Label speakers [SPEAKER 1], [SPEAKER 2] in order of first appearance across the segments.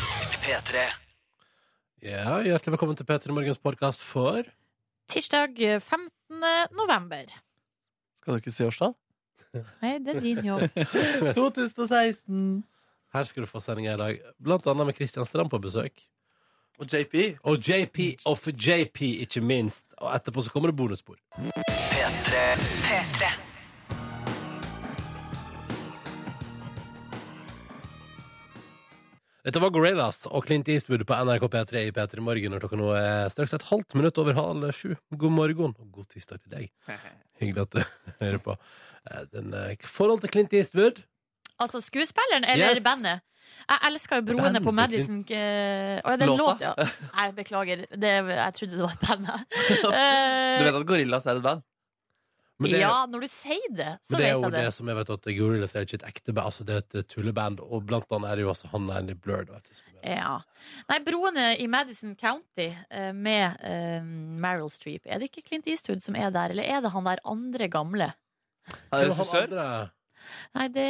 [SPEAKER 1] P3.
[SPEAKER 2] Ja, Hjertelig velkommen til P3 Morgens podkast for
[SPEAKER 3] Tirsdag 15. november.
[SPEAKER 4] Skal du ikke si årstall?
[SPEAKER 3] Nei, det er din jobb.
[SPEAKER 4] 2016.
[SPEAKER 2] Her skal du få sendinga i dag. Blant annet med Kristian Strand på besøk.
[SPEAKER 4] Og JP.
[SPEAKER 2] Og JP og for JP, ikke minst. Og etterpå så kommer det bonusspor. Dette var Gorillaz og Clint Eastwood på NRK P3 i P3 Morgen når klokka nå er straks et halvt minutt over halv sju. God morgen og god tirsdag til deg. Hyggelig at du hører på. Eh, Den, eh, forhold til Clint Eastwood
[SPEAKER 3] Altså skuespilleren eller
[SPEAKER 2] Yes.
[SPEAKER 3] bandet? Jeg elsker jo Broene
[SPEAKER 2] Bandet,
[SPEAKER 3] på Madison eh, Å, ja, det er en låt,
[SPEAKER 4] Låta.
[SPEAKER 3] ja. Nei, beklager. Det, jeg trodde det var et band. jeg.
[SPEAKER 4] Du
[SPEAKER 3] Eh,
[SPEAKER 4] vet at Gorillas er et band?
[SPEAKER 2] Men det,
[SPEAKER 3] ja, når du sier det, så
[SPEAKER 2] men det
[SPEAKER 3] vet
[SPEAKER 2] er jo
[SPEAKER 3] jeg
[SPEAKER 2] det.
[SPEAKER 3] det.
[SPEAKER 2] som jeg vet at Gorillaz er ikke et ekte band, altså det er et tulleband, og blant annet er det jo altså han er i Blur. Da, vet du, som er med.
[SPEAKER 3] Ja. Nei, Broene i Madison County eh, med eh, Meryl Streep. Er det ikke Clint Eastwood som er der, eller er det han der andre gamle?
[SPEAKER 4] Han er
[SPEAKER 2] Hvem han
[SPEAKER 4] regissør.
[SPEAKER 2] andre?
[SPEAKER 3] Nei, det,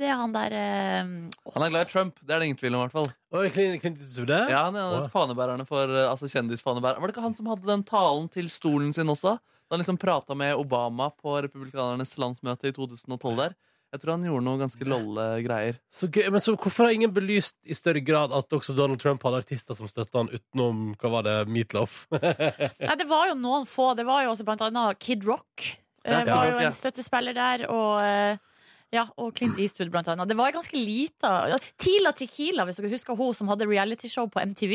[SPEAKER 3] det er han der eh, åh,
[SPEAKER 4] Han er glad i Trump. Det er det ingen tvil om. i hvert fall
[SPEAKER 2] Oi, Clint, Clint Eastwood, det?
[SPEAKER 4] Ja, han er en av
[SPEAKER 2] Wow.
[SPEAKER 4] fanebærerne for eh, altså kjendisfanebærer. Var det ikke han som hadde den talen til stolen sin også? Da han liksom prata med Obama på republikanernes landsmøte i 2012 der. Jeg tror han gjorde noe ganske lolle greier.
[SPEAKER 2] Så gøy, men så hvorfor har ingen belyst i større grad at også Donald Trump hadde artister som støtta han utenom hva var det, Meatloaf?
[SPEAKER 3] Nei, det var jo noen få. Det var jo også blant annet Kid Rock.
[SPEAKER 4] Ja,
[SPEAKER 3] Det
[SPEAKER 4] Kid
[SPEAKER 3] var
[SPEAKER 4] Rock,
[SPEAKER 3] jo
[SPEAKER 4] ja.
[SPEAKER 3] en støttespiller der, og eh, ja, og Clint Eastwood, blant annet. Det var en ganske lita ja, Tila Tequila, hvis dere husker hun som hadde realityshow på MTV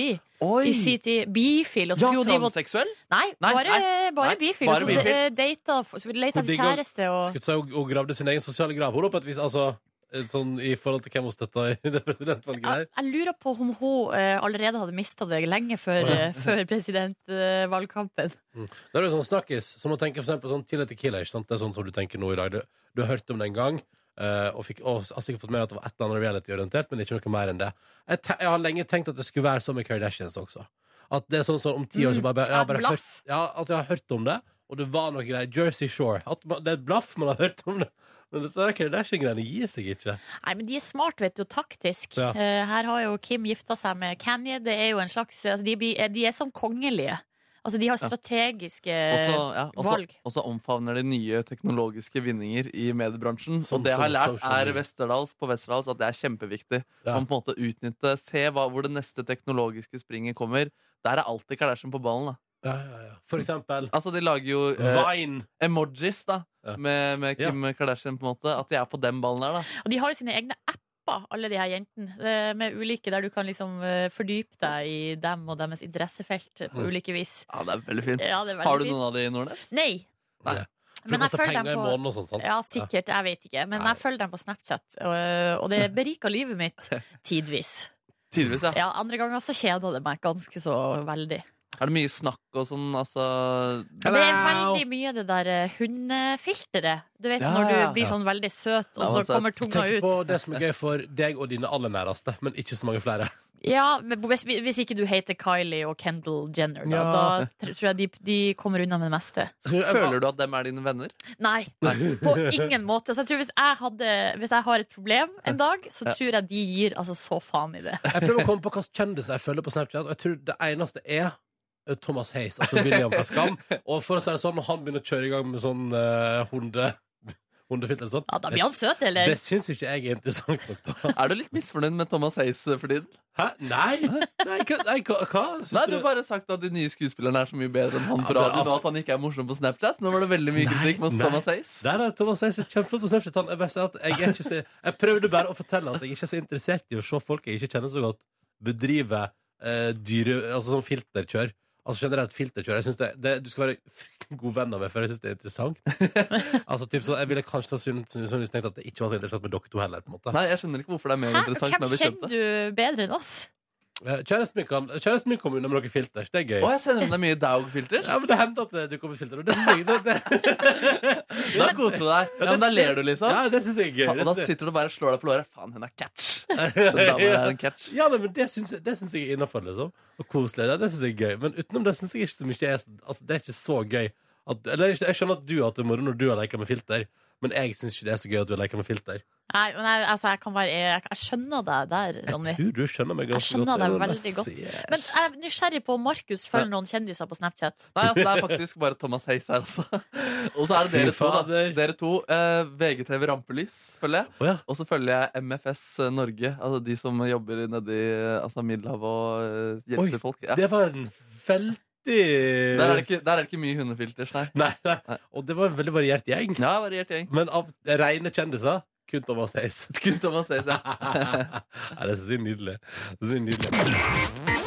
[SPEAKER 3] i sin tid. Bifil. Og
[SPEAKER 4] Ja,
[SPEAKER 3] så skulle hun drive og
[SPEAKER 4] transseksuell?
[SPEAKER 3] Nei,
[SPEAKER 4] Nei,
[SPEAKER 3] bare, bare
[SPEAKER 4] nei,
[SPEAKER 3] bifil.
[SPEAKER 4] bare
[SPEAKER 3] så
[SPEAKER 4] bifil.
[SPEAKER 3] eh, data, så leta
[SPEAKER 2] Hun
[SPEAKER 3] etter
[SPEAKER 2] digger-
[SPEAKER 3] kjæreste og
[SPEAKER 2] Skulle si hun hun gravde sin egen sosiale grav. Hun da, på et vis, altså, eh, sånn i forhold til hvem hun støtta i det presidentvalget
[SPEAKER 3] jeg,
[SPEAKER 2] der.
[SPEAKER 3] jeg lurer på om hun eh, allerede hadde mista det lenge før, eh, før presidentvalgkampen.
[SPEAKER 2] Det er jo sånn snakkis, som å tenke for eksempel sånn Tilla Tequila, ikke sant? Det er sånn som du tenker nå i dag. Du, du har hørt om det en gang, eh, og, fikk, og har sikkert fått med deg at det var et eller annet reality-orientert, men ikke noe mer enn det. Jeg, te jeg har lenge tenkt at det skulle være som med Kardashians også. At det er sånn som om ti år så bare, jeg har bare
[SPEAKER 3] ja,
[SPEAKER 2] hørt,
[SPEAKER 3] Mm, blaff.
[SPEAKER 2] ja, at jeg har hørt om det, og det var noe greier. Jersey Shore. At man, det er et blaff, man har hørt om det. Men disse Kardashian-greiene gir seg ikke.
[SPEAKER 3] Nei, men de er smart, vet du, og taktisk.
[SPEAKER 2] Ja.
[SPEAKER 3] Eh, her har jo Kim gifta seg med Kanye. Det er jo en slags altså, de, blir- eh, de er som kongelige. Altså, de har strategiske
[SPEAKER 4] Også, ja, også,
[SPEAKER 3] valg.
[SPEAKER 4] også omfavner de nye teknologiske vinninger i mediebransjen.
[SPEAKER 2] Som-
[SPEAKER 4] og det jeg har
[SPEAKER 2] Sånn som
[SPEAKER 4] lært
[SPEAKER 2] social
[SPEAKER 4] er
[SPEAKER 2] media.
[SPEAKER 4] Vesterdals på Vesterdals at det er kjempeviktig.
[SPEAKER 2] Ja.
[SPEAKER 4] Man på en måte utnytte, Se hva, hvor det neste teknologiske springet kommer. Der er alltid Kardashian på ballen. da
[SPEAKER 2] Ja, ja, ja. For eksempel
[SPEAKER 4] Altså De lager jo eh,
[SPEAKER 2] Vine.
[SPEAKER 4] emojis da
[SPEAKER 2] Ja.
[SPEAKER 4] med, med Kim Kardashian. på en måte At de er på den ballen der. da
[SPEAKER 3] Og de har jo sine egne apper, alle de her jentene, eh, med ulike der du kan liksom eh, fordype deg i dem og deres interessefelt
[SPEAKER 2] Mm.
[SPEAKER 3] på ulike vis.
[SPEAKER 4] Ja, Det er veldig fint.
[SPEAKER 3] Ja, det er veldig
[SPEAKER 4] har du
[SPEAKER 3] fint.
[SPEAKER 4] noen av de i Nordnes?
[SPEAKER 3] Nei.
[SPEAKER 4] Nei.
[SPEAKER 2] For det
[SPEAKER 3] Men jeg
[SPEAKER 2] koster
[SPEAKER 3] følger
[SPEAKER 2] penger
[SPEAKER 3] dem
[SPEAKER 2] i
[SPEAKER 3] på-
[SPEAKER 2] måneden og sånn, sant?
[SPEAKER 3] Ja, sikkert. Jeg vet ikke. Men
[SPEAKER 2] Nei.
[SPEAKER 3] jeg følger dem på Snapchat, og, og det beriker livet mitt tidvis.
[SPEAKER 4] Tidvis, ja.
[SPEAKER 3] Ja, andre ganger så kjeder det meg ganske så veldig.
[SPEAKER 4] Er det mye snakk og sånn? Altså
[SPEAKER 3] Og det er veldig mye det der eh, hundefilteret. Du vet
[SPEAKER 4] Ja,
[SPEAKER 3] når
[SPEAKER 4] ja, ja.
[SPEAKER 3] du blir sånn veldig søt, og
[SPEAKER 4] Ja,
[SPEAKER 3] så
[SPEAKER 4] men så-
[SPEAKER 3] kommer tunga
[SPEAKER 2] altså, Tenk på
[SPEAKER 3] ut.
[SPEAKER 2] det som er gøy for deg og dine aller næreste, men ikke så mange flere.
[SPEAKER 3] Ja, men hvis, hvis ikke du heter Kylie og Kendal Jenner, da,
[SPEAKER 2] Ja.
[SPEAKER 3] da tr- tror jeg de, de kommer unna med det meste.
[SPEAKER 4] Føler du at dem er dine venner?
[SPEAKER 3] Nei, på ingen måte. Så jeg tror hvis jeg, hadde, hvis jeg har et problem en dag, så
[SPEAKER 4] Ja.
[SPEAKER 3] tror jeg de gir altså så faen i det.
[SPEAKER 2] Jeg prøver å komme på hvilke kjendiser jeg følger på Snapchat. Og jeg tror det eneste er eh, Thomas Hayes, altså William fra Skam. Og for å si det sånn, når han begynner å kjøre i gang med sånn eh, hunde, hundefilter og sånn
[SPEAKER 3] Ja, da blir han søt,
[SPEAKER 2] Det
[SPEAKER 3] eller?
[SPEAKER 2] syns ikke jeg er interessant nok, da.
[SPEAKER 4] Er du litt misfornøyd med Thomas Hayes eh, for tiden?
[SPEAKER 2] Hæ? Nei! Nei, hva? Nei, hva, hva? Syns
[SPEAKER 4] Nei, du har bare sagt at de nye skuespillerne er så mye bedre enn han på
[SPEAKER 2] Ja, men
[SPEAKER 4] radioen, og
[SPEAKER 2] altså-
[SPEAKER 4] at han ikke er morsom på Snapchat. Nå var det veldig mye
[SPEAKER 2] Nei,
[SPEAKER 4] kritikk mot
[SPEAKER 2] nei.
[SPEAKER 4] Thomas Hayes.
[SPEAKER 2] Nei, nei, Thomas Hayes er kjempeflott på Snapchat. Han, jeg, bare sier at jeg, er ikke så, jeg prøvde bare å fortelle at jeg ikke er så interessert i å se folk jeg ikke kjenner så godt, bedrive eh, dyre Altså sånn filterkjør. Altså generelt filterkjør. Jeg synes det, det, du skal være fryktelig god venn av meg, for jeg syns det er interessant. altså typ sånn, Jeg ville kanskje sannsynligvis tenkt at det ikke var så interessant med dere to heller. på en måte
[SPEAKER 4] Nei, jeg skjønner ikke hvorfor det er mer
[SPEAKER 3] Hæ?
[SPEAKER 4] interessant
[SPEAKER 3] Hvem
[SPEAKER 4] med bekjente.
[SPEAKER 3] kjenner du bedre enn oss?
[SPEAKER 2] Eh, Kjæresten min, kan, kjæresten min kom unna med noen filter. Det er gøy.
[SPEAKER 4] Å, jeg sender deg mye Daug-filter.
[SPEAKER 2] Ja, men Det hender at eh, det dukker opp et filter. Og det synes jeg, det, det,
[SPEAKER 4] Da koser du deg. Ja, men da ler du, liksom.
[SPEAKER 2] ja, det synes jeg er gøy.
[SPEAKER 4] Og da
[SPEAKER 2] Det synes jeg-
[SPEAKER 4] sitter du bare og slår deg på låret. Faen, hun er catch. Den damen er en catch.
[SPEAKER 2] Ja, nei, men Det syns jeg, det syns jeg er innafor. Liksom. Og koselig. Det, det syns jeg er gøy. Men utenom det syns jeg ikke så mye er altså, Det er ikke så gøy. At, eller, jeg skjønner at du har hatt det moro når du har leka med filter, men jeg syns ikke det er så gøy at du har leka med filter.
[SPEAKER 3] Nei, men jeg, altså, jeg, kan være, jeg, jeg skjønner deg der, Ronny.
[SPEAKER 2] Jeg tror du skjønner meg ganske
[SPEAKER 3] Jeg skjønner
[SPEAKER 2] godt.
[SPEAKER 3] deg
[SPEAKER 2] det må
[SPEAKER 3] veldig godt.
[SPEAKER 2] si.
[SPEAKER 3] Men jeg er nysgjerrig på om Markus følger noen kjendiser på Snapchat.
[SPEAKER 4] Nei, altså det er faktisk bare Thomas Hayes her også. Og så er det dere
[SPEAKER 2] Fy
[SPEAKER 4] to. da
[SPEAKER 2] fader.
[SPEAKER 4] Dere to, eh, VGTV Rampelys følger jeg.
[SPEAKER 2] Å ja.
[SPEAKER 4] Og så følger jeg MFS Norge, altså de som jobber nedi eh, altså Middelhavet og eh, hjelper
[SPEAKER 2] Oi,
[SPEAKER 4] folk. Ja.
[SPEAKER 2] Det var en veldig
[SPEAKER 4] Der, er det ikke, der er det ikke mye hundefilters, nei.
[SPEAKER 2] Nei, nei. Og det var en veldig variert gjeng.
[SPEAKER 4] Ja, variert gjeng.
[SPEAKER 2] Men av rene kjendiser kun Thomas Hayes.
[SPEAKER 4] Kun Thomas Hayes, ja.
[SPEAKER 2] Nei, det er så nydelig. Det er så nydelig.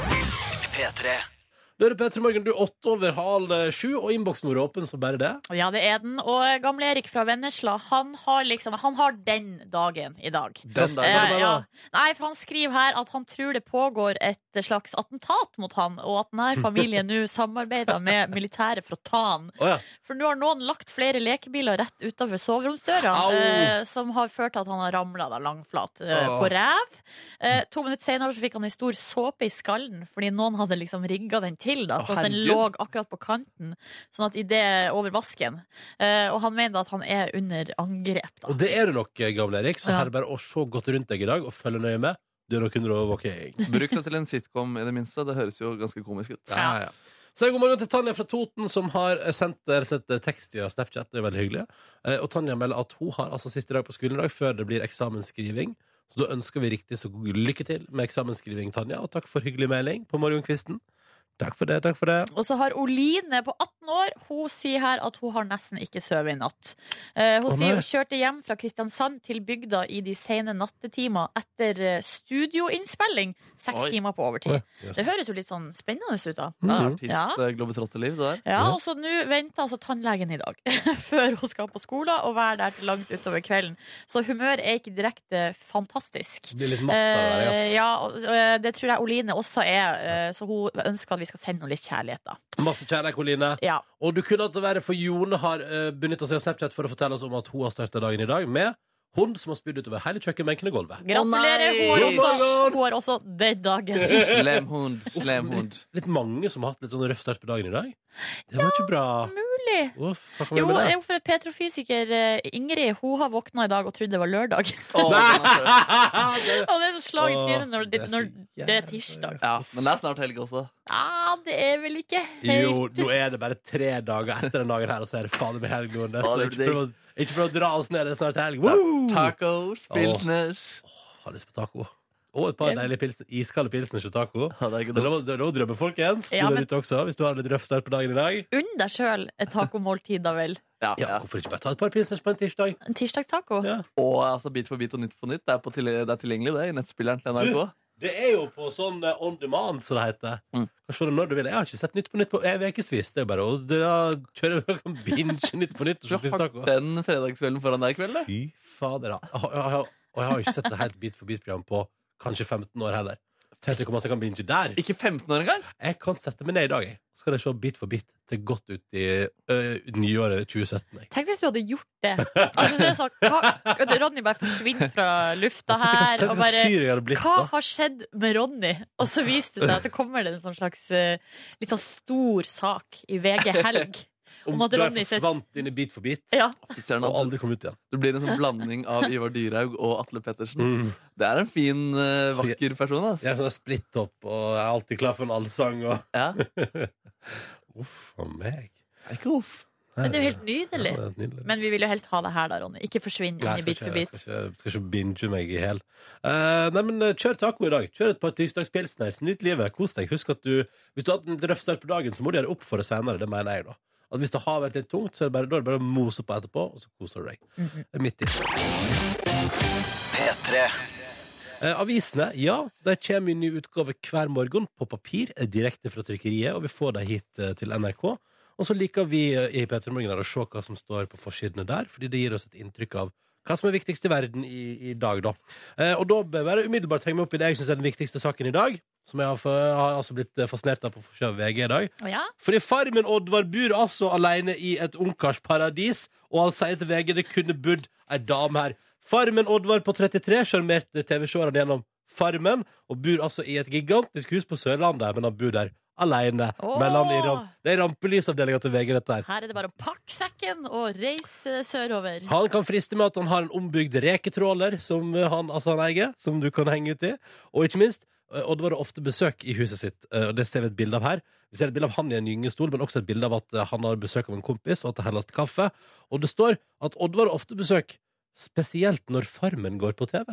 [SPEAKER 2] Da er det Petter Morgen, du er åtte over halv eh, sju, og innboksen vår er åpen som bare det.
[SPEAKER 3] Og Ja, det er den. Og gamle Erik fra Vennesla, han har liksom Han har den dagen i dag.
[SPEAKER 4] Den
[SPEAKER 2] Hva
[SPEAKER 4] dagen.
[SPEAKER 2] er det
[SPEAKER 3] Eh,
[SPEAKER 2] med
[SPEAKER 3] ja.
[SPEAKER 2] da?
[SPEAKER 3] Nei, for han skriver her at han tror det pågår et slags attentat mot han, og at denne familien nå samarbeider med militæret for å ta han.
[SPEAKER 2] Å ja.
[SPEAKER 3] For nå har noen lagt flere lekebiler rett utenfor soveromsdøra,
[SPEAKER 2] Au!
[SPEAKER 3] eh, som har ført til at han har ramla langflat eh,
[SPEAKER 2] Åh.
[SPEAKER 3] på ræv. Eh, to minutter senere så fikk han en stor såpe i skallen, fordi noen hadde liksom rigga den til, da,
[SPEAKER 4] Å,
[SPEAKER 3] sånn at den lå
[SPEAKER 4] herregud.
[SPEAKER 3] akkurat på kanten, sånn at i det over vasken. Eh, og han mener da at han er under angrep, da.
[SPEAKER 2] Og det er du nok, eh, gamle Erik, så
[SPEAKER 3] Ja.
[SPEAKER 2] her er det bare å se godt rundt deg i dag og følge nøye med. Du er nok under overvåking.
[SPEAKER 4] Bruk det til en sitcom, i det minste. Det høres jo ganske komisk ut.
[SPEAKER 3] Ja,
[SPEAKER 2] ja. Så god morgen til Tanja fra Toten, som har sendt eh, sett tekst via Snapchat. Det er veldig hyggelig. Eh, Og Tanja melder at hun har altså siste dag på skolen i dag før det blir eksamensskriving. Så da ønsker vi riktig så god lykke til med eksamensskriving, Tanja, og takk for hyggelig melding på morgenkvisten. Takk for det, takk for det.
[SPEAKER 3] Og så har Oline på 18 år Hun sier her at hun har nesten ikke søvet i natt. Eh, hun
[SPEAKER 2] Å,
[SPEAKER 3] sier
[SPEAKER 2] nei.
[SPEAKER 3] hun kjørte hjem fra Kristiansand til bygda i de sene nattetimer etter eh, studioinnspilling
[SPEAKER 4] Oi.
[SPEAKER 3] seks timer på overtid.
[SPEAKER 2] Yes.
[SPEAKER 3] Det høres jo litt sånn spennende ut, da.
[SPEAKER 4] Det er
[SPEAKER 2] Mhm.
[SPEAKER 3] Ja.
[SPEAKER 4] artist-globetrotterliv, eh, det der.
[SPEAKER 3] Ja,
[SPEAKER 2] Ja.
[SPEAKER 3] og så nå venter altså tannlegen i dag før hun skal på skolen og være der til langt utover kvelden. Så humør er ikke direkte fantastisk.
[SPEAKER 2] Blir litt matt av det,
[SPEAKER 3] Eh,
[SPEAKER 2] yes.
[SPEAKER 3] ja, og, eh, det tror jeg Oline også er, eh, så hun ønsker at vi skal sende henne litt kjærlighet, da.
[SPEAKER 2] Masse kjærlighet, Oline.
[SPEAKER 3] Ja.
[SPEAKER 2] Og du kunne hatt det verre, for Jone har uh, benytta seg av Snapchat for å fortelle oss om at hun har starta dagen i dag med hund som har spydd utover hele kjøkkenbenken og gulvet.
[SPEAKER 3] Gratulerer.
[SPEAKER 4] Å,
[SPEAKER 3] Hun har
[SPEAKER 4] nei!
[SPEAKER 3] også, hun har også den dagen.
[SPEAKER 4] Slem hund, slem
[SPEAKER 2] Uff,
[SPEAKER 4] hund.
[SPEAKER 2] litt, litt mange som har hatt litt sånn røff start på dagen i dag. Det var ikke bra.
[SPEAKER 3] Mulig.
[SPEAKER 2] Uff, hva kan vi
[SPEAKER 3] Jo,
[SPEAKER 2] gjøre med det?
[SPEAKER 3] jo, for at petrofysiker eh, Ingrid Hun har våkna i dag og trodde det var lørdag.
[SPEAKER 4] Å, den er søt.
[SPEAKER 3] Og det er sånn slag i trynet når,
[SPEAKER 2] Åh, det
[SPEAKER 3] det-
[SPEAKER 2] er
[SPEAKER 3] når
[SPEAKER 2] så
[SPEAKER 3] det er
[SPEAKER 2] jævlig
[SPEAKER 3] tirsdag.
[SPEAKER 4] Ja, men det er snart helg også.
[SPEAKER 3] Ah, det er vel ikke
[SPEAKER 2] Jo,
[SPEAKER 3] helt
[SPEAKER 2] nå er det bare tre dager etter den dagen her, og så er det fader meg helg. Nordnes,
[SPEAKER 4] Å,
[SPEAKER 2] så
[SPEAKER 4] det
[SPEAKER 2] Ikke
[SPEAKER 4] blir
[SPEAKER 2] prøv å- ikke prøv å dra oss ned, det er snart helg. Woo!
[SPEAKER 4] Tacos, pilsners
[SPEAKER 2] Har lyst på taco. Og et par
[SPEAKER 3] Ja.
[SPEAKER 2] deilige pilsen, iskalde pilsner til taco.
[SPEAKER 4] Ja, det er ikke
[SPEAKER 2] Det er
[SPEAKER 4] dumt.
[SPEAKER 2] lov det er lov å drømme, folkens. Du
[SPEAKER 3] Ja,
[SPEAKER 2] der
[SPEAKER 3] men-
[SPEAKER 2] ute også, hvis du har en litt røff start på dagen i dag.
[SPEAKER 3] Unn deg sjøl et tacomåltid, da vel.
[SPEAKER 4] Ja,
[SPEAKER 2] Ja,
[SPEAKER 4] ja.
[SPEAKER 2] Hvorfor ikke bare ta et par pilsners på en tirsdag?
[SPEAKER 3] En tirsdagstaco.
[SPEAKER 2] Ja.
[SPEAKER 4] Og altså, Bit for bit og Nytt for nytt. Det er, på til, det er tilgjengelig det i nettspilleren til NRK.
[SPEAKER 2] Det er jo på sånn eh, on demand, som det heter.
[SPEAKER 4] Mm.
[SPEAKER 2] Kanskje det når du vil. Jeg har ikke sett Nytt på Nytt på ukevis. Det er bare å dra- kjøre og binge Nytt på Nytt. og
[SPEAKER 4] Så
[SPEAKER 2] så spise
[SPEAKER 4] har
[SPEAKER 2] taco.
[SPEAKER 4] den fredagskvelden foran deg i kveld, det.
[SPEAKER 2] Fy fader, da. Og jeg har- og jeg har jo ikke sett det helt bit for bit-program på kanskje 15 år heller. Tenk deg hvor masse jeg kan binge der.
[SPEAKER 4] Ikke 15 år engang?
[SPEAKER 2] Jeg kan sette meg ned i dag, jeg. Så skal jeg se bit for bit til godt ut i ø, nyåret 2017. Jeg.
[SPEAKER 3] Tenk hvis du hadde gjort det. Altså, det er sånn, hva, Ronny bare forsvinner fra lufta her.
[SPEAKER 2] Tenk
[SPEAKER 3] Og
[SPEAKER 2] hva
[SPEAKER 3] bare
[SPEAKER 2] syr jeg hadde blitt
[SPEAKER 3] Hva
[SPEAKER 2] da.
[SPEAKER 3] har skjedd med Ronny? Og så viste det seg, så kommer det en sånn slags eh, litt sånn stor sak i VG Helg.
[SPEAKER 2] Om
[SPEAKER 3] om at
[SPEAKER 2] da jeg
[SPEAKER 3] Ronny sitt-
[SPEAKER 2] forsvant inn i bit for bit
[SPEAKER 3] Ja,
[SPEAKER 4] Fy søren,
[SPEAKER 2] og
[SPEAKER 4] altså.
[SPEAKER 2] aldri kom ut igjen.
[SPEAKER 4] Du blir en sånn blanding av Ivar Dyrhaug og Atle Pettersen.
[SPEAKER 2] Mm.
[SPEAKER 4] Det er en fin, eh, vakker person. ass.
[SPEAKER 2] Jeg er sånn splitt opp, og jeg er alltid klar for en allsang. Og...
[SPEAKER 4] Ja.
[SPEAKER 2] Uff a meg.
[SPEAKER 4] Er ikke uff.
[SPEAKER 3] men det er jo helt nydelig.
[SPEAKER 2] Ja, det er nydelig.
[SPEAKER 3] Men vi vil jo helst ha det her, da, Ronny. Ikke forsvinn
[SPEAKER 2] Nei,
[SPEAKER 3] inn i
[SPEAKER 2] jeg
[SPEAKER 3] Bit
[SPEAKER 2] skal
[SPEAKER 3] for
[SPEAKER 2] ikke, jeg
[SPEAKER 3] bit.
[SPEAKER 2] skal, ikke, skal ikke binge meg i hel. Eh, nei, men eh, kjør taco i dag. Kjør et par tirsdagspilsner. Nyt livet. Kos deg. Husk at du, hvis du har hatt en røff start på dagen, så må du gjøre opp for det senere. Det mener jeg, da. At hvis det har vært litt tungt, så er det bare, da er det bare å mose på etterpå, og så koser du deg.
[SPEAKER 3] Mhm.
[SPEAKER 2] Det er midt i. Eh, avisene, ja, de kommer i ny utgave hver morgen på papir, eh, direkte fra trykkeriet, og vi får dem hit eh, til NRK. Og så liker vi eh, i Peter Morgen her å se hva som står på forsidene der, fordi det gir oss et inntrykk av hva som er viktigst i verden i, i dag, da. Eh, og da bør jeg bare umiddelbart henge meg opp i det jeg syns er den viktigste saken i dag, som jeg har, for, har altså blitt eh, fascinert av på forsida av VG i dag.
[SPEAKER 3] Ja,
[SPEAKER 2] Fordi farmen Oddvar bor altså alene i et ungkarsparadis, og han sier til VG det kunne bodd ei dame her. Farmen Oddvar på 33 sjarmerte TV-seerne gjennom Farmen, og bor altså i et gigantisk hus på Sørlandet, men han bor der alene
[SPEAKER 3] Åh!
[SPEAKER 2] mellom i ram Det er rampelysavdelinga til VG, dette her.
[SPEAKER 3] Her er det bare å pakke sekken og reise sørover.
[SPEAKER 2] Han kan friste med at han har en ombygd reketråler som eh, han, altså han eier, som du kan henge ut i. Og ikke minst, eh, Odd var det ofte besøk i huset sitt, eh, og det ser vi et bilde av her. Vi ser et bilde av han i en gyngestol, men også et bilde av at eh, han har besøk av en kompis, og at det helles til kaffe. Og det står at Odd var det ofte besøk, spesielt når Farmen går på TV.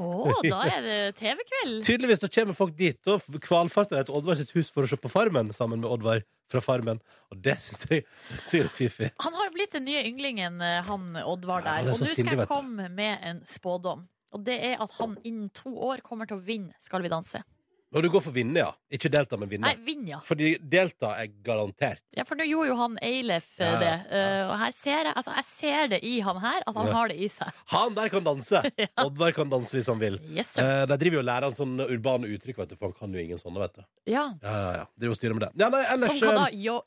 [SPEAKER 3] Å, da er det TV-kveld.
[SPEAKER 2] Tydeligvis så kommer folk dit og kvalfarter de til Oddvar sitt hus for å se på Farmen sammen med Oddvar fra Farmen, og det syns jeg sikkert fiffig.
[SPEAKER 3] Han har jo blitt den nye ynglingen, eh, han Oddvar
[SPEAKER 2] Ja, han
[SPEAKER 3] der.
[SPEAKER 2] er
[SPEAKER 3] Og
[SPEAKER 2] så
[SPEAKER 3] nå
[SPEAKER 2] sindig,
[SPEAKER 3] skal
[SPEAKER 2] vet
[SPEAKER 3] jeg
[SPEAKER 2] du.
[SPEAKER 3] komme med en spådom. Og det er at han innen to år kommer til å vinne Skal vi danse.
[SPEAKER 2] Og du går for vinne, ja. Ikke delta, men vinne.
[SPEAKER 3] Nei, vinne, ja.
[SPEAKER 2] Fordi delta er garantert.
[SPEAKER 3] Ja, for nå gjorde jo han Eilef eh,
[SPEAKER 2] Ja, ja,
[SPEAKER 3] det. Eh, Og her ser jeg, altså, jeg ser det i han her, at han
[SPEAKER 2] Ja.
[SPEAKER 3] har det i seg.
[SPEAKER 2] Han der kan danse! Oddvar kan danse hvis han vil.
[SPEAKER 3] Yes, sir.
[SPEAKER 2] Eh, de driver jo og lærer han sånne urbane uttrykk, vet du, for han kan jo ingen sånne. vet du
[SPEAKER 3] Ja.
[SPEAKER 2] Ja, ja, ja, Driver og styrer med det. Ja, nei, ellers,
[SPEAKER 3] Som hva Sånn da?
[SPEAKER 2] eh,
[SPEAKER 3] Yo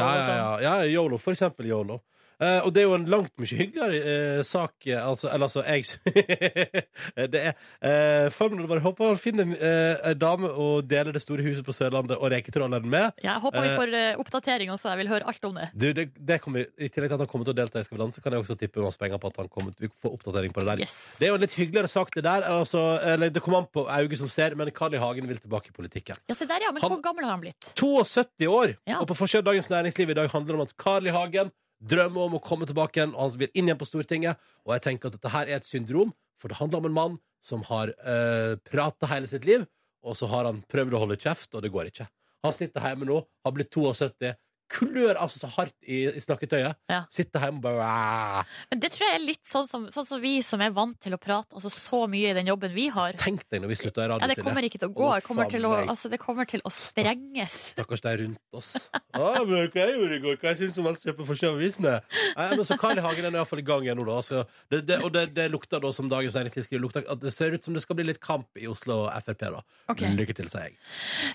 [SPEAKER 2] ja,
[SPEAKER 3] og
[SPEAKER 2] ja,
[SPEAKER 3] sånn.
[SPEAKER 2] ja, ja, Yolo, for eksempel Yolo. Eh, og det er jo en langt mye hyggeligere eh, sak eh, altså, Eller altså, jeg Det er uh, Farmen bare håper han finner en eh, en dame og deler det store huset på Sørlandet og reketrolleren med.
[SPEAKER 3] Ja, Jeg håper vi
[SPEAKER 2] Eh.
[SPEAKER 3] får eh, oppdatering også. Jeg vil høre alt om det.
[SPEAKER 2] Du, det, det kommer, I tillegg til at han kommer til å delta i Skal vi danse, kan jeg også tippe masse penger på at han kommer til å få oppdatering på det der.
[SPEAKER 3] Yes.
[SPEAKER 2] Det er jo en litt hyggeligere sak, det der. Altså, eller, det kommer an på auget som ser, men Carl I. Hagen vil tilbake i politikken.
[SPEAKER 3] Ja, se der, ja. Men
[SPEAKER 2] Han-
[SPEAKER 3] hvor gammel har han blitt?
[SPEAKER 2] 72 år,
[SPEAKER 3] Ja.
[SPEAKER 2] og på forsiden av Dagens Næringsliv i dag handler det om at Carl I. Hagen drømmer om å komme tilbake igjen, og han vil inn igjen på Stortinget. Og jeg tenker at dette her er et syndrom, for det handler om en mann som har uh, prata hele sitt liv, og så har han prøvd å holde kjeft, og det går ikke. Han sitter hjemme nå, har blitt 72, klør altså så hardt i, i snakketøyet,
[SPEAKER 3] Ja.
[SPEAKER 2] sitter hjemme og bare "Aah."
[SPEAKER 3] Men det tror jeg er litt sånn som, sånn som vi som er vant til å prate altså så mye i den jobben vi har.
[SPEAKER 2] Tenk deg når vi slutta i
[SPEAKER 3] Ja,
[SPEAKER 2] radio,
[SPEAKER 3] det kommer ikke til å gå.
[SPEAKER 2] Å,
[SPEAKER 3] Det kommer til å,
[SPEAKER 2] faen meg.
[SPEAKER 3] altså, det kommer til å sprenges.
[SPEAKER 2] Stakkars de rundt oss. Ah, men hva jeg gjorde i går? Hva jeg syns om alt som er på forsiden av avisene? Nei, men så Carl I. Hagen er nå i hvert fall i gang igjen nå, da. Så det, det, og det, det lukter da, som Dagens Næringsliv skriver, lukter at det ser ut som det skal bli litt kamp i Oslo og Frp, da.
[SPEAKER 3] Ok.
[SPEAKER 2] Lykke til, sier jeg.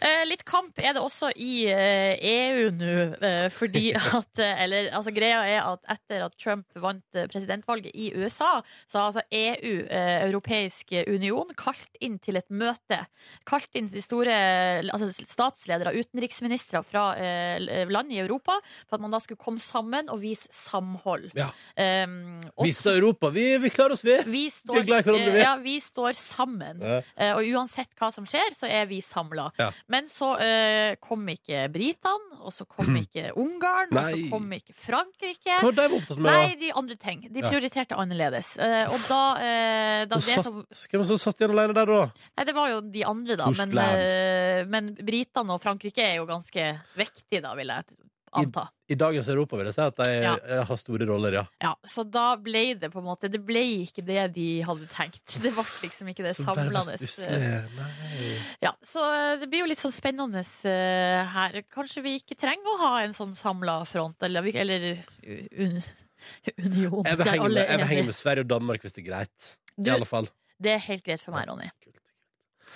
[SPEAKER 3] Eh, litt kamp er det også i eh, EU nå, eh, fordi at eh, Eller altså, greia er at etter at Trump vant eh, presidentvalget i USA, så har altså EU, eh, Europeisk union, kalt inn til et møte. Kalt inn de store eh, altså, statsledere, utenriksministre fra eh, land i Europa, for at man da skulle komme sammen og vise samhold.
[SPEAKER 2] Ja.
[SPEAKER 3] Eh, og
[SPEAKER 2] Vi til Europa, vi, vi klarer oss, vi!
[SPEAKER 3] vi står,
[SPEAKER 2] Vi er glad i hverandre, vi.
[SPEAKER 3] eh, Ja, vi står sammen.
[SPEAKER 2] Ja.
[SPEAKER 3] Eh, Og uansett hva som skjer, så er vi samla.
[SPEAKER 2] Ja.
[SPEAKER 3] Men så eh, kom ikke britene, og så kom ikke Ungarn, og så
[SPEAKER 2] Hmm. Nei.
[SPEAKER 3] kom ikke Frankrike.
[SPEAKER 2] Hva var de opptatt med?
[SPEAKER 3] Nei, de andre ting. De
[SPEAKER 2] Ja.
[SPEAKER 3] prioriterte annerledes. Eh, og da, eh, da
[SPEAKER 2] da? Og
[SPEAKER 3] det
[SPEAKER 2] satt,
[SPEAKER 3] som
[SPEAKER 2] Hvem som satt igjen alene der, da?
[SPEAKER 3] Nei, det var jo de andre, da. Men,
[SPEAKER 2] Tyskland.
[SPEAKER 3] eh, men britene og Frankrike er jo ganske vektige, da, vil jeg anta.
[SPEAKER 2] I dagens Europa vil jeg si at de
[SPEAKER 3] Ja.
[SPEAKER 2] eh, har store roller, ja.
[SPEAKER 3] Ja, så da ble det på en måte Det ble ikke det de hadde tenkt. Det ble liksom ikke det
[SPEAKER 2] Så bare mest
[SPEAKER 3] samlende. eh,
[SPEAKER 2] usle. Nei.
[SPEAKER 3] Ja, så eh, det blir jo litt sånn spennende eh, her. Kanskje vi ikke trenger å ha en sånn samla front, eller, vi- eller u- un, union.
[SPEAKER 2] Jeg
[SPEAKER 3] der
[SPEAKER 2] vil henge
[SPEAKER 3] alle
[SPEAKER 2] med, jeg
[SPEAKER 3] er
[SPEAKER 2] vil henge
[SPEAKER 3] enige.
[SPEAKER 2] med Sverige og Danmark, hvis det er greit. I
[SPEAKER 3] Du,
[SPEAKER 2] alle fall.
[SPEAKER 3] det er helt greit for meg, Ronny.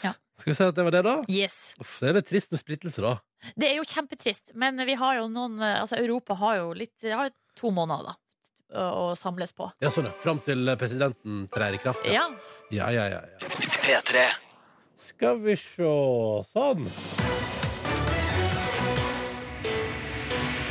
[SPEAKER 3] Ja.
[SPEAKER 2] Skal vi si at det var det, da?
[SPEAKER 3] Yes.
[SPEAKER 2] Uff, det er litt trist med splittelse, da.
[SPEAKER 3] Det er jo kjempetrist, men vi har jo noen eh, Altså, Europa har jo litt har jo to måneder, da, å, å samles på.
[SPEAKER 2] Ja, sånn, ja. Fram til presidenten trer i kraft.
[SPEAKER 3] Ja.
[SPEAKER 2] ja, ja. ja, ja. Skal vi sjå Sånn.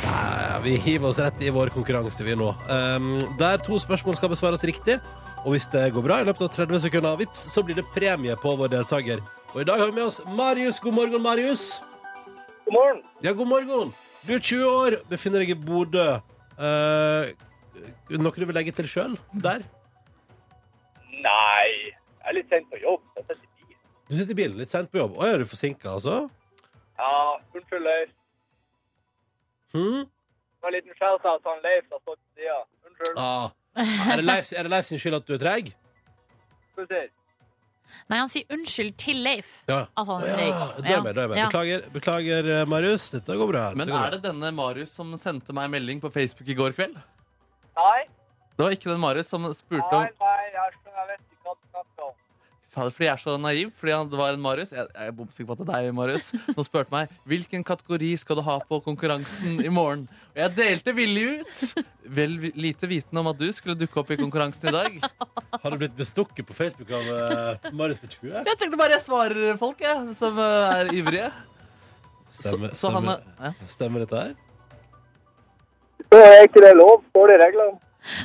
[SPEAKER 2] Ja, vi hiver oss rett i vår konkurranse, vi nå. Um, der to spørsmål skal besvares riktig. Og hvis det går bra i løpet av 30 sekunder, vips, så blir det premie på vår deltaker. Og i dag har vi med oss Marius. God morgen, Marius.
[SPEAKER 1] God morgen.
[SPEAKER 2] Ja, god morgen. Du er 20 år, befinner deg i Bodø. Eh, noe du vil legge til sjøl der?
[SPEAKER 1] Nei, jeg er litt sent på jobb. Jeg sitter i bil.
[SPEAKER 2] Du sitter i bilen litt sent på jobb. Å, er du forsinka, altså?
[SPEAKER 1] Ja, unnskyld, Leif.
[SPEAKER 2] Hm?
[SPEAKER 1] Det var en liten skjellsat han Leif som stod til sida. Unnskyld.
[SPEAKER 2] Ah. Er, det Leif, er det Leif sin skyld at du er treig?
[SPEAKER 1] Skal vi se.
[SPEAKER 3] Nei, han sier unnskyld til Leif.
[SPEAKER 2] Ja.
[SPEAKER 3] At han
[SPEAKER 2] Å,
[SPEAKER 3] er
[SPEAKER 2] ja.
[SPEAKER 3] treig.
[SPEAKER 2] Da er jeg med, da er jeg med.
[SPEAKER 3] Ja.
[SPEAKER 2] Beklager, beklager, eh, Marius. Dette går bra.
[SPEAKER 4] Men er det denne Marius som sendte meg en melding på Facebook i går kveld?
[SPEAKER 1] Nei,
[SPEAKER 4] Det var ikke den Marius som spurte
[SPEAKER 1] nei,
[SPEAKER 4] om
[SPEAKER 1] nei, jeg skjønner, jeg vet ikke hva du snakker om.
[SPEAKER 4] Fader, fordi jeg er så naiv. Fordi han, det var en Marius Jeg, jeg er bombesikker på at det er deg, Marius. Som spurte meg hvilken kategori skal du ha på konkurransen i morgen. Og jeg delte villig ut. Vel vi- lite vitende om at du skulle dukke opp i konkurransen i dag.
[SPEAKER 2] Har du blitt bestukket på Facebook av eh, Marius på 20?
[SPEAKER 4] Jeg tenkte bare jeg svarer folk, jeg, som eh, er ivrige.
[SPEAKER 2] Stemmer,
[SPEAKER 4] så, så han eh, er,
[SPEAKER 2] stemmer,
[SPEAKER 4] ja.
[SPEAKER 2] stemmer dette her?
[SPEAKER 1] Spør jeg ikke det er lov, står det i reglene.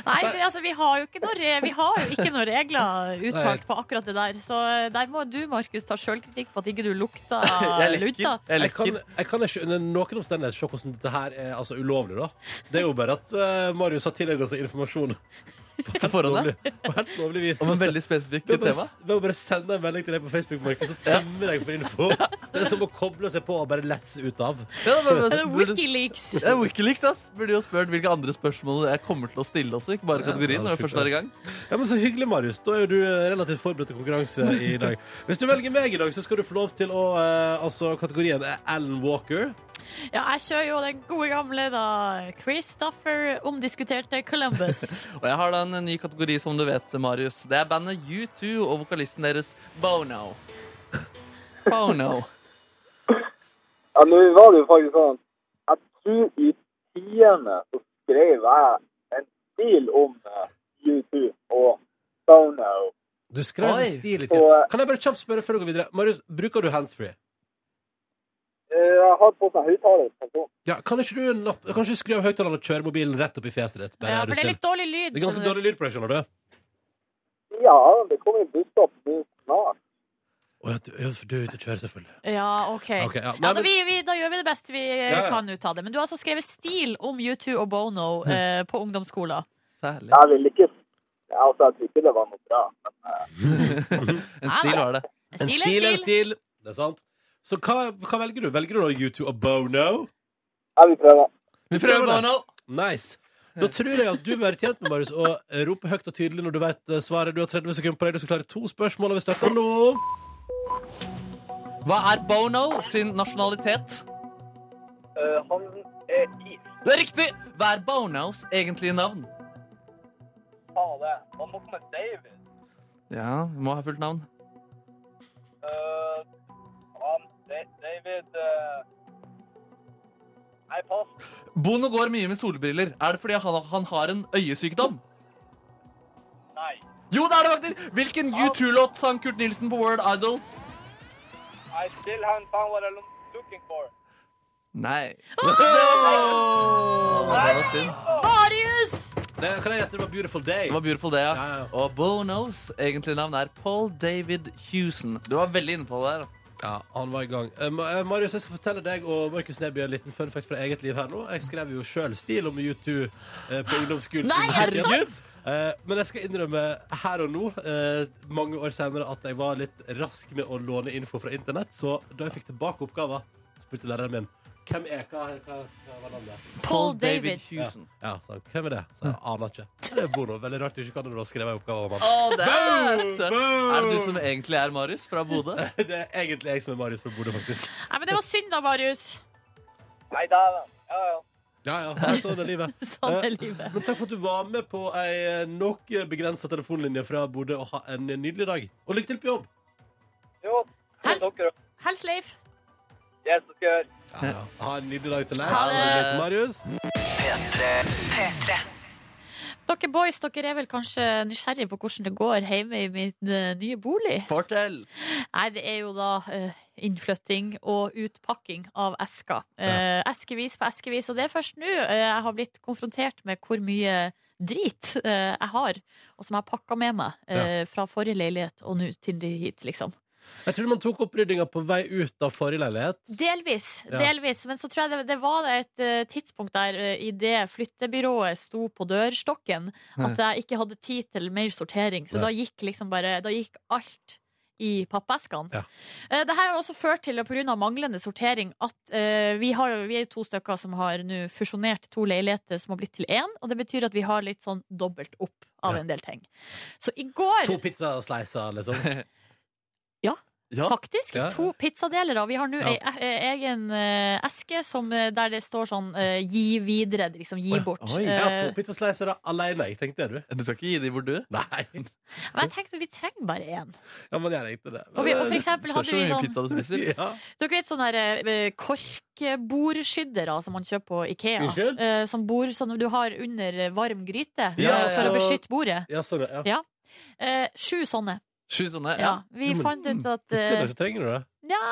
[SPEAKER 3] Nei, vi- altså, vi har jo ikke noen, re vi har jo ikke noen regler uttalt på akkurat det der. Så eh, der må du, Markus, ta sjølkritikk på at ikke du lukta
[SPEAKER 4] Jeg lekker.
[SPEAKER 3] lunta.
[SPEAKER 4] Jeg
[SPEAKER 2] Jeg kan,
[SPEAKER 4] lekker.
[SPEAKER 2] jeg kan ikke under noen omstendigheter se hvordan dette her er altså, ulovlig, da. Det er jo bare at eh, Marius har tilegnet seg informasjon
[SPEAKER 4] På forhånd, ja.
[SPEAKER 2] lovlig, på helt lovlig vis.
[SPEAKER 4] Om en veldig spesifikk
[SPEAKER 2] Ved å bare,
[SPEAKER 4] tema.
[SPEAKER 2] ved å bare sende en melding til deg på Facebook, Markus, så tømmer jeg for info. Det er som å koble seg på og bare lesse ut av.
[SPEAKER 4] Ja, men- men-
[SPEAKER 3] Det
[SPEAKER 2] Altså,
[SPEAKER 3] er
[SPEAKER 4] burde-
[SPEAKER 3] Wikileaks.
[SPEAKER 4] Det er Wikileaks, ass. Burde jo spurt hvilke andre spørsmål jeg kommer til å stille også. Ikke bare kategorien, når vi først er i gang.
[SPEAKER 2] Ja, men Så hyggelig, Marius. Da er jo du eh, relativt forberedt til konkurranse i dag. Hvis du velger meg i dag, så skal du få lov til å eh, Altså, kategorien er Alan Walker.
[SPEAKER 3] Ja, jeg kjører jo den gode gamle, da. Christopher omdiskuterte Columbus.
[SPEAKER 4] Og jeg har da en ny kategori, som du vet, Marius. Det er bandet U2 og vokalisten deres Bono. Bono.
[SPEAKER 1] Ja, nå var det jo faktisk sånn Jeg tror i tiende så skrev jeg en stil om eh, U2 og Bono.
[SPEAKER 2] Du skrev
[SPEAKER 4] Oi.
[SPEAKER 2] en stil i tid.
[SPEAKER 1] Og-
[SPEAKER 2] Kan jeg bare kjapt spørre før du går videre? Marius, bruker du handsfree?
[SPEAKER 1] Eh, Jeg har på meg høyttaler. på sånn telefonen.
[SPEAKER 2] Ja, kan ikke du napp- kan ikke du skru av høyttaleren og kjøre mobilen rett opp i fjeset ditt? Bare,
[SPEAKER 3] Ja,
[SPEAKER 2] er du
[SPEAKER 3] for det er
[SPEAKER 2] snill?
[SPEAKER 3] litt sånn- dårlig lyd.
[SPEAKER 2] det er ganske
[SPEAKER 3] skjønner du.
[SPEAKER 2] dårlig lyd på deg, skjønner du.
[SPEAKER 1] Ja, det kommer busstopp nå snart.
[SPEAKER 2] Å ja, du, ja, for du er ute og kjører, selvfølgelig.
[SPEAKER 3] Ja, OK.
[SPEAKER 2] Ok, ja.
[SPEAKER 3] Ja,
[SPEAKER 2] Nei,
[SPEAKER 3] da,
[SPEAKER 2] men,
[SPEAKER 3] vi, vi, da gjør vi det beste vi eh,
[SPEAKER 2] Ja, ja.
[SPEAKER 3] kan ut av det. Men du har altså skrevet stil om U2 og Bono
[SPEAKER 2] Mm.
[SPEAKER 3] eh, på ungdomsskolen.
[SPEAKER 4] Særlig.
[SPEAKER 1] Jeg vil ikke ja, Altså, jeg tror ikke det var noe bra. Men
[SPEAKER 4] En stil var det.
[SPEAKER 2] en
[SPEAKER 3] Stil
[SPEAKER 2] stil er
[SPEAKER 3] er
[SPEAKER 2] en
[SPEAKER 3] stil.
[SPEAKER 2] stil. Det er sant. Så hva, hva velger du? Velger du da U2 og Bono?
[SPEAKER 1] jeg vil prøve.
[SPEAKER 4] Vi prøver Bono.
[SPEAKER 2] Nice. Da tror jeg at du vil være tjent med Marius å rope høyt og tydelig når du vet eh, svaret. Du har 30 sekunder på deg. Du skal klare to spørsmål. Og vi starter nå.
[SPEAKER 4] Hva er Bono sin nasjonalitet?
[SPEAKER 1] Eh, han er i
[SPEAKER 4] Det er riktig! Hva er Bonos egentlige navn?
[SPEAKER 1] faen, Han må komme David.
[SPEAKER 4] Ja, vi må ha fullt navn.
[SPEAKER 1] Eh, han, Da- David eh, Nei, pass.
[SPEAKER 4] Bono går mye med solbriller. Er det fordi han, han har en øyesykdom?
[SPEAKER 1] Nei.
[SPEAKER 4] Jo, det er det faktisk! Hvilken U2-låt sang Kurt Nilsen på World Idol?
[SPEAKER 1] I still haven't found what I'm looking for.
[SPEAKER 4] Nei. Det var- det var synd.
[SPEAKER 3] Marius!
[SPEAKER 2] Det, kan jeg gjette det var Beautiful Day?
[SPEAKER 4] Det var beautiful, det, ja.
[SPEAKER 2] Ja, ja, ja.
[SPEAKER 4] Og Bonos egentlige navn er Paul David Hewson. Du var veldig inne på det der.
[SPEAKER 2] Ja, han var i gang. Eh, Ma- eh, Marius, jeg skal fortelle deg og Markus Neby en liten fun fact fra eget liv her nå. Jeg skrev jo sjøl stil om U2 eh, på ungdomsskolen.
[SPEAKER 3] Nei, er det sant?
[SPEAKER 2] Herregud! Eh, men jeg skal innrømme her og nå, eh, mange år senere, at jeg var litt rask med å låne info fra internett. Så da jeg fikk tilbake oppgava, spurte læreren min hvem er hva, hva, hva var navnet?
[SPEAKER 3] Paul David.
[SPEAKER 4] Hewson.
[SPEAKER 2] Ja, sa han, hvem er det? Så jeg aner ikke. Det er Bono. Veldig rart du ikke kan det, da skrev jeg oppgave om
[SPEAKER 4] Å,
[SPEAKER 2] han.
[SPEAKER 4] det er søren.
[SPEAKER 2] Boom!
[SPEAKER 4] Er det du som egentlig er Marius fra Bodø?
[SPEAKER 2] Det er egentlig jeg som er Marius fra Bodø, faktisk.
[SPEAKER 3] Nei, men det var synd da, Marius.
[SPEAKER 1] Nei, da Ja, ja.
[SPEAKER 2] Ja, ja, det er sånn det er livet.
[SPEAKER 3] Sånn er livet.
[SPEAKER 2] Men takk for at du var med på ei noe begrensa telefonlinje fra Bodø, og ha en nydelig dag. Og lykke til på jobb!
[SPEAKER 1] Jo.
[SPEAKER 3] Hils.
[SPEAKER 1] dere.
[SPEAKER 3] Hils Leif.
[SPEAKER 1] Yes, det skal jeg gjøre.
[SPEAKER 2] Ha en nydelig dag til deg.
[SPEAKER 3] Ha det.
[SPEAKER 2] og nydelig til Marius.
[SPEAKER 3] Dere boys, dere er vel kanskje nysgjerrige på hvordan det går hjemme i min eh, nye bolig?
[SPEAKER 4] Fortell!
[SPEAKER 3] Nei, det er jo da eh, innflytting og utpakking av esker. Eh, Eskevis på eskevis. Og det er først nå eh, jeg har blitt konfrontert med hvor mye drit eh, jeg har, og som jeg har pakka med meg eh, fra forrige leilighet og nå til de hit, liksom.
[SPEAKER 2] Jeg tror man tok oppryddinga på vei ut av forrige leilighet.
[SPEAKER 3] Delvis.
[SPEAKER 2] Ja.
[SPEAKER 3] delvis, Men så tror jeg det, det var det et eh, tidspunkt der eh, i det flyttebyrået sto på dørstokken, at jeg ikke hadde tid til mer sortering. Så
[SPEAKER 2] Ja.
[SPEAKER 3] da gikk liksom bare Da gikk alt i pappeskene.
[SPEAKER 2] Ja.
[SPEAKER 3] Eh, Det her har jo også ført til, pga. manglende sortering, at eh, vi, har, jo- vi er jo to stykker som har nå fusjonert to leiligheter som har blitt til én, og det betyr at vi har litt sånn dobbelt opp av
[SPEAKER 2] Ja.
[SPEAKER 3] en del ting. Så i går
[SPEAKER 2] To pizzasleiser,
[SPEAKER 3] Eh.
[SPEAKER 2] liksom.
[SPEAKER 4] Ja.
[SPEAKER 3] Faktisk.
[SPEAKER 2] Ja, ja.
[SPEAKER 3] To pizzadelere. Vi har nå
[SPEAKER 2] Ja.
[SPEAKER 3] ei e- egen eh, eske som, eh, der det står sånn eh, 'gi videre', liksom. Gi
[SPEAKER 2] Å ja.
[SPEAKER 3] bort.
[SPEAKER 4] Oi.
[SPEAKER 2] Jeg har
[SPEAKER 3] Eh,
[SPEAKER 2] to pizzasleiser alene, jeg tenkte det, du.
[SPEAKER 4] Du skal ikke gi dem hvor du
[SPEAKER 2] Nei.
[SPEAKER 3] men jeg tenkte vi trenger bare én.
[SPEAKER 2] Ja, men jeg tenkte det.
[SPEAKER 3] Og, vi, og for eksempel
[SPEAKER 4] Spørs
[SPEAKER 3] hadde
[SPEAKER 4] hvor
[SPEAKER 3] vi
[SPEAKER 4] mye
[SPEAKER 3] sånn
[SPEAKER 4] pizza du spiser.
[SPEAKER 2] Ja.
[SPEAKER 3] Dere vet sånne der, eh, korkbordskyddere som man kjøper på Ikea?
[SPEAKER 2] Unnskyld?
[SPEAKER 3] Eh, som bor sånn du har under eh, varm gryte
[SPEAKER 2] Ja,
[SPEAKER 3] eh, for å
[SPEAKER 2] så-
[SPEAKER 3] beskytte bordet.
[SPEAKER 2] ja, sånn, ja.
[SPEAKER 3] Ja. Eh, sju sånne.
[SPEAKER 4] Sju sånne.
[SPEAKER 3] Ja. Vi
[SPEAKER 2] Jo, men-
[SPEAKER 3] fant ut at
[SPEAKER 2] Husker
[SPEAKER 3] eh,
[SPEAKER 2] du, så trenger du det.
[SPEAKER 3] Nja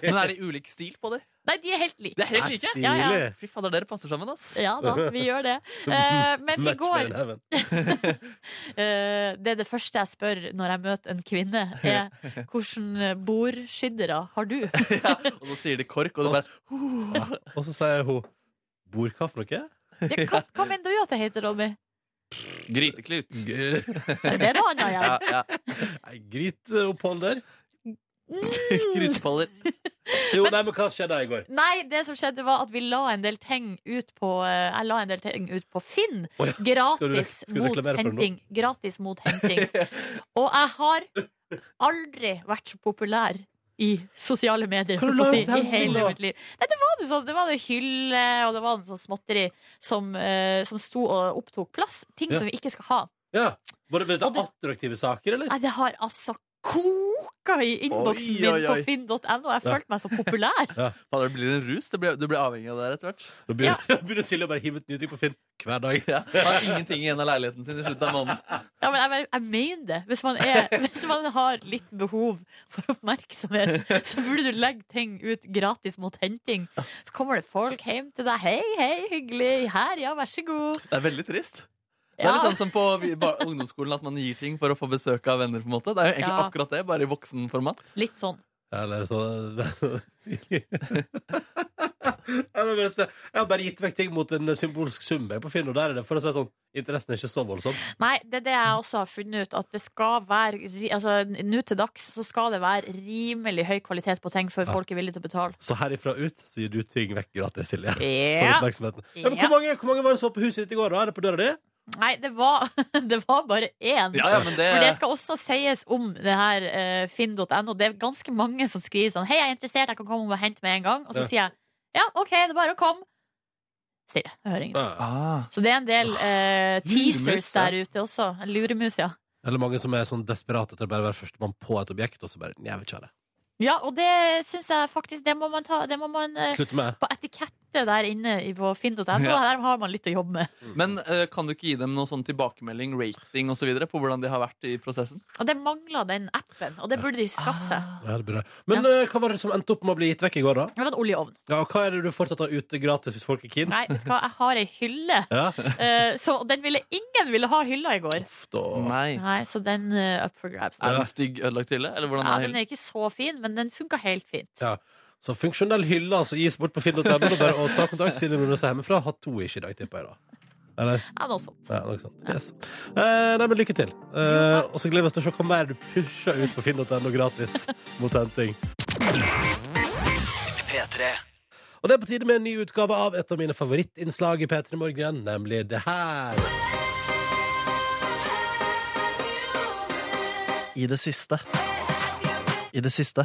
[SPEAKER 4] Men er det ulik stil på det?
[SPEAKER 3] Nei, de er helt like.
[SPEAKER 4] Det er helt like!
[SPEAKER 3] Ja, ja.
[SPEAKER 2] Stilig.
[SPEAKER 4] Fy fader, dere passer sammen, ass.
[SPEAKER 3] Ja da, vi gjør det. Eh, men i
[SPEAKER 2] Much
[SPEAKER 3] går
[SPEAKER 2] better than heaven.
[SPEAKER 3] eh, Det er det første jeg spør når jeg møter en kvinne, er hvilke bordskyddere har du?
[SPEAKER 4] Ja. Og så sier de kork, og det bare
[SPEAKER 2] Og så sier hun Bor hva for noe?
[SPEAKER 3] Ja, Hva, hva mener du at det heter, Ronny?
[SPEAKER 4] Gryteklut.
[SPEAKER 2] G-
[SPEAKER 3] Er det noe annet
[SPEAKER 4] Ja,
[SPEAKER 3] igjen?
[SPEAKER 4] ja.
[SPEAKER 2] Nei, eh, Gryteoppholder?
[SPEAKER 4] Grytepaller.
[SPEAKER 2] Jo, nei, men hva skjedde i går?
[SPEAKER 3] Nei, det som skjedde var at vi la en del ting ut på eh, Jeg la en del ting ut på Finn.
[SPEAKER 2] Å ja, skal du rek-
[SPEAKER 3] Gratis
[SPEAKER 2] skal du
[SPEAKER 3] mot
[SPEAKER 2] reklamere for den nå?
[SPEAKER 3] henting. Gratis mot henting. Og jeg har aldri vært så populær i sosiale medier
[SPEAKER 2] Hva
[SPEAKER 3] holdt
[SPEAKER 2] la
[SPEAKER 3] på å
[SPEAKER 2] du
[SPEAKER 3] si,
[SPEAKER 2] til
[SPEAKER 3] i
[SPEAKER 2] henting,
[SPEAKER 3] hele
[SPEAKER 2] da?
[SPEAKER 3] mitt liv. Nei, det var det sånn, det var det hylle, og det var noe sånn småtteri som, eh, som sto og opptok plass. Ting
[SPEAKER 2] Ja.
[SPEAKER 3] som vi ikke skal ha.
[SPEAKER 2] Ja, Var det, var det attraktive saker, eller?
[SPEAKER 3] Nei, det har altså koka i innboksen
[SPEAKER 4] Oi,
[SPEAKER 3] min
[SPEAKER 4] oi,
[SPEAKER 3] på
[SPEAKER 4] oi.
[SPEAKER 3] finn.no. Jeg følte meg så populær.
[SPEAKER 4] Fader, det blir en rus. Det blir, du blir avhengig av det her etter hvert.
[SPEAKER 2] Nå begynner, begynner Silje å bare hive ut nye ting på Finn hver dag.
[SPEAKER 4] Ja. Har ingenting igjen av leiligheten sin i slutten av måneden.
[SPEAKER 3] Ja, men jeg, men- jeg mener det. Hvis man, er, hvis man har litt behov for oppmerksomhet, så burde du legge ting ut gratis mot henting. Så kommer det folk hjem til deg. Hei, hei, hyggelig. Her, ja, vær så god.
[SPEAKER 4] Det er veldig trist. Det er
[SPEAKER 3] Ja.
[SPEAKER 4] litt sånn som på vi- bar- ungdomsskolen at man gir ting for å få besøk av venner. på en måte Det er jo egentlig
[SPEAKER 3] Ja.
[SPEAKER 4] akkurat det, bare i voksenformat.
[SPEAKER 3] Litt sånn.
[SPEAKER 2] Eller så Jeg må bare se. Jeg har bare gitt vekk ting mot en symbolsk sum jeg, på Finn, og der er det for å si sånn interessen er ikke så voldsom.
[SPEAKER 3] Nei, det er det jeg også har funnet ut. At det skal være ri- Altså, nå til dags så skal det være rimelig høy kvalitet på ting før
[SPEAKER 2] Ja.
[SPEAKER 3] folk er villige til å betale.
[SPEAKER 2] Så herifra ut så gir du ting vekk gratis, Silje. For
[SPEAKER 3] Ja.
[SPEAKER 2] oppmerksomheten. Ja, men hvor, mange, hvor mange var det som var på huset ditt i går? da? Er det på døra di?
[SPEAKER 3] Nei, det var, det var bare én.
[SPEAKER 4] Ja, ja, men det,
[SPEAKER 3] For det skal også sies om det her eh, finn.no. Det er ganske mange som skriver sånn Hei, jeg er interessert, jeg kan komme og hente med en gang. Og så
[SPEAKER 2] Ja.
[SPEAKER 3] sier jeg ja, OK, det er bare å komme. Stille. Jeg hører ingenting.
[SPEAKER 2] Ja.
[SPEAKER 4] ah.
[SPEAKER 3] Så det er en del eh,
[SPEAKER 4] Luremus,
[SPEAKER 3] teasers
[SPEAKER 4] ja.
[SPEAKER 3] der ute også. En Luremus, ja.
[SPEAKER 2] Eller mange som er sånn desperate etter å bare være førstemann på et objekt, og så bare "Nei, Jeg vil ikke ha det.
[SPEAKER 3] Ja, og det syns jeg faktisk Det må man ta Det må man eh,
[SPEAKER 2] Slutt med
[SPEAKER 3] På etikette der inne i- på finn.no, der har man litt å jobbe med.
[SPEAKER 4] Men eh, kan du ikke gi dem noen sånn tilbakemelding, rating osv. på hvordan de har vært i prosessen?
[SPEAKER 3] Og det mangler den appen, og det burde de skaffe seg.
[SPEAKER 2] ja, det. Blir det. Men eh, hva var det som endte opp med å bli gitt vekk i går, da?
[SPEAKER 3] Det var en oljeovn.
[SPEAKER 2] Ja, og hva er det du fortsatt har ute gratis hvis folk er keen?
[SPEAKER 3] Nei, vet du hva, jeg har ei hylle.
[SPEAKER 2] Ja.
[SPEAKER 3] Eh, så den ville ingen ville ha hylla i går.
[SPEAKER 2] Uff, da.
[SPEAKER 4] Nei.
[SPEAKER 3] Nei, så den eh, up for grabs.
[SPEAKER 4] Er det en stygg, ødelagt hylle? Eller hvordan
[SPEAKER 3] Ja,
[SPEAKER 4] er
[SPEAKER 3] den
[SPEAKER 4] hyllen?
[SPEAKER 3] er ikke så fin, men den funka helt fint.
[SPEAKER 2] Ja. Så funksjonell hylle altså, gis bort på finn.no. og bare å ta kontakt Silje når du er hjemmefra. Ha to ikke i dag, tipper jeg. da Eller?
[SPEAKER 3] Ja, noe sånt.
[SPEAKER 2] Ja, noe sånt. Yes. Eh, nei, men lykke til. Eh,
[SPEAKER 3] takk.
[SPEAKER 2] og så gleder vi oss til å se hva mer du pusher ut på finn.no gratis mot henting. Og det er på tide med en ny utgave av et av mine favorittinnslag i P3 Morgen, nemlig det her.
[SPEAKER 4] I det siste. I det siste.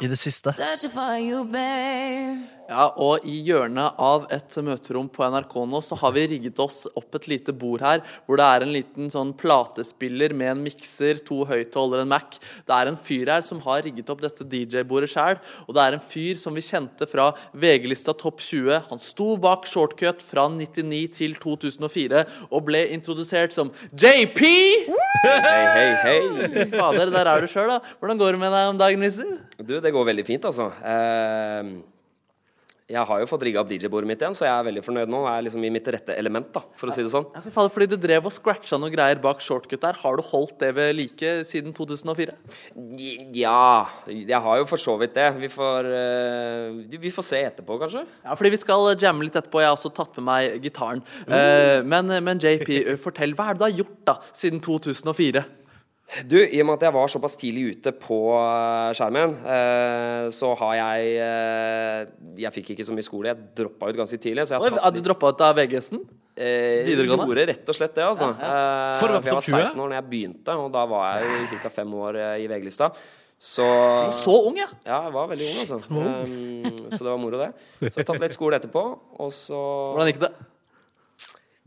[SPEAKER 4] I det siste.
[SPEAKER 5] Searching for you, babe.
[SPEAKER 4] Ja, og i hjørnet av et møterom på NRK nå, så har vi rigget oss opp et lite bord her, hvor det er en liten sånn platespiller med en mikser, to høyttalere, en Mac. Det er en fyr her som har rigget opp dette DJ-bordet sjøl, og det er en fyr som vi kjente fra VG-lista Topp 20. Han sto bak shortcut fra 99 til 2004 og ble introdusert som JP!
[SPEAKER 6] Hei, hei, hei.
[SPEAKER 4] Fader, der er du sjøl, da. Hvordan går det med deg om dagen, Mister?
[SPEAKER 6] Du, det går veldig fint, altså. Ehm, jeg har jo fått rigga opp DJ-bordet mitt igjen, så jeg er veldig fornøyd nå. Jeg er liksom i mitt rette element, da, for å si det sånn.
[SPEAKER 4] Ja, fy fader, fordi du drev og scratcha noen greier bak shortcut der. Har du holdt det ved like siden 2004?
[SPEAKER 6] Ja, jeg har jo for så vidt det. Vi får, eh, vi får se etterpå, kanskje.
[SPEAKER 4] Ja, fordi vi skal eh, jamme litt etterpå. Jeg har også tatt med meg gitaren.
[SPEAKER 6] Mm.
[SPEAKER 4] Eh, men, men JP, eh, fortell. Hva er det du har gjort da, siden 2004?
[SPEAKER 6] Du, i og med at jeg var såpass tidlig ute på eh, skjermen, eh, så har jeg eh, Jeg fikk ikke så mye skole, jeg droppa ut ganske tidlig. Så jeg
[SPEAKER 4] Oi,
[SPEAKER 6] har
[SPEAKER 4] Har
[SPEAKER 6] tatt
[SPEAKER 4] du droppa ut av VGS-en?
[SPEAKER 6] eh,
[SPEAKER 4] videregående?
[SPEAKER 6] Gjorde rett og slett det, altså. Eh,
[SPEAKER 2] For å være på
[SPEAKER 6] jeg
[SPEAKER 2] topp
[SPEAKER 6] var
[SPEAKER 2] 20?
[SPEAKER 6] 16 år da jeg begynte, og da var jeg jo ca. fem år eh, i VG-lista. Så
[SPEAKER 4] Så ung, ja.
[SPEAKER 6] Ja, jeg var veldig ung, altså. Ehm, Um, så det var moro, det. Så jeg har tatt litt skole etterpå, og så
[SPEAKER 4] Hvordan gikk det?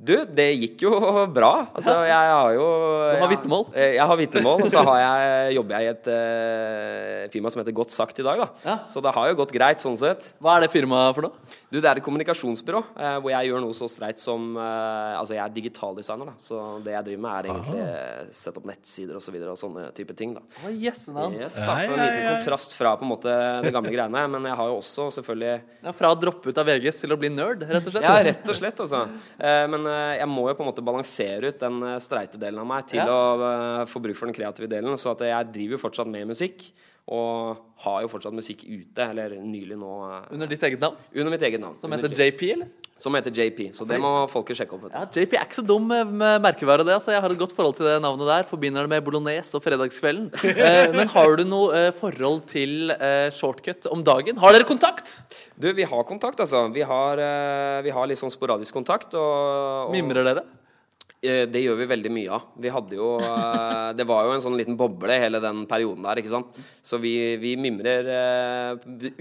[SPEAKER 6] Du, det gikk jo bra. Altså, jeg har jo
[SPEAKER 4] Du har
[SPEAKER 6] jeg-
[SPEAKER 4] vitnemål.
[SPEAKER 6] Eh, Jeg har vitnemål, og så har jeg, jobber jeg i et eh, firma som heter Godt sagt i dag, da.
[SPEAKER 4] Ja.
[SPEAKER 6] Så det har jo gått greit, sånn sett.
[SPEAKER 4] Hva er det firmaet for noe?
[SPEAKER 6] Du, det er et kommunikasjonsbyrå eh, hvor jeg gjør noe så streit som eh, Altså, jeg er digitaldesigner, da, så det jeg driver med, er egentlig eh, sette opp nettsider og så videre og sånne type ting, da.
[SPEAKER 4] Å, Jessenavn.
[SPEAKER 6] Yes,
[SPEAKER 2] Ja,
[SPEAKER 6] da, for en
[SPEAKER 2] ja,
[SPEAKER 6] liten
[SPEAKER 2] ja.
[SPEAKER 6] kontrast fra på en måte det gamle greiene, men jeg har jo også selvfølgelig
[SPEAKER 4] Ja, fra å droppe ut av VGS til å bli nerd, rett og slett.
[SPEAKER 6] Ja, rett og slett, altså. Eh, Men eh, jeg må jo på en måte balansere ut den eh, streite delen av meg til
[SPEAKER 4] Ja.
[SPEAKER 6] å eh, få bruk for den kreative delen. Så at jeg driver jo fortsatt med musikk, og har jo fortsatt musikk ute, eller nylig nå eh,
[SPEAKER 4] Under ditt eget navn,
[SPEAKER 6] under mitt eget navn.
[SPEAKER 4] som
[SPEAKER 6] Under
[SPEAKER 4] heter
[SPEAKER 6] J-
[SPEAKER 4] JP, eller?
[SPEAKER 6] Som heter JP. Så det må folket sjekke opp. vet
[SPEAKER 4] Ja,
[SPEAKER 6] du.
[SPEAKER 4] JP er ikke så dum med- med merkeværet det, altså. Jeg har et godt forhold til det navnet der. Forbinder det med bolognese og fredagskvelden. Eh, men har du noe eh, forhold til eh, shortcut om dagen? Har dere kontakt?
[SPEAKER 6] Du, vi har kontakt, altså. Vi har, eh, vi har litt sånn sporadisk kontakt. Og, og
[SPEAKER 4] Mimrer dere?
[SPEAKER 6] Eh, Det gjør vi veldig mye av. Vi hadde jo eh, Det var jo en sånn liten boble hele den perioden der, ikke sant. Så vi, vi mimrer eh,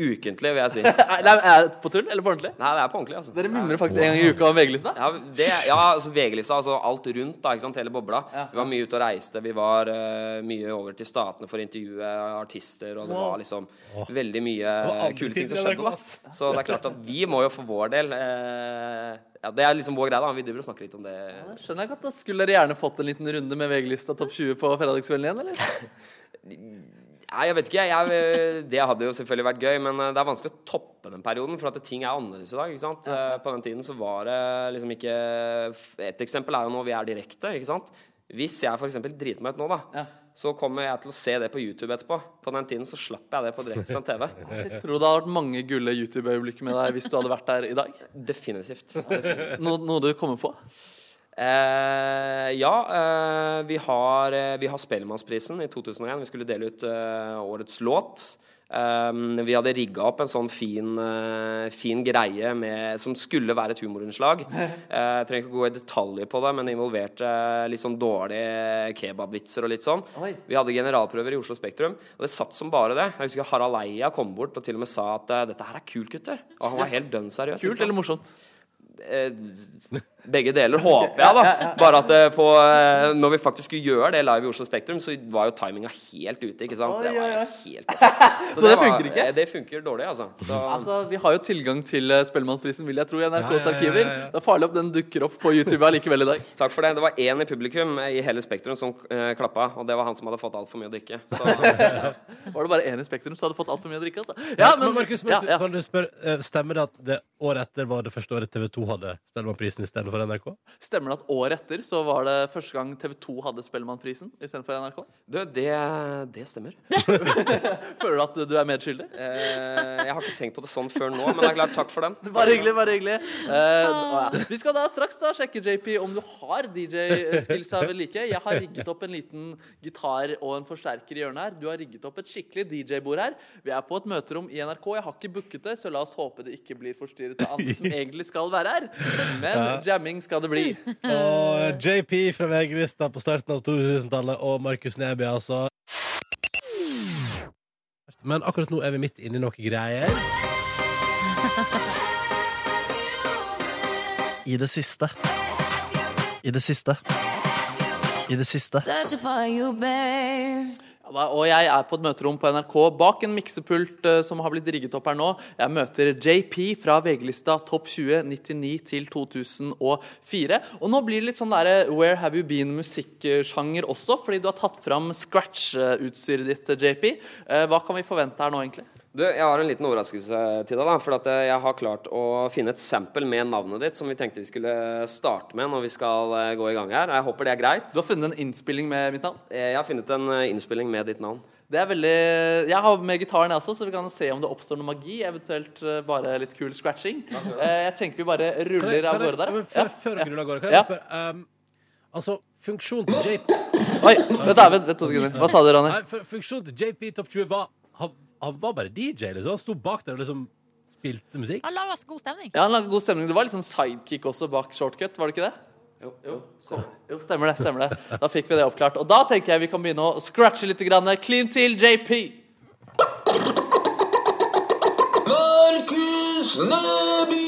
[SPEAKER 6] ukentlig, vil jeg si. Nei,
[SPEAKER 4] Nei, nei, er det på tull eller på ordentlig?
[SPEAKER 6] det er på ordentlig, altså.
[SPEAKER 4] Dere mimrer faktisk en gang i uka om VG-lista?
[SPEAKER 6] Ja, det, ja altså VG-lista, altså alt rundt, da, ikke sant, hele bobla.
[SPEAKER 4] Ja.
[SPEAKER 6] Vi var mye ute og reiste, vi var eh, mye over til Statene for å intervjue artister, og det
[SPEAKER 2] Wow.
[SPEAKER 6] var liksom veldig mye
[SPEAKER 2] Det var andre ting
[SPEAKER 6] kule ting som
[SPEAKER 2] dere
[SPEAKER 6] skjedde.
[SPEAKER 2] hadde
[SPEAKER 6] Da. Så det er klart at vi må jo for vår del eh, ja, Det er liksom vår greie, da. Vi driver og snakker litt om det.
[SPEAKER 4] Ja, det Skjønner jeg godt. da Skulle dere gjerne fått en liten runde med VG-lista topp 20 på fredagskvelden igjen, eller?
[SPEAKER 6] Nei, jeg vet ikke. Jeg, jeg, det hadde jo selvfølgelig vært gøy, men eh, det er vanskelig å toppe den perioden, for at ting er annerledes i dag. ikke sant? Eh, På den tiden så var det liksom ikke Et eksempel er jo nå vi er direkte, ikke sant. Hvis jeg f.eks. driter meg ut nå, da,
[SPEAKER 4] Ja.
[SPEAKER 6] så kommer jeg til å se det på YouTube etterpå. På den tiden så slapp jeg det på direktesendt TV.
[SPEAKER 4] Jeg tror det hadde vært mange gulle YouTube-øyeblikk med deg hvis du hadde vært der i dag.
[SPEAKER 6] Definitivt.
[SPEAKER 4] No, noe du kommer på?
[SPEAKER 6] Eh, ja, eh, vi har, eh, vi har Spellemannsprisen i 2001. Vi skulle dele ut eh, årets låt. Eh, vi hadde rigga opp en sånn fin, eh, fin greie med, som skulle være et humorinnslag. Eh, Jeg trenger ikke gå i detaljer på det, men det involverte eh, litt sånn dårlige kebabvitser og litt sånn.
[SPEAKER 4] Oi.
[SPEAKER 6] Vi hadde generalprøver i Oslo Spektrum, og det satt som bare det. Jeg husker Harald Eia kom bort og til og med sa at eh, dette her er kult, gutter. Og han var helt dønn seriøs. ikke
[SPEAKER 4] Kult
[SPEAKER 6] sant?
[SPEAKER 4] eller morsomt?
[SPEAKER 6] eh, begge deler, håper jeg, da. Bare at eh, på, eh, når vi faktisk skulle gjøre det live i Oslo Spektrum, så var jo timinga helt ute, ikke sant? Det var jo helt
[SPEAKER 4] Så det funker ikke?
[SPEAKER 6] eh, Det funker dårlig, altså. Så,
[SPEAKER 4] Altså, Vi har jo tilgang til eh, Spellemannsprisen, vil jeg tro, i NRKs
[SPEAKER 2] Ja, ja, ja, ja,
[SPEAKER 4] arkiver.
[SPEAKER 2] ja.
[SPEAKER 4] Det er farlig om den dukker opp på YouTube allikevel i dag.
[SPEAKER 6] takk for det. Det var én i publikum eh, i hele Spektrum som eh, klappa, og det var han som hadde fått altfor mye å drikke. Så
[SPEAKER 4] Var det bare én i Spektrum, så hadde du fått altfor mye å drikke. altså. Ja, men,
[SPEAKER 2] Markus,
[SPEAKER 4] ja,
[SPEAKER 2] Markus,
[SPEAKER 4] ja.
[SPEAKER 2] kan du spørre, eh, stemmer det at det året etter var det første året TV 2 hadde Spellemannprisen istedenfor NRK?
[SPEAKER 4] Stemmer det at året etter så var det første gang TV 2 hadde Spellemannprisen istedenfor NRK?
[SPEAKER 6] du, det, det stemmer.
[SPEAKER 4] Føler du at du er medskyldig?
[SPEAKER 6] Eh, jeg har ikke tenkt på det sånn før nå, men det er klart, takk for den.
[SPEAKER 4] Bare hyggelig, bare hyggelig. Eh, å, ja. vi skal da straks da sjekke, JP, om du har DJ-skillsa ved like. Jeg har rigget opp en liten gitar og en forsterker i hjørnet her. Du har rigget opp et skikkelig DJ-bord her. Vi er på et møterom i NRK. Jeg har ikke booket det, så la oss håpe det ikke blir forstyrret av andre som egentlig skal være her. Men jamming skal det bli.
[SPEAKER 2] Og JP fra VG-lista på starten av 2000-tallet og Markus Neby, altså. Men akkurat nå er vi midt inni noe greier.
[SPEAKER 7] I det siste. I det siste. I det siste.
[SPEAKER 5] Searching for you, babe.
[SPEAKER 4] Ja, da, og jeg er på et møterom på NRK bak en miksepult eh, som har blitt rigget opp her nå. Jeg møter JP fra VG-lista Topp 20 99 til 2004. Og nå blir det litt sånn derre Where Have You Been-musikksjanger også, fordi du har tatt fram scratch-utstyret ditt, eh, JP. Eh, Hva kan vi forvente her nå, egentlig?
[SPEAKER 6] Du, jeg har en liten overraskelse til deg, da. For at eh, jeg har klart å finne et sample med navnet ditt som vi tenkte vi skulle starte med når vi skal eh, gå i gang her. Jeg håper det er greit.
[SPEAKER 4] Du har funnet en innspilling med mitt navn.
[SPEAKER 6] Eh, Jeg har funnet en eh, innspilling med ditt navn.
[SPEAKER 4] Det er veldig Jeg har med gitaren, jeg også, så vi kan se om det oppstår noe magi. Eventuelt eh, bare litt kul scratching. Eh, Jeg tenker vi bare
[SPEAKER 2] Kan jeg-
[SPEAKER 4] ruller av
[SPEAKER 2] kan jeg-
[SPEAKER 4] gårde der.
[SPEAKER 2] men
[SPEAKER 4] ja.
[SPEAKER 2] Før, før
[SPEAKER 4] Ja.
[SPEAKER 2] dere ruller av gårde, kan
[SPEAKER 4] Ja.
[SPEAKER 2] jeg spørre um, Altså, funksjonen til JP
[SPEAKER 4] Oi, vent, da, vent, vent to sekunder. Hva sa du, Ronny?
[SPEAKER 2] Nei, fun- funksjonen til JP Topp 20 var han, han var bare DJ, liksom. Han sto bak der og liksom spilte musikk.
[SPEAKER 3] Han lager oss god stemning.
[SPEAKER 4] Ja, han lagde god stemning. Det var litt sånn sidekick også bak shortcut, var det ikke det? Jo, jo, stemmer. jo, stemmer det. stemmer det. Da fikk vi det oppklart. Og da tenker jeg vi kan begynne å scratche litt. Grann. Clean til JP.
[SPEAKER 8] Markus Neby!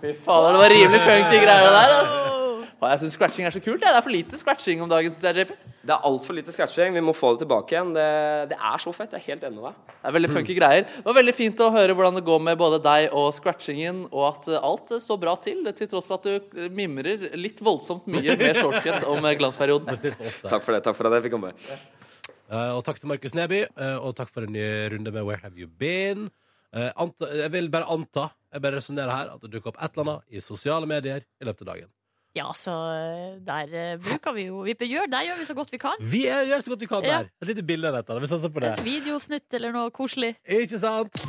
[SPEAKER 4] Fy fader, det var rimelig funky greier der. ass. Faen, Jeg syns scratching er så kult. jeg. Det er for lite scratching om dagen. Synes jeg, JP.
[SPEAKER 6] Det er altfor lite scratching. Vi må få det tilbake igjen. Det, det er så fett. Jeg er helt enig med deg.
[SPEAKER 4] Det er veldig funky greier. Det var veldig fint å høre hvordan det går med både deg og scratchingen, og at eh, alt eh, står bra til, til tross for at du eh, mimrer litt voldsomt mye med shortcut om eh, glansperioden.
[SPEAKER 2] Men litt for ofte.
[SPEAKER 6] Takk for det. Takk for at jeg fikk komme.
[SPEAKER 2] Eh, og takk til Markus Neby, eh, og takk for en ny runde med Where Have You Been? Eh, anta, jeg vil bare anta jeg bare resonnerer her, at det dukker opp et eller annet i sosiale medier i løpet av dagen.
[SPEAKER 3] Ja, så eh, der eh, bruker vi jo vi gjør, Der gjør vi så godt vi kan.
[SPEAKER 2] Vi er, gjør så godt vi kan
[SPEAKER 3] Ja.
[SPEAKER 2] der. Et lite bilde av dette. Vi satser på det.
[SPEAKER 3] Videosnutt eller noe koselig.
[SPEAKER 2] Ikke sant?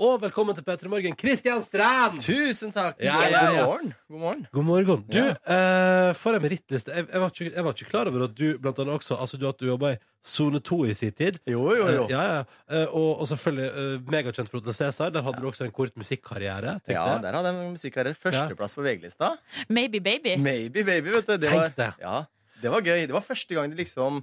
[SPEAKER 2] Og velkommen til P3 Morgen, Kristian Strand!
[SPEAKER 8] Tusen takk.
[SPEAKER 2] Ja, ja, ja.
[SPEAKER 8] God morgen. God morgen.
[SPEAKER 2] God morgen. Du, eh, for en merittliste. Jeg, jeg, var ikke, jeg var ikke klar over at du blant annet også Altså du, at du jobba i Sone 2 i sin tid.
[SPEAKER 8] Jo, jo, jo.
[SPEAKER 2] Eh, Ja, ja. Eh, Og, og selvfølgelig eh, megakjent for Hotel Cæsar. Der hadde du også en kort musikkarriere. tenkte
[SPEAKER 8] Ja,
[SPEAKER 2] jeg.
[SPEAKER 8] der hadde jeg musikkarriere. Førsteplass på VG-lista.
[SPEAKER 3] Maybe baby.
[SPEAKER 8] Maybe Baby, vet du. Det var,
[SPEAKER 2] Tenk det.
[SPEAKER 8] Ja, det var gøy. Det var første gang de liksom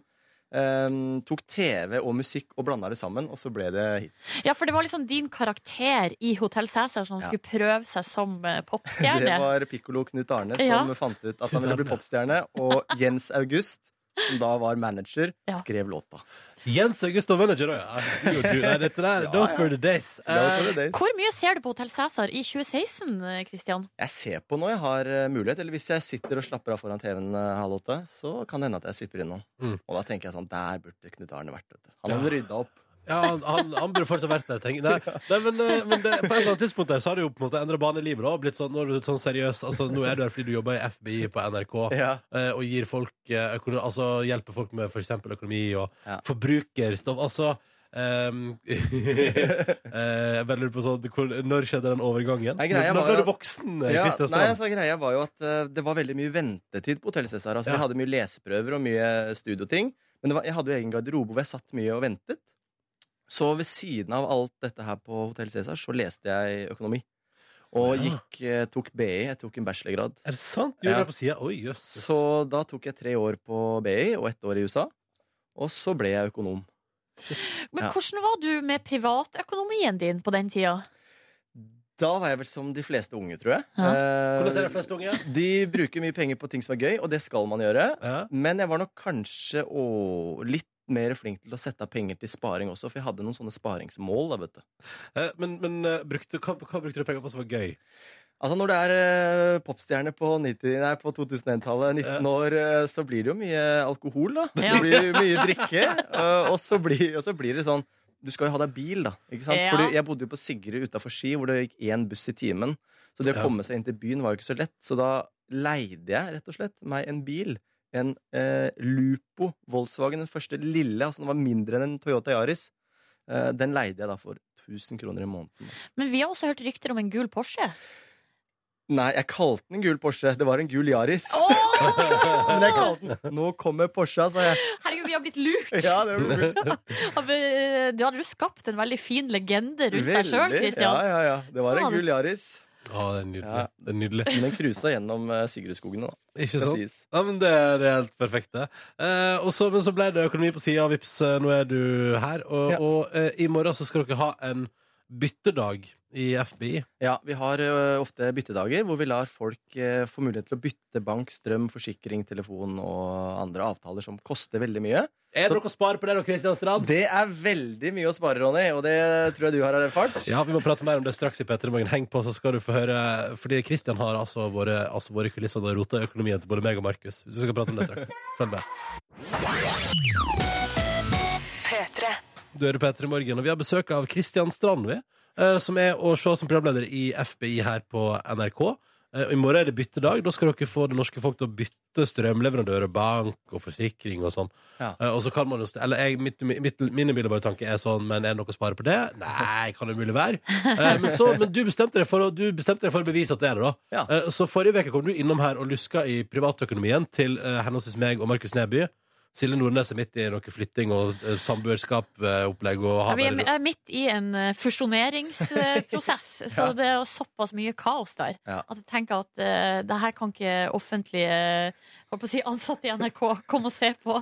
[SPEAKER 8] ehm, tok TV og musikk og blanda det sammen, og så ble det hit.
[SPEAKER 3] Ja, for det var liksom din karakter i Hotell Cæsar som
[SPEAKER 8] Ja.
[SPEAKER 3] skulle prøve seg som eh,
[SPEAKER 8] Det
[SPEAKER 3] popstjerne.
[SPEAKER 8] var Pikkolo Knut Arne som
[SPEAKER 3] Ja.
[SPEAKER 8] fant ut at
[SPEAKER 2] Knut
[SPEAKER 8] han ville bli
[SPEAKER 2] Arne.
[SPEAKER 8] popstjerne, og Jens August som da var manager,
[SPEAKER 3] Ja.
[SPEAKER 8] skrev låta.
[SPEAKER 2] Jens August og manager òg, ja. Du og du. Nei, dette der, Those were the days.
[SPEAKER 8] Det var så det det.
[SPEAKER 3] Hvor mye ser du på Hotell Cæsar i 2016, eh, Christian?
[SPEAKER 8] Jeg ser på når jeg har eh, mulighet, eller hvis jeg sitter og slapper av foran TV-en eh, halv åtte, så kan det hende at jeg svipper innom.
[SPEAKER 2] Mm.
[SPEAKER 8] Og da tenker jeg sånn, der burde Knut Arne vært, vet du. Han hadde rydda opp.
[SPEAKER 2] Ja, han, han, han burde fortsatt vært der. tenker jeg. Nei, nei, men, eh, men det, på et eller annet tidspunkt der, så har du jo på en måte endra bane i livet. da, og blitt sånn, Nå er du sånn seriøs. altså Nå er du her fordi du jobber i FBI på NRK eh, og gir folk, eh, økono- altså hjelper folk med f.eks. økonomi og
[SPEAKER 8] Ja.
[SPEAKER 2] forbrukerstoff. Altså ehm, eh, Jeg bare lurer på sånn, hvor, Når skjedde den overgangen?
[SPEAKER 8] Nei, greia
[SPEAKER 2] Når-
[SPEAKER 8] var
[SPEAKER 2] når ble
[SPEAKER 8] at-
[SPEAKER 2] du voksen, eh,
[SPEAKER 8] Ja,
[SPEAKER 2] Kristian
[SPEAKER 8] nei,
[SPEAKER 2] Strand?
[SPEAKER 8] altså, greia var jo at eh, det var veldig mye ventetid på Hotell Cæsar. Altså,
[SPEAKER 2] Ja.
[SPEAKER 8] Jeg hadde mye leseprøver og mye studioting. Men det var, jeg hadde jo egen garderobe hvor jeg satt mye og ventet. Så ved siden av alt dette her på Hotell Cæsar, så leste jeg økonomi. Og
[SPEAKER 2] Ja.
[SPEAKER 8] gikk, eh, tok BI. Jeg tok en bachelorgrad.
[SPEAKER 2] Er det sant? Gjorde
[SPEAKER 8] Ja.
[SPEAKER 2] jeg det på sida? Oi, jøss.
[SPEAKER 8] Så da tok jeg tre år på BI og ett år i USA. Og så ble jeg økonom.
[SPEAKER 3] Men
[SPEAKER 8] Ja.
[SPEAKER 3] hvordan var du med privatøkonomien din på den tida?
[SPEAKER 8] Da var jeg vel som de fleste unge, tror jeg.
[SPEAKER 3] Ja.
[SPEAKER 8] Eh,
[SPEAKER 2] Hvordan ser de fleste unge?
[SPEAKER 8] de bruker mye penger på ting som er gøy, og det skal man gjøre.
[SPEAKER 2] Ja.
[SPEAKER 8] Men jeg var nok kanskje å, litt mer flink til å sette av penger til sparing også, for jeg hadde noen sånne sparingsmål. Da, vet du.
[SPEAKER 2] Eh, Men, men eh, brukte, hva, hva brukte du penger på som var gøy?
[SPEAKER 8] Altså Når du er eh, popstjerne på, 90 nei, på 2001-tallet, 19 år, eh, så blir det jo mye alkohol, da.
[SPEAKER 3] Ja.
[SPEAKER 8] Det blir mye drikke. eh, og, så blir, og så blir det sånn Du skal jo ha deg bil, da. Ikke sant?
[SPEAKER 3] Ja.
[SPEAKER 8] Fordi jeg bodde jo på Sigrid utafor Ski, hvor det gikk én buss i timen. Så det å
[SPEAKER 2] Ja.
[SPEAKER 8] komme seg inn til byen var jo ikke så lett. Så da leide jeg rett og slett meg en bil. En eh, Lupo Volkswagen, den første lille. Altså den var mindre enn en Toyota Yaris. Eh, den leide jeg da for 1000 kroner i måneden.
[SPEAKER 3] Men vi har også hørt rykter om en gul Porsche.
[SPEAKER 8] Nei, jeg kalte den gul Porsche. Det var en gul Yaris. Men jeg kalte den Nå kommer Porscha, sa jeg.
[SPEAKER 3] Herregud, vi har blitt lurt!
[SPEAKER 8] Ja, det var gul.
[SPEAKER 3] Av, eh, Du hadde jo skapt en veldig fin legende rundt deg sjøl,
[SPEAKER 8] Veldig.
[SPEAKER 3] Christian.
[SPEAKER 8] Ja, ja, ja. Det var
[SPEAKER 3] Faen.
[SPEAKER 8] en gul Yaris.
[SPEAKER 2] Å, det er nydelig.
[SPEAKER 8] Ja.
[SPEAKER 2] Det er nydelig.
[SPEAKER 8] Men den cruisa gjennom eh, Sigrudskogen, da.
[SPEAKER 2] Ikke
[SPEAKER 8] Skal
[SPEAKER 2] sant?
[SPEAKER 8] sies.
[SPEAKER 2] Ja, men det er det er helt perfekt, det. Eh, og så- men så ble det økonomi på sida, vips, eh, nå er du her. Og,
[SPEAKER 8] Ja.
[SPEAKER 2] og eh, i morgen så skal dere ha en byttedag i FBI.
[SPEAKER 8] Ja, vi har ø, ofte byttedager hvor vi lar folk ø, få mulighet til å bytte bank, strøm, forsikring, telefon og andre avtaler som koster veldig mye.
[SPEAKER 2] Er det
[SPEAKER 8] Så-
[SPEAKER 2] noe å spare på det da, Kristian Strand?
[SPEAKER 8] Det er veldig mye å spare, Ronny, og det tror jeg du har erfart.
[SPEAKER 2] Ja, vi må prate mer om det straks i Petter i morgen. Heng på, så skal du få høre Fordi Kristian har altså vært altså vært i kulissene og rota i økonomien til både meg og Markus. Du skal prate om det straks. Følg med. Du hører Petter i morgen, og vi har besøk av Kristian Strandvi, eh, som er å se som programleder i FBI her på NRK. Eh, og I morgen er det byttedag. Da skal dere få det norske folk til å bytte strømleverandør og bank og forsikring og sånn.
[SPEAKER 4] Ja.
[SPEAKER 2] Eh, og så kan man jo st- Eller jeg, mitt, mitt, mine bare tanke er sånn, men er det noe å spare på det? Nei, kan det mulig være? Eh, men, så, men du bestemte deg for å, du bestemte deg for å bevise at det er det, da.
[SPEAKER 8] Ja.
[SPEAKER 2] Eh, så forrige uke kom du innom her og luska i privatøkonomien til eh, henholdsvis meg og Markus Neby. Silje Nordnes er midt i noe flytting og eh, samboerskap, eh, opplegg og
[SPEAKER 3] Ja,
[SPEAKER 2] har
[SPEAKER 3] vi er
[SPEAKER 2] bare-
[SPEAKER 3] mi- er midt i en eh, fusjoneringsprosess, eh, så det er jo såpass mye kaos der
[SPEAKER 8] Ja.
[SPEAKER 3] at jeg tenker at eh, det her kan ikke offentlige holdt på å si, ansatte i NRK komme og se på.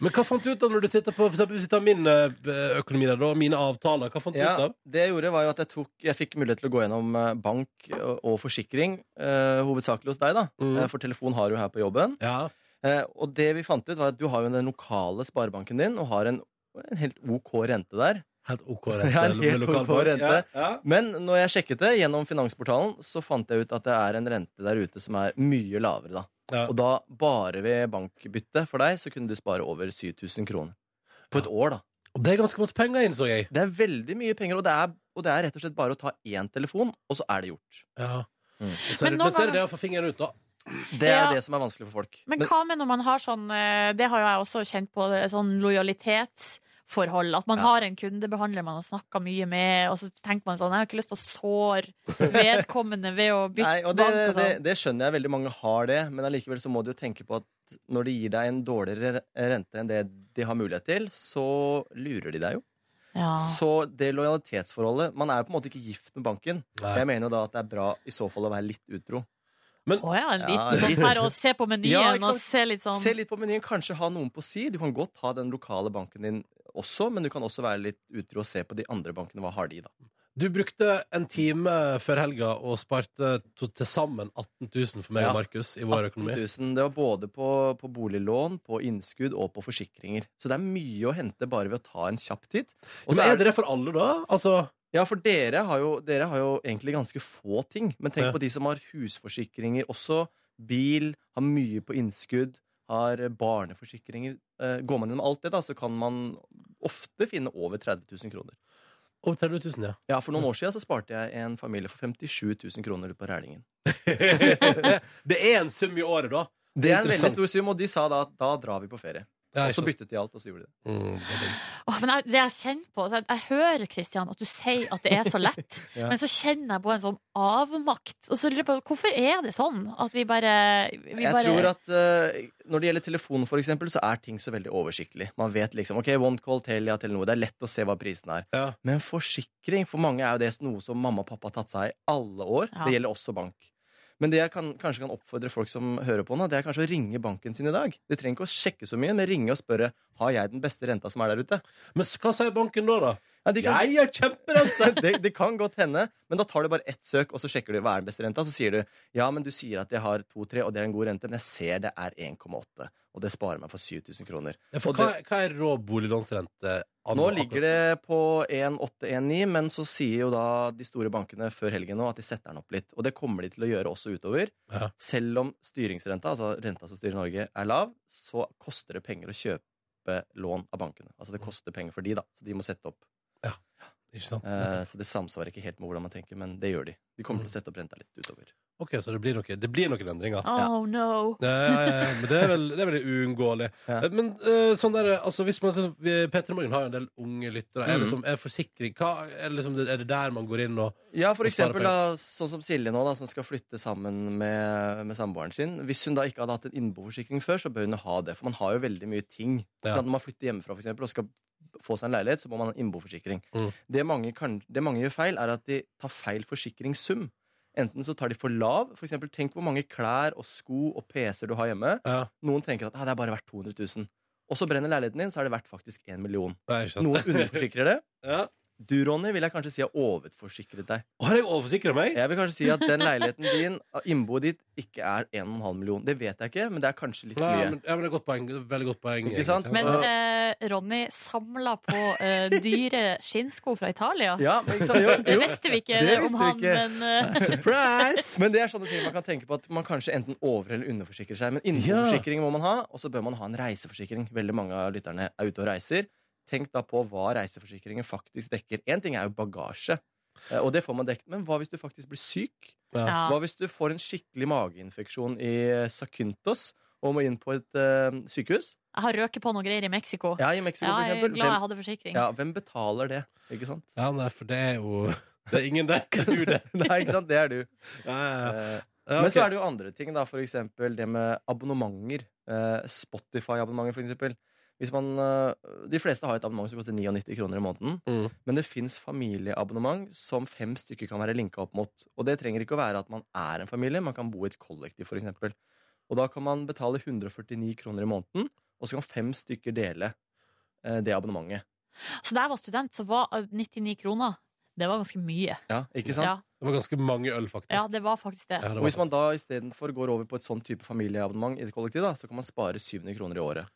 [SPEAKER 2] Men hva fant du ut av når du tittet på for eksempel, hvis vi tar min eh, økonomi der, da, mine avtaler? Hva fant du ut
[SPEAKER 8] Ja,
[SPEAKER 2] av?
[SPEAKER 8] det jeg gjorde var jo at jeg, tok, jeg fikk mulighet til å gå gjennom eh, bank og, og forsikring, eh, hovedsakelig hos deg, da.
[SPEAKER 2] Mm.
[SPEAKER 8] Eh, for telefon har du her på jobben.
[SPEAKER 2] Ja.
[SPEAKER 8] Eh, og det vi fant ut, var at du har jo den lokale sparebanken din, og har en, en helt OK rente der.
[SPEAKER 2] Helt OK
[SPEAKER 8] Det
[SPEAKER 2] rente.
[SPEAKER 8] er en helt
[SPEAKER 2] med lokal
[SPEAKER 8] OK
[SPEAKER 2] bank.
[SPEAKER 8] rente.
[SPEAKER 2] Ja.
[SPEAKER 8] Men når jeg sjekket det gjennom Finansportalen, så fant jeg ut at det er en rente der ute som er mye lavere, da.
[SPEAKER 2] Ja.
[SPEAKER 8] Og da, bare ved bankbytte for deg, så kunne du spare over 7000 kroner. På et år, da.
[SPEAKER 2] Og det er ganske masse penger, innså jeg.
[SPEAKER 8] Det er veldig mye penger, og det er, og det er rett og slett bare å ta én telefon, og så er det gjort.
[SPEAKER 2] Ja.
[SPEAKER 8] Mm.
[SPEAKER 2] Så er
[SPEAKER 3] Men
[SPEAKER 2] det, men så er
[SPEAKER 3] noen ganger-
[SPEAKER 2] det det å få fingeren ut, da.
[SPEAKER 8] Det er
[SPEAKER 3] Ja.
[SPEAKER 8] det som er vanskelig for folk.
[SPEAKER 3] Men hva med når man har sånn eh, Det har jo jeg også kjent på, eh, sånn lojalitetsforhold. At man
[SPEAKER 8] Ja.
[SPEAKER 3] har en kundebehandler man har snakka mye med, og så tenker man sånn Jeg har ikke lyst til å såre vedkommende ved å bytte
[SPEAKER 8] Nei, og det,
[SPEAKER 3] bank og
[SPEAKER 8] det,
[SPEAKER 3] sånn.
[SPEAKER 8] det skjønner jeg. Veldig mange har det. Men allikevel så må du jo tenke på at når de gir deg en dårligere rente enn det de har mulighet til, så lurer de deg jo.
[SPEAKER 3] Ja.
[SPEAKER 8] Så det lojalitetsforholdet Man er jo på en måte ikke gift med banken. Jeg mener jo da at det er bra i så fall å være litt utro.
[SPEAKER 3] Å ja, en liten
[SPEAKER 8] Ja,
[SPEAKER 3] sånn her, og se på menyen
[SPEAKER 8] Ja, ikke sant?
[SPEAKER 3] og se litt sånn
[SPEAKER 8] Se litt på menyen, kanskje ha noen på si. Du kan godt ha den lokale banken din også, men du kan også være litt utro og se på de andre bankene. Hva har de, da?
[SPEAKER 2] Du brukte en time før helga og sparte to- til sammen 18 000 for meg
[SPEAKER 8] Ja.
[SPEAKER 2] og Markus i vår
[SPEAKER 8] 18
[SPEAKER 2] økonomi.
[SPEAKER 8] 000. Det var både på, på boliglån, på innskudd og på forsikringer. Så det er mye å hente bare ved å ta en kjapp titt. Og
[SPEAKER 2] Men
[SPEAKER 8] så
[SPEAKER 2] er det det for alle, da? Altså,
[SPEAKER 8] Ja, for dere har, jo, dere har jo egentlig ganske få ting. Men tenk
[SPEAKER 2] Ja.
[SPEAKER 8] på de som har husforsikringer også. Bil, har mye på innskudd, har barneforsikringer. Eh, Går man gjennom alt det, da, så kan man ofte finne over 30 000 kroner.
[SPEAKER 2] over 30 000, ja.
[SPEAKER 8] Ja, For noen år siden så sparte jeg en familie for 57 000 kroner på Rælingen.
[SPEAKER 2] det er en sum i året, da.
[SPEAKER 8] Det er en veldig
[SPEAKER 2] Interessant.
[SPEAKER 8] stor sum, og de sa da at da drar vi på ferie.
[SPEAKER 2] Ja,
[SPEAKER 8] Og
[SPEAKER 2] ikke
[SPEAKER 8] så
[SPEAKER 2] sant.
[SPEAKER 8] byttet de alt, og så gjorde de det.
[SPEAKER 2] Mm, det er digg.
[SPEAKER 3] Åh, men jeg, det jeg kjenner på så jeg, jeg hører, Kristian, at du sier at det er så lett,
[SPEAKER 8] Ja.
[SPEAKER 3] men så kjenner jeg på en sånn avmakt. Og så lurer jeg på hvorfor er det sånn at vi bare, vi
[SPEAKER 8] Jeg
[SPEAKER 3] bare
[SPEAKER 8] tror at eh, når det gjelder telefon, for eksempel, så er ting så veldig oversiktlig. Man vet liksom OK, one call, Telia, Telenor. Det er lett å se hva prisen er.
[SPEAKER 2] Ja.
[SPEAKER 8] Men forsikring, for mange er jo det noe som mamma og pappa har tatt seg i alle år.
[SPEAKER 3] Ja.
[SPEAKER 8] Det gjelder også bank. Men det jeg kan, kanskje kan oppfordre folk som hører på nå, det er kanskje å ringe banken sin i dag. De trenger ikke å sjekke så mye, men ringe og spørre har jeg den beste renta som er der ute.
[SPEAKER 2] Men s- hva sier banken da, da?
[SPEAKER 8] Ja, de kan,
[SPEAKER 2] Jeg har kjemperente!
[SPEAKER 8] det, det kan godt hende, men da tar du bare ett søk, og så sjekker du hva er den beste renta. Så sier du ja, men du sier at jeg har 2-3, og det er en god rente, men jeg ser det er 1,8. Og det sparer meg for 7000 kroner.
[SPEAKER 2] Ja, for
[SPEAKER 8] Og
[SPEAKER 2] hva, hva er rå boliglånsrente?
[SPEAKER 8] Nå ligger det på 1,819, men så sier jo da de store bankene før helgen nå at de setter den opp litt. Og det kommer de til å gjøre også utover.
[SPEAKER 2] Ja.
[SPEAKER 8] Selv om styringsrenta, altså renta som styrer Norge, er lav, så koster det penger å kjøpe lån av bankene. Altså
[SPEAKER 2] Mm.
[SPEAKER 8] det koster penger for de, da. Så de må sette opp.
[SPEAKER 2] Ikke sant?
[SPEAKER 8] Eh, så det Mm. samsvarer ikke helt med hvordan man tenker, men det gjør de. De kommer til å sette opp renta litt utover.
[SPEAKER 2] Ok, så det blir, noe, det blir noen endringer.
[SPEAKER 3] Oh no.
[SPEAKER 2] Ja, ja, ja, men det er vel, det er vel uunngåelig.
[SPEAKER 8] Ja.
[SPEAKER 2] Eh, Men eh, sånn der, altså hvis man så- vi- Peter Morgen har jo en del unge lyttere. Er,
[SPEAKER 8] Mhm.
[SPEAKER 2] liksom, er forsikring hva, er, liksom, det- er det der man går inn og
[SPEAKER 8] Ja, for
[SPEAKER 2] Og spare
[SPEAKER 8] eksempel da, sånn som Silje nå, da, som skal flytte sammen med, med samboeren sin. Hvis hun da ikke hadde hatt en innboforsikring før, så bør hun jo ha det. For man har jo veldig mye ting.
[SPEAKER 2] Ja.
[SPEAKER 8] Sånn, når man flytter hjemmefra for eksempel, og skal få seg en leilighet, så må man ha en innboforsikring.
[SPEAKER 2] Mm.
[SPEAKER 8] Det, mange kan, det mange gjør feil, er at de tar feil forsikringssum. Enten så tar de for lav. For eksempel, tenk hvor mange klær og sko og PC-er du har hjemme.
[SPEAKER 2] Ja,
[SPEAKER 8] Noen tenker at ah, det er bare verdt 200 000. Og så brenner leiligheten din, så er det verdt faktisk 1 million.
[SPEAKER 2] det er ikke sant.
[SPEAKER 8] Noen underforsikrer det.
[SPEAKER 2] Ja.
[SPEAKER 8] Du, Ronny, vil jeg kanskje si har overforsikret deg.
[SPEAKER 2] Har jeg overforsikra meg?
[SPEAKER 8] Jeg vil kanskje si at den leiligheten din, innboet ditt, ikke er 1,5 million. Det vet jeg ikke, men det er kanskje litt
[SPEAKER 2] Ja,
[SPEAKER 8] mye.
[SPEAKER 2] men, ja, men det er et godt poeng. Det er et Veldig godt poeng.
[SPEAKER 8] Ikke sant?
[SPEAKER 2] egentlig.
[SPEAKER 3] Men
[SPEAKER 2] Ja.
[SPEAKER 3] eh, Ronny samla på eh, dyre skinnsko fra Italia.
[SPEAKER 8] Ja, men ikke sant? Jo,
[SPEAKER 3] Det
[SPEAKER 8] jo.
[SPEAKER 3] visste vi ikke
[SPEAKER 8] Det
[SPEAKER 3] om
[SPEAKER 8] visste vi
[SPEAKER 3] han,
[SPEAKER 8] ikke.
[SPEAKER 3] men eh,
[SPEAKER 8] Surprise! Men det er sånne ting man kan tenke på at man kanskje enten over- eller underforsikrer seg. Men innenforsikring må man ha, og så bør man ha en reiseforsikring. Veldig mange av lytterne er ute og reiser. Tenk da på hva reiseforsikringen faktisk dekker. Én ting er jo bagasje, Eh, Og det får man dekket. Men hva hvis du faktisk blir syk?
[SPEAKER 3] Ja.
[SPEAKER 8] Hva hvis du får en skikkelig mageinfeksjon i Sakyntos og må inn på et eh, sykehus?
[SPEAKER 3] Jeg har røket på noen greier i Mexico.
[SPEAKER 8] Ja, i Mexico,
[SPEAKER 3] Ja,
[SPEAKER 8] for
[SPEAKER 3] jeg er
[SPEAKER 8] eksempel.
[SPEAKER 3] glad jeg
[SPEAKER 8] Hvem,
[SPEAKER 3] hadde forsikring.
[SPEAKER 8] ja, hvem betaler det? Ikke sant?
[SPEAKER 2] Ja, nei, for det er jo Det er ingen der. Det er du, det.
[SPEAKER 8] Nei, ikke sant? Det er du.
[SPEAKER 2] Ja, ja, ja.
[SPEAKER 8] Eh,
[SPEAKER 2] Ja,
[SPEAKER 8] Men så
[SPEAKER 2] ok.
[SPEAKER 8] er det jo andre ting, da. For eksempel det med abonnementer. Eh, Spotify-abonnementer, for eksempel. Hvis man, eh, de fleste har et abonnement som koster 99 kroner i måneden.
[SPEAKER 2] Mm.
[SPEAKER 8] Men det fins familieabonnement som fem stykker kan være linka opp mot. Og det trenger ikke å være at man er en familie, man kan bo i et kollektiv, for eksempel. Og da kan man betale 149 kroner i måneden, og så kan fem stykker dele eh, det abonnementet.
[SPEAKER 3] Så da jeg var student, så var eh, 99 kroner Det var ganske mye.
[SPEAKER 8] Ja, ikke sant?
[SPEAKER 3] Ja,
[SPEAKER 2] Det var ganske mange øl, faktisk.
[SPEAKER 3] ja, det var faktisk det.
[SPEAKER 2] Ja, det var
[SPEAKER 8] Og hvis man
[SPEAKER 2] faktisk-
[SPEAKER 8] da istedenfor går over på et sånn type familieabonnement i et kollektiv, da, så kan man spare 700 kroner i året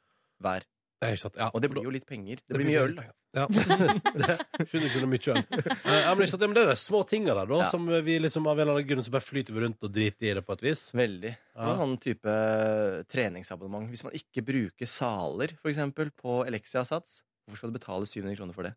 [SPEAKER 8] hver.
[SPEAKER 2] Ja, ikke sant, ja.
[SPEAKER 8] Og det blir jo litt penger. Det blir mye øl. da.
[SPEAKER 2] Ja. 700 kroner mye øl. Eh, ja, men ikke sant, ja, men det er de små tinga der, da,
[SPEAKER 8] Ja.
[SPEAKER 2] som vi liksom av en eller annen grunn så bare flyter vi rundt og driter i det på et vis.
[SPEAKER 8] Veldig.
[SPEAKER 2] Ja.
[SPEAKER 8] Og sånn type treningsabonnement. Hvis man ikke bruker saler, for eksempel, på Elixia-sats, hvorfor skal du betale 700 kroner for det?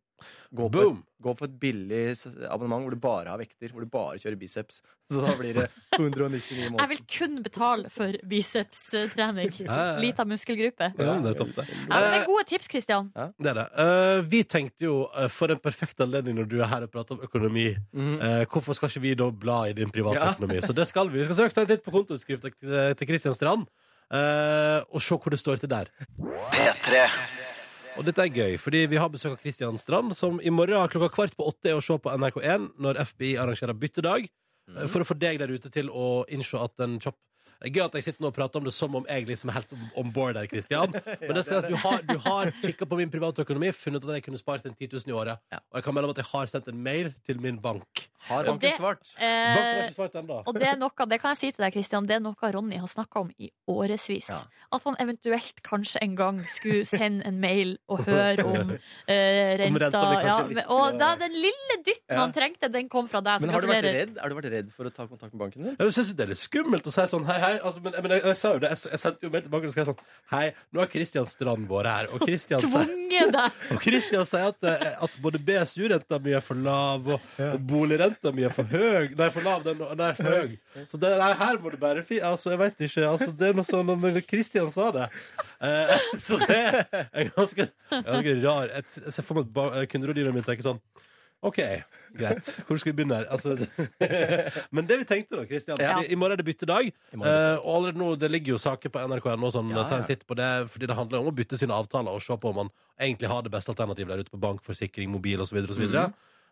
[SPEAKER 8] Gå på,
[SPEAKER 2] Boom!
[SPEAKER 8] et, gå på et billig s- abonnement hvor du bare har vekter, hvor du bare kjører biceps. Så da blir det 199 i
[SPEAKER 3] Jeg
[SPEAKER 8] måneden.
[SPEAKER 3] vil kun betale for bicepstrening.
[SPEAKER 2] Ja.
[SPEAKER 3] Lita muskelgruppe.
[SPEAKER 2] Ja, men det er topp, det.
[SPEAKER 3] Ja, men det er gode tips, Kristian.
[SPEAKER 2] Det er det. Eh, vi tenkte jo, eh, for en perfekt anledning når du er her og prater om økonomi,
[SPEAKER 8] Mm. Mm-hmm.
[SPEAKER 2] eh, hvorfor skal ikke vi da bla i din private
[SPEAKER 8] Ja.
[SPEAKER 2] økonomi? Så det skal vi. Vi skal straks ta en titt på kontoutskrifta til til Christian Strand, eh, og se hvor det står til der. Og dette er gøy, fordi vi har besøk av Christian Strand, som i morgen klokka kvart på åtte er å se på NRK1 når FBI arrangerer byttedag,
[SPEAKER 8] Mm.
[SPEAKER 2] eh, for å få deg der ute til å innse at en kjapp det er Gøy at jeg sitter nå og prater om det som om jeg liksom er helt om- om board her, Christian. Men det sier at du har, du har kikka på min private økonomi, funnet at jeg kunne spart en 10 000 i året.
[SPEAKER 8] Ja.
[SPEAKER 2] Og jeg kan melde om at jeg har sendt en mail til min bank.
[SPEAKER 8] Har
[SPEAKER 3] Og det-
[SPEAKER 8] banken svart?
[SPEAKER 2] Banken har
[SPEAKER 3] Eh,
[SPEAKER 2] ikke svart ennå.
[SPEAKER 3] og det er noe, det kan jeg si til deg, Kristian, det er noe Ronny har snakka om i årevis.
[SPEAKER 8] Ja.
[SPEAKER 3] At han eventuelt kanskje en gang skulle sende en mail og høre om eh, renta.
[SPEAKER 2] Om renta blir kanskje
[SPEAKER 3] ja,
[SPEAKER 2] litt-
[SPEAKER 3] men- og da, den lille dytten
[SPEAKER 8] Ja.
[SPEAKER 3] han trengte, den kom fra deg. Så
[SPEAKER 8] Men har du vært
[SPEAKER 3] gratulerer.
[SPEAKER 8] redd? Har du vært redd for å ta kontakt med banken din?
[SPEAKER 2] Jeg synes det er litt skummelt å si sånn hei, hei. Altså, men men jeg, jeg sa jo det. Jeg, s- jeg sendte jo mail til banken og skrev sånn hei, nå har Christian Strand vært her. Og Christian
[SPEAKER 8] altså?
[SPEAKER 2] sier
[SPEAKER 3] Tvunget deg.
[SPEAKER 2] Og Christian sier at, eh, at både BSU-renta mi er for lav, og, og boligrenta mi er for høy. Nei, for lav, den, den er for høy. Så det nei, her må du bare fi... Altså, jeg vet ikke. Altså, det er noe sånn men Christian sa det. Eh, så det er ganske, ganske rar Jeg t- jeg ser for meg at ba- eh, kunderådgiveren min tenker sånn OK, greit. Hvor skal vi begynne her? Altså, men det vi tenkte da, Christian
[SPEAKER 3] Ja.
[SPEAKER 2] I i morgen er det byttedag.
[SPEAKER 8] I morgen.
[SPEAKER 2] Eh, og allerede nå, Det ligger jo saker på NRK nå, sånn,
[SPEAKER 8] Ja,
[SPEAKER 2] ta en
[SPEAKER 8] ja.
[SPEAKER 2] titt på det, fordi det handler om å bytte sine avtaler og se på om man egentlig har det beste alternativet der ute på bank, forsikring, mobil osv. videre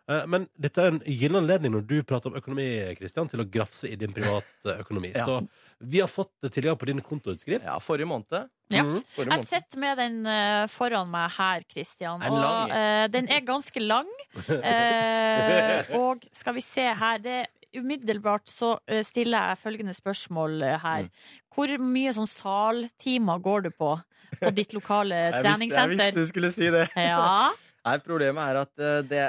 [SPEAKER 2] Eh, men dette er en gyllen anledning når du prater om økonomi, Kristian, til å grafse i din private økonomi.
[SPEAKER 8] Ja.
[SPEAKER 2] Så vi har fått det tilgang på din kontoutskrift.
[SPEAKER 8] Ja, forrige måned. Mm-hmm.
[SPEAKER 3] Ja.
[SPEAKER 8] Forrige
[SPEAKER 3] Jeg
[SPEAKER 8] måned.
[SPEAKER 3] sitter med den eh, foran meg her, Kristian.
[SPEAKER 8] Er den lang?
[SPEAKER 3] Og eh, den er ganske lang. Eh, og skal vi se her det, Umiddelbart så eh, stiller jeg følgende spørsmål eh,
[SPEAKER 8] Mm.
[SPEAKER 3] her. Hvor mye sånn saltimer går du på på ditt lokale
[SPEAKER 8] Jeg visste, jeg
[SPEAKER 3] treningssenter?
[SPEAKER 8] visste du skulle si det.
[SPEAKER 3] Ja.
[SPEAKER 8] Nei, problemet er at eh, det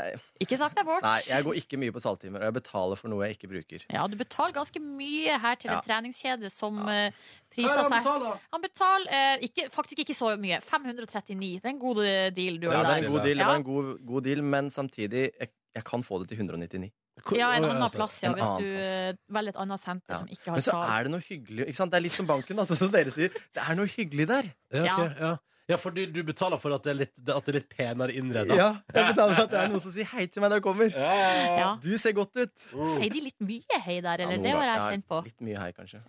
[SPEAKER 3] Ikke snakk deg bort.
[SPEAKER 8] Nei, jeg går ikke mye på salttimer, og jeg betaler for noe jeg ikke bruker.
[SPEAKER 3] Ja, du betaler ganske mye her til
[SPEAKER 8] Ja.
[SPEAKER 3] en treningskjede som eh, priser seg Han betaler eh, ikke, faktisk ikke så mye. 539. Det er en god eh, deal du
[SPEAKER 8] Ja,
[SPEAKER 3] har
[SPEAKER 8] det
[SPEAKER 3] der.
[SPEAKER 8] er en god deal, det
[SPEAKER 3] Ja.
[SPEAKER 8] var en god, god deal men samtidig jeg, jeg kan få det til 199.
[SPEAKER 3] Ja, en
[SPEAKER 2] Å, altså.
[SPEAKER 3] annen
[SPEAKER 2] sant.
[SPEAKER 3] plass, ja,
[SPEAKER 8] altså, En
[SPEAKER 3] hvis
[SPEAKER 8] annen
[SPEAKER 3] du eh, velger et annet senter
[SPEAKER 8] Ja.
[SPEAKER 3] som ikke har
[SPEAKER 8] Men så
[SPEAKER 3] sal.
[SPEAKER 8] er det noe hyggelig ikke sant? Det er litt som banken, altså, som dere sier. Det er noe hyggelig der.
[SPEAKER 2] Ja, ok,
[SPEAKER 3] Ja.
[SPEAKER 2] ja. ja for du, du betaler for at det er litt, det- at det er litt penere innreda.
[SPEAKER 8] Ja, jeg betaler at det er noen som sier hei til meg når jeg kommer.
[SPEAKER 3] Ja.
[SPEAKER 8] Du ser godt ut.
[SPEAKER 3] Sier de litt mye hei der,
[SPEAKER 8] Ja,
[SPEAKER 3] eller?
[SPEAKER 8] noen
[SPEAKER 3] det har
[SPEAKER 8] ganger.
[SPEAKER 3] jeg
[SPEAKER 8] Ja,
[SPEAKER 3] kjent på.
[SPEAKER 8] Litt mye hei, kanskje.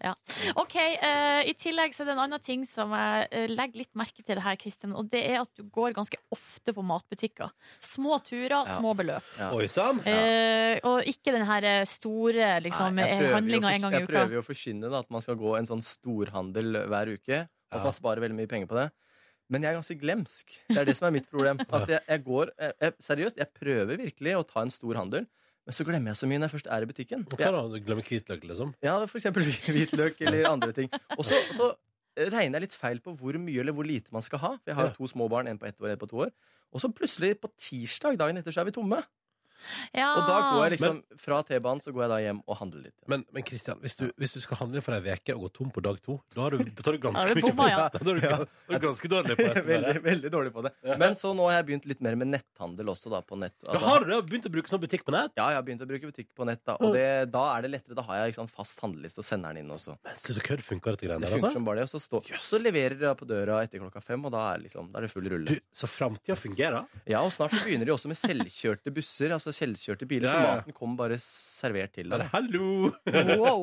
[SPEAKER 3] Ok, eh, I tillegg så er det en annen ting som jeg eh, legger litt merke til her, Kristin. Og det er at du går ganske ofte på matbutikker. Små turer, små beløp.
[SPEAKER 8] Ja.
[SPEAKER 2] Oi sann!
[SPEAKER 3] Eh, og ikke den her eh, store liksom,
[SPEAKER 8] Nei, jeg prøver jo
[SPEAKER 3] handlinga en
[SPEAKER 8] å fors-
[SPEAKER 3] gang i
[SPEAKER 8] Jeg
[SPEAKER 3] uka.
[SPEAKER 8] prøver jo å forkynne da, at man skal gå en sånn storhandel hver uke, og at
[SPEAKER 2] Ja.
[SPEAKER 8] man sparer veldig mye penger på det. Men jeg er ganske glemsk. Det er det som er mitt problem. At jeg, jeg går, jeg, jeg, seriøst, jeg prøver virkelig å ta en stor handel, men så glemmer jeg så mye når jeg først er i butikken.
[SPEAKER 2] Hva
[SPEAKER 8] Jeg,
[SPEAKER 2] da? Du glemmer hvitløk, liksom?
[SPEAKER 8] ja, for eksempel hvitløk eller andre ting. Og så, så regner jeg litt feil på hvor mye eller hvor lite man skal ha. For jeg har
[SPEAKER 2] Ja.
[SPEAKER 8] jo to små barn, en på ett år og en på to år. Og så plutselig, på tirsdag dagen etter, så er vi tomme.
[SPEAKER 3] Ja.
[SPEAKER 8] Og da går jeg liksom fra T-banen så går jeg da hjem og handler litt.
[SPEAKER 2] Men, men Christian, hvis du, hvis du skal handle for ei uke og gå tom på dag to, da har du, da tar du
[SPEAKER 3] Da har
[SPEAKER 2] ganske
[SPEAKER 3] du
[SPEAKER 2] mye
[SPEAKER 3] bomma, ja.
[SPEAKER 2] Da er du, da er du ganske dårlig på det.
[SPEAKER 8] veldig, veldig dårlig på det. Men så nå har jeg begynt litt mer med netthandel også, da, på nett.
[SPEAKER 2] Da
[SPEAKER 8] Altså,
[SPEAKER 2] har du det, og begynt å bruke sånn butikk på nett.
[SPEAKER 8] ja, jeg har begynt å bruke butikk på nett, da. Og det, da er det lettere. Da har jeg liksom fast handleliste og sender den inn også.
[SPEAKER 2] Men Slutt å kødde. Funker dette greiene
[SPEAKER 8] Det
[SPEAKER 2] der,
[SPEAKER 8] funker
[SPEAKER 2] altså?
[SPEAKER 8] som bare det. Og så, står- så leverer de da på døra etter klokka fem, og da er, liksom, da er det full rulle.
[SPEAKER 2] Du, så framtida fungerer?
[SPEAKER 8] Ja, og snart så begynner de også med selvkjørte busser, altså selvkjørte biler,
[SPEAKER 2] Ja, ja.
[SPEAKER 8] så maten kommer bare servert til
[SPEAKER 2] Bare
[SPEAKER 8] deg.
[SPEAKER 2] hallo!
[SPEAKER 3] Wow.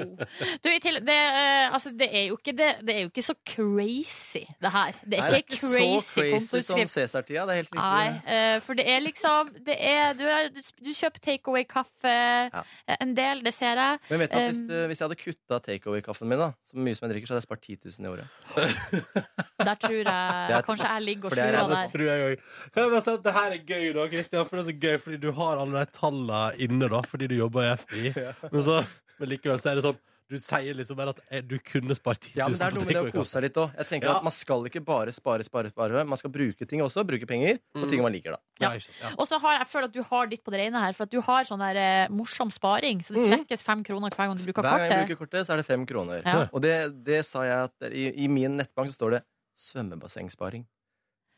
[SPEAKER 3] Du, i tillegg, det, eh, altså, det, er jo ikke det, det er jo ikke så crazy, det her. Det er
[SPEAKER 8] Nei,
[SPEAKER 3] ikke crazy
[SPEAKER 8] så crazy som
[SPEAKER 3] kontorskrift.
[SPEAKER 8] Cæsar-tida. Det er helt
[SPEAKER 3] Nei,
[SPEAKER 8] riktig.
[SPEAKER 3] eh, for det er liksom det er, du, er, du kjøper takeaway-kaffe
[SPEAKER 8] Ja.
[SPEAKER 3] eh, en del, det ser jeg.
[SPEAKER 8] Men vet du at hvis,
[SPEAKER 3] Um,
[SPEAKER 8] eh, hvis jeg hadde kutta takeaway-kaffen min, da, så mye som jeg drikker, så hadde jeg spart 10 000 i året.
[SPEAKER 3] Der tror jeg
[SPEAKER 8] er-
[SPEAKER 3] kanskje jeg ligger og
[SPEAKER 8] for det er-
[SPEAKER 3] slurer
[SPEAKER 2] det
[SPEAKER 3] der.
[SPEAKER 2] tror jeg òg. Kan jeg bare si at det her er gøy, da, Kristian? For det er så gøy fordi du har alle de tallene inne, da, fordi du jobber i FI. Men, så, men likevel så er det sånn du sier liksom bare at eh, du kunne spart 10
[SPEAKER 8] Ja,
[SPEAKER 2] 000
[SPEAKER 8] men det er noe med det å kose seg litt òg. Jeg tenker
[SPEAKER 2] Ja.
[SPEAKER 8] at man skal ikke bare spare, spare, spare. Man skal bruke ting også. Bruke penger
[SPEAKER 2] Mm.
[SPEAKER 8] på ting man liker, da.
[SPEAKER 2] Ja, ikke sant, ja.
[SPEAKER 3] Og så har jeg føler at du har ditt på det rene her, for at du har sånn der eh, morsom sparing. Så det trekkes fem kroner hver gang du bruker
[SPEAKER 8] Mm. Hver gang jeg
[SPEAKER 3] kartet.
[SPEAKER 8] bruker kortet, så er det fem kroner.
[SPEAKER 3] Ja.
[SPEAKER 8] Og det, det sa jeg at i, i min nettbank så står det svømmebassengsparing.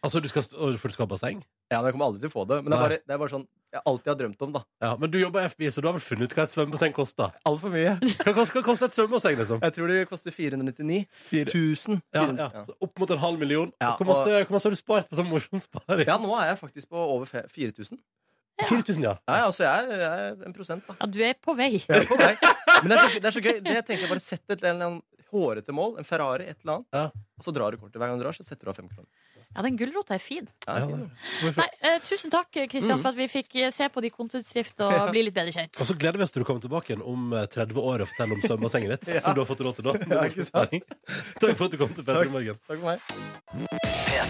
[SPEAKER 2] Altså, du skal, st- og for du skal ha basseng?
[SPEAKER 8] Ja, men jeg kommer aldri til å få det. Men det er
[SPEAKER 2] Nei.
[SPEAKER 8] bare, det er bare sånn jeg alltid har drømt om, da.
[SPEAKER 2] Ja, men du jobber i FI, så du har vel funnet ut hva et svømmebasseng koster?
[SPEAKER 8] Altfor mye.
[SPEAKER 2] Hva kost- hva koster et svømmebasseng, liksom?
[SPEAKER 8] Jeg tror det koster 499
[SPEAKER 2] Fire.
[SPEAKER 8] 000.
[SPEAKER 2] Ja, ja. Så opp mot en halv million.
[SPEAKER 8] Ja,
[SPEAKER 2] hvor, masse, hvor masse har du spart på sånn morsom sparing?
[SPEAKER 8] Ja, nå er jeg faktisk på over fe- 4000.
[SPEAKER 2] 4000, ja.
[SPEAKER 8] Ja, ja, altså jeg er, jeg er en prosent, da.
[SPEAKER 3] Ja, du er på vei.
[SPEAKER 8] Jeg er på vei. Men det er, så, det er så gøy. Det jeg tenker bare Sett et eller annet hårete mål, en Ferrari, et eller annet,
[SPEAKER 2] Ja.
[SPEAKER 8] og så drar du kortet. Hver gang du drar, så setter du av fem kroner.
[SPEAKER 3] Ja, den gulrota er fin.
[SPEAKER 8] Ja,
[SPEAKER 2] Ja,
[SPEAKER 8] fint,
[SPEAKER 2] det-
[SPEAKER 8] da.
[SPEAKER 3] Nei, eh, tusen takk,
[SPEAKER 8] Mm.
[SPEAKER 3] Kristian, for at vi fikk eh, se på de kontoutskrift og bli litt bedre kjent.
[SPEAKER 2] Og så gleder vi oss til du kommer tilbake igjen om eh, 30 år og forteller om svømmebassenget ditt. Som du har fått råd til da.
[SPEAKER 8] ikke sant?
[SPEAKER 2] Takk for at du kom til Petter i morgen.
[SPEAKER 8] Takk for meg.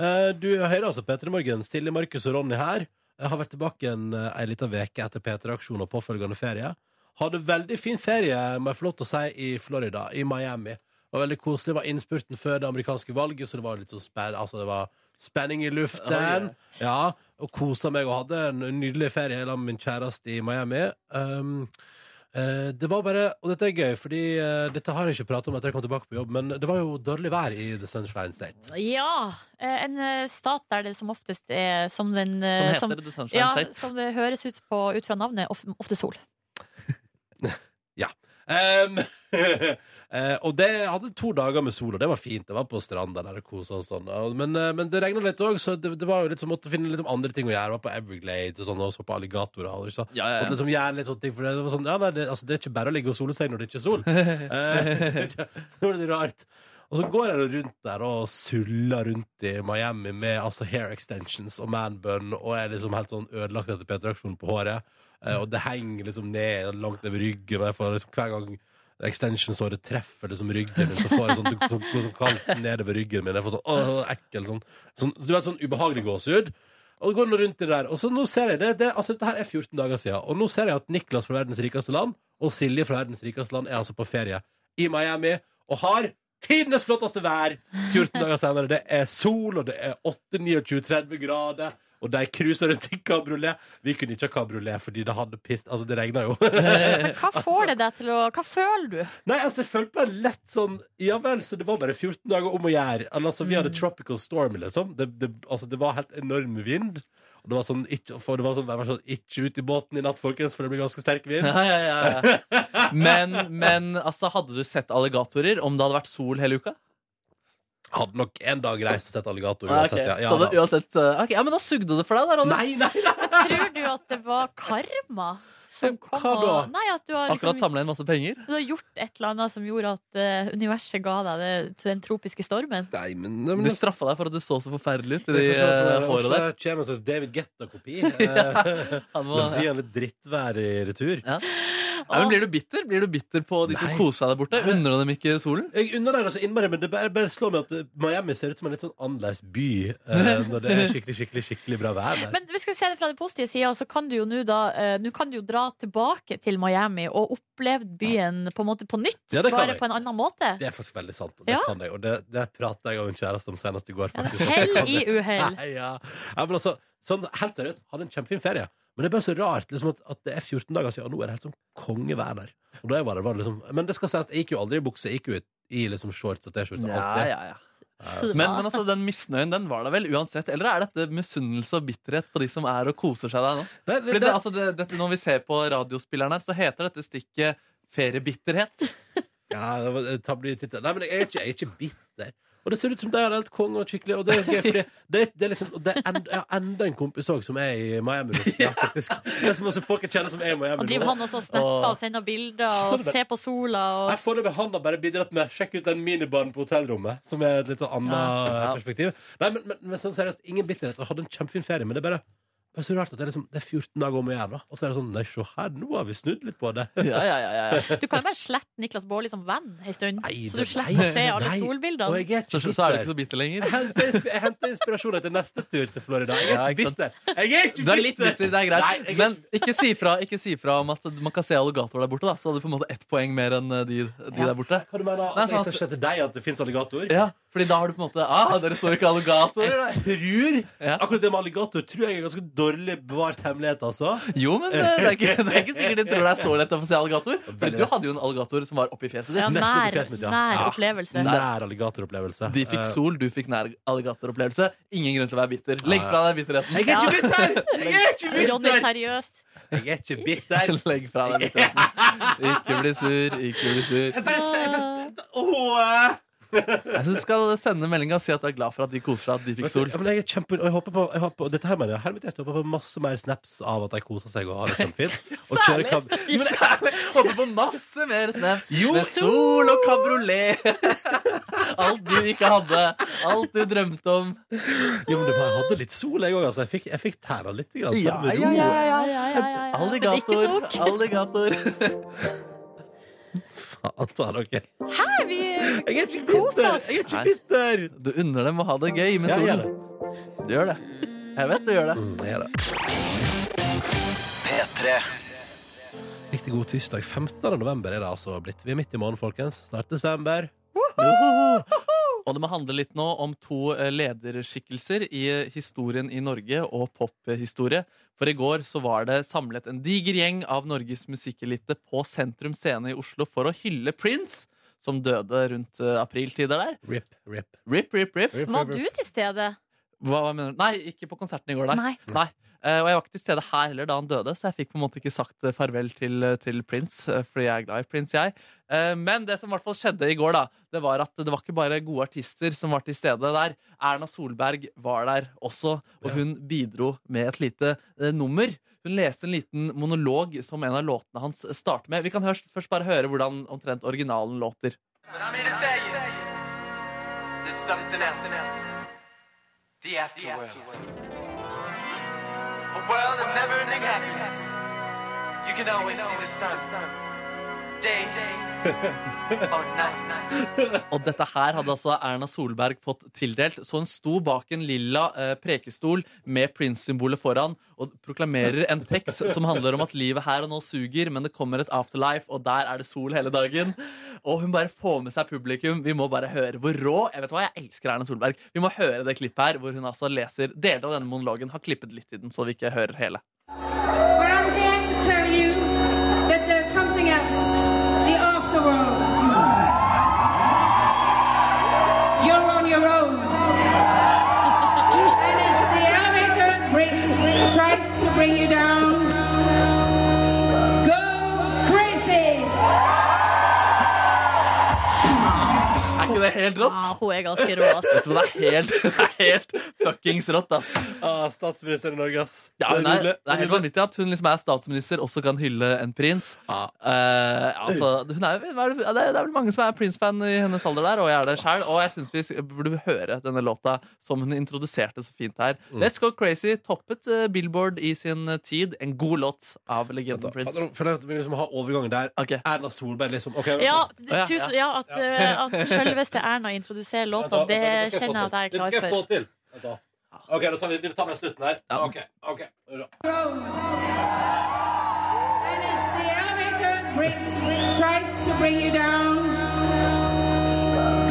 [SPEAKER 2] Eh, Du hører altså Petter i morgen. Stille Markus og Ronny her. Jeg har vært tilbake en, eh, ei lita veke etter P3-aksjon og påfølgende ferie. Hadde veldig fin ferie, må jeg få lov til å si, i Florida, i Miami. Det var veldig koselig. Det var innspurten før det amerikanske valget, så det var litt sånn spen altså, det var spenning i luften. Ja, og kosa meg og hadde en nydelig ferie sammen med min kjæreste i Miami. Um, eh, det var bare, og dette er gøy, fordi eh, dette har jeg ikke pratet om etter jeg kom tilbake på jobb, men det var jo dårlig vær i The Sunshine State.
[SPEAKER 3] Ja, eh, en eh, stat der det som oftest er som den
[SPEAKER 4] Som
[SPEAKER 3] eh,
[SPEAKER 4] heter The Sunshine
[SPEAKER 3] ja,
[SPEAKER 4] State.
[SPEAKER 3] som det høres ut på ut fra navnet, of- ofte sol.
[SPEAKER 2] Em, eh, og det jeg hadde to dager med sol, og det var fint. Det var på stranda der og kosa oss sånn. Og- Men, eh, men det regna litt òg, så det, det var jo litt sånn, måtte finne liksom andre ting å gjøre. Var på Everglades og sånn, og så på alligatorer. Og, ikke sant?
[SPEAKER 4] Ja, ja, ja.
[SPEAKER 2] Måtte liksom gjøre litt sånne ting, for det var sånn, ja, nei, det, altså, det er ikke bare å ligge og sole seg når det ikke er sol. Eh, så var det rart. Og så går jeg nå rundt der og suller rundt i Miami med altså, hair extensions og manbun og er liksom helt sånn ødelagt etter P3-aksjonen på håret. Eh, og det henger liksom ned langt over ryggen, og jeg får liksom hver gang extensions-håret treffer liksom ryggen min, så får jeg sånn, det går sånn kaldt nedover ryggen min. Jeg får sånn åh, ekkel sånn, sånn så Du vet, sånn ubehagelig gåsehud. Og det går nå rundt i det der. Og så nå ser jeg det, det Altså, dette her er 14 dager siden, og nå ser jeg at Niklas fra verdens rikeste land og Silje fra verdens rikeste land er altså på ferie i Miami og har tidenes flotteste vær 14 dager senere. Det er sol, og det er 8, 29, 30 grader. Og de cruiser rundt i kabriolet. Vi kunne ikke ha kabriolet fordi det hadde pist Altså, det regna jo.
[SPEAKER 3] Men hva får det deg til å Hva føler du?
[SPEAKER 2] Nei, altså, jeg følte meg lett sånn Ja vel, så det var bare 14 dager om å gjøre. Eller, Altså, vi
[SPEAKER 4] Mm.
[SPEAKER 2] hadde tropical storm, liksom. Det, det, altså, det var helt enorm vind. Og det var sånn, ikke, for det var sånn, jeg var sånn Ikke ut i båten i natt, folkens, for det blir ganske sterk vind.
[SPEAKER 4] Ja, ja, ja, ja. Men, men altså, hadde du sett alligatorer om det hadde vært sol hele uka?
[SPEAKER 2] Hadde nok en dag reist og sett alligator
[SPEAKER 4] Ah, ok.
[SPEAKER 2] uansett. Ja, ja,
[SPEAKER 4] så det,
[SPEAKER 2] da, altså.
[SPEAKER 4] uansett eh, ok, ja, men da sugde det for deg, da, Ronny.
[SPEAKER 2] Nei, nei, nei!
[SPEAKER 3] Tror du at det var karma som kom
[SPEAKER 2] Hva da?
[SPEAKER 3] og Nei, at du har, liksom,
[SPEAKER 4] Akkurat samla inn masse penger.
[SPEAKER 3] du har gjort et eller annet som gjorde at eh, universet ga deg det, til den tropiske stormen.
[SPEAKER 2] nei men, nei, men
[SPEAKER 4] De straffa deg for at du så så forferdelig ut i de
[SPEAKER 2] det er kanskje
[SPEAKER 4] eh,
[SPEAKER 2] sånn-
[SPEAKER 4] håra der.
[SPEAKER 2] kanskje det kommer en slags David Getta-kopi. Eh,
[SPEAKER 4] Han
[SPEAKER 2] La
[SPEAKER 4] må,
[SPEAKER 2] oss gi han litt drittvær i retur.
[SPEAKER 4] ja.
[SPEAKER 3] Å,
[SPEAKER 4] Nei, men blir du bitter? Blir du bitter på de som
[SPEAKER 2] Nei.
[SPEAKER 4] koser seg der borte? Unner du dem ikke solen?
[SPEAKER 2] Jeg unner deg det så innmari, men det bare, bare slår meg at eh, Miami ser ut som en litt sånn annerledes by eh, når det er skikkelig skikkelig, skikkelig bra vær der.
[SPEAKER 3] Men vi skal se det fra den positive sida, så kan du jo nå da eh, Nå kan du jo dra tilbake til Miami og oppleve byen på en måte på nytt,
[SPEAKER 2] Ja, det kan
[SPEAKER 3] bare
[SPEAKER 2] jeg.
[SPEAKER 3] på en annen måte.
[SPEAKER 2] Det er faktisk veldig sant, og det
[SPEAKER 3] Ja.
[SPEAKER 2] kan jeg. Og det, det prata jeg og en kjæreste om senest i går.
[SPEAKER 3] Ja, det
[SPEAKER 2] faktisk.
[SPEAKER 3] er Hell i uhell.
[SPEAKER 2] Nei, ja. ja, men altså, sånn, helt seriøst, hadde en kjempefin ferie. Men det er bare så rart liksom, at, at det er 14 dager siden, og nå er det helt sånn kongevær der. Og da jeg var der, var det liksom, men det skal sies, jeg gikk jo aldri i bukse. Jeg gikk jo i, i liksom shorts og T-skjorte. alltid.
[SPEAKER 4] Men, men altså, den misnøyen den var der vel uansett? Eller er dette misunnelse og bitterhet på de som er og koser seg der nå?
[SPEAKER 2] Nei, det-
[SPEAKER 4] Fordi det,
[SPEAKER 2] det-
[SPEAKER 4] altså, det, dette, når vi ser på radiospilleren her, så heter dette stikket feriebitterhet.
[SPEAKER 2] Ja, det var- det tar- blir litt- Nei, men jeg er ikke, jeg er ikke bitter. Og det ser ut som de har helt konge og skikkelig. Og det er gøy, fordi det, er- det er liksom og det er enda, Jeg har enda en kompis òg som er i Miami nå. Ja, faktisk. Det er så masse folk jeg kjenner som er i Miami
[SPEAKER 3] Og driver han også og snapper og sender bilder og
[SPEAKER 2] Sånn er det.
[SPEAKER 3] ser på sola
[SPEAKER 2] Jeg
[SPEAKER 3] og
[SPEAKER 2] Foreløpig han har bare bidratt med 'sjekk ut den minibaren på hotellrommet', som er et litt sånn annet
[SPEAKER 4] Ja.
[SPEAKER 2] perspektiv. Nei, men, men, men sånn seriøst, ingen bitterhet. Jeg hadde en kjempefin ferie, men det er bare det er så rart at det er, liksom, det er 14 dager om å gjøre, da. Og så er det sånn Nei, se her, nå har vi snudd litt på det.
[SPEAKER 4] Ja, ja, ja, ja.
[SPEAKER 3] Du kan jo bare slette Niklas Baarli som venn ei stund,
[SPEAKER 2] Nei,
[SPEAKER 3] så du
[SPEAKER 2] det-
[SPEAKER 3] slipper
[SPEAKER 2] nei,
[SPEAKER 3] å se alle
[SPEAKER 2] nei. Og
[SPEAKER 3] solbildene.
[SPEAKER 2] jeg er ikke
[SPEAKER 4] Så, så er du ikke
[SPEAKER 2] bitter.
[SPEAKER 4] så bitter lenger.
[SPEAKER 2] Jeg henter insp- Jeg henter inspirasjon etter neste tur til Florida. Jeg
[SPEAKER 4] Ja,
[SPEAKER 2] er
[SPEAKER 4] ikke
[SPEAKER 2] ikke
[SPEAKER 4] sant.
[SPEAKER 2] bitter. Jeg er ikke
[SPEAKER 4] Du er litt bitter, det er greit.
[SPEAKER 2] Nei, jeg er
[SPEAKER 4] Men ikke si fra, ikke si fra om at man kan se alligatorer der borte, da. Så hadde du på en måte ett poeng mer enn eh, de, de der borte.
[SPEAKER 2] Hva du mener
[SPEAKER 4] Nei,
[SPEAKER 2] at jeg
[SPEAKER 4] sånn
[SPEAKER 2] skal se til deg at det fins alligatorer?
[SPEAKER 4] Ja, fordi da har du på en måte Ah, dere så ikke alligatorer,
[SPEAKER 2] Jeg
[SPEAKER 4] nei.
[SPEAKER 2] tror
[SPEAKER 4] Ja.
[SPEAKER 2] Akkurat det med alligator tror jeg er ganske dårlig bevart hemmelighet, altså.
[SPEAKER 4] Jo, men eh, det er, ikke, det er ikke sikkert de tror det er så lett å få se alligator. Fordi du
[SPEAKER 2] Veldig lett.
[SPEAKER 4] hadde jo en alligator som var oppi fjeset
[SPEAKER 3] Ja,
[SPEAKER 4] ditt.
[SPEAKER 2] nesten
[SPEAKER 3] nær,
[SPEAKER 2] oppi fjeset mitt, ja.
[SPEAKER 3] nær
[SPEAKER 2] Ja.
[SPEAKER 3] opplevelse.
[SPEAKER 2] Nær alligatoropplevelse.
[SPEAKER 4] De fikk sol, du fikk nær alligatoropplevelse. Ingen grunn til å være bitter. Legg fra deg bitterheten.
[SPEAKER 2] Jeg er ikke bitter! Jeg er ikke
[SPEAKER 3] Ronny,
[SPEAKER 2] bitter!
[SPEAKER 3] seriøst.
[SPEAKER 2] Jeg er ikke bitter.
[SPEAKER 4] Legg fra deg bitterheten. Ikke bli sur, ikke bli sur.
[SPEAKER 2] Jeg bare ser Åh.
[SPEAKER 4] Jeg syns du skal sende meldinga og si at du er glad for at de koser seg, at de fikk
[SPEAKER 2] Vet du,
[SPEAKER 4] sol.
[SPEAKER 2] ja, men jeg er kjempe, og jeg håper på, jeg håper, dette her mener jeg hermetert. Jeg håper på masse mer snaps av at de koser seg og har det kjempefint. Og kjører kam-
[SPEAKER 4] Jo, men ærlig, Håper på masse mer snaps
[SPEAKER 2] Jo,
[SPEAKER 4] med sol og kabriolet. Alt du ikke hadde. Alt du drømte om.
[SPEAKER 2] Jo, men det var, jeg hadde litt sol, jeg òg. Altså. Jeg fikk, jeg fikk tæra litt. Grann,
[SPEAKER 4] Ja,
[SPEAKER 2] med
[SPEAKER 4] ja, ja,
[SPEAKER 2] ro.
[SPEAKER 3] Ja, ja, ja, ja, ja. Men
[SPEAKER 4] Alligator,
[SPEAKER 3] ikke nok.
[SPEAKER 4] alligator.
[SPEAKER 2] Faen ta dere.
[SPEAKER 3] Hæ, vi
[SPEAKER 2] Jeg er ikke
[SPEAKER 3] Kos
[SPEAKER 2] bitter!
[SPEAKER 3] oss.
[SPEAKER 2] Jeg er ikke
[SPEAKER 4] Nei.
[SPEAKER 2] bitter!
[SPEAKER 4] Du unner dem å ha det gøy med
[SPEAKER 2] Ja,
[SPEAKER 4] solen.
[SPEAKER 2] jeg gjør det.
[SPEAKER 4] Du gjør det. Jeg vet du gjør det.
[SPEAKER 2] Mm, jeg gjør det. Riktig god tirsdag. 15. november er det altså blitt. Vi er midt i måneden, folkens. Snart desember.
[SPEAKER 4] Og det må handle litt nå om to eh, lederskikkelser i eh, historien i Norge og pophistorie. For i går så var det samlet en diger gjeng av Norges musikkelite på Sentrum Scene i Oslo for å hylle Prince, som døde rundt eh, apriltider der.
[SPEAKER 2] Rip, rip,
[SPEAKER 4] Rip, rip, rip.
[SPEAKER 2] rip.
[SPEAKER 3] Var
[SPEAKER 2] rip,
[SPEAKER 3] du
[SPEAKER 2] rip.
[SPEAKER 3] til stede?
[SPEAKER 4] Hva, hva mener du? Nei, ikke på konserten i går, nei.
[SPEAKER 3] Nei.
[SPEAKER 4] Nei. Eh, og jeg var ikke til stede her heller da han døde, så jeg fikk på en måte ikke sagt eh, farvel til, eh, til Prince, eh, fordi jeg er glad i Prince, jeg. Eh, men det som i hvert fall skjedde i går, da, det var at det var ikke bare gode artister som var til stede der. Erna Solberg var der også, og hun bidro med et lite eh, nummer. Hun leste en liten monolog som en av låtene hans starter med. Vi kan hørs- først bare høre hvordan omtrent originalen låter.
[SPEAKER 9] But I'm here to tell you, there's something else. The afterworld. A world of never-ending happiness. You can always see the sun. Day or night.
[SPEAKER 4] Og dette her hadde altså Erna Solberg fått tildelt, så hun sto bak en lilla eh, prekestol med Prince-symbolet foran og proklamerer en tekst som handler om at livet her og nå suger, men det kommer et afterlife, og der er det sol hele dagen. Og hun bare får med seg publikum. Vi må bare høre hvor rå Jeg vet hva, jeg elsker Erna Solberg. Vi må høre det klippet her, hvor hun altså leser deler av denne monologen. Har klippet litt i den, så vi ikke hører hele.
[SPEAKER 10] But I'm here to tell you that there's something else, the afterworld. You're on your own. And if the elevator brings, tries to bring you down, go crazy.
[SPEAKER 4] Er ikke det helt rått.
[SPEAKER 3] Ja, hun er ganske rå, ass.
[SPEAKER 4] Vet du hva, det er helt, det er helt fuckings rått, ass.
[SPEAKER 2] Ah, statsminister i Norge, ass.
[SPEAKER 4] Ja, hun er, det er helt vanvittig at hun liksom er statsminister, også kan hylle en prins.
[SPEAKER 2] Ja.
[SPEAKER 4] Eh, altså, hun er, hva er det, det er vel mange som er Prince-fan i hennes alder der, og jeg er det sjøl. Og jeg syns vi sk- burde høre denne låta som hun introduserte så fint her.
[SPEAKER 2] Mm.
[SPEAKER 4] Let's Go Crazy toppet eh, Billboard i sin eh, tid. En god låt av legenden
[SPEAKER 2] Fader,
[SPEAKER 4] Prince.
[SPEAKER 2] nå føler jeg at vi liksom har overgangen der. Erna Solberg, liksom. Ok,
[SPEAKER 3] Ja,
[SPEAKER 2] nå-
[SPEAKER 3] det- tusen, ja at, eh, at selveste Erna introduserer låta, det kjenner jeg at jeg er klar
[SPEAKER 2] Det skal jeg få
[SPEAKER 3] for.
[SPEAKER 2] til. Vent da. Ok, da tar vi, vi tar med slutten her. Ok, ok.
[SPEAKER 10] The elevator brings, tries to bring you down.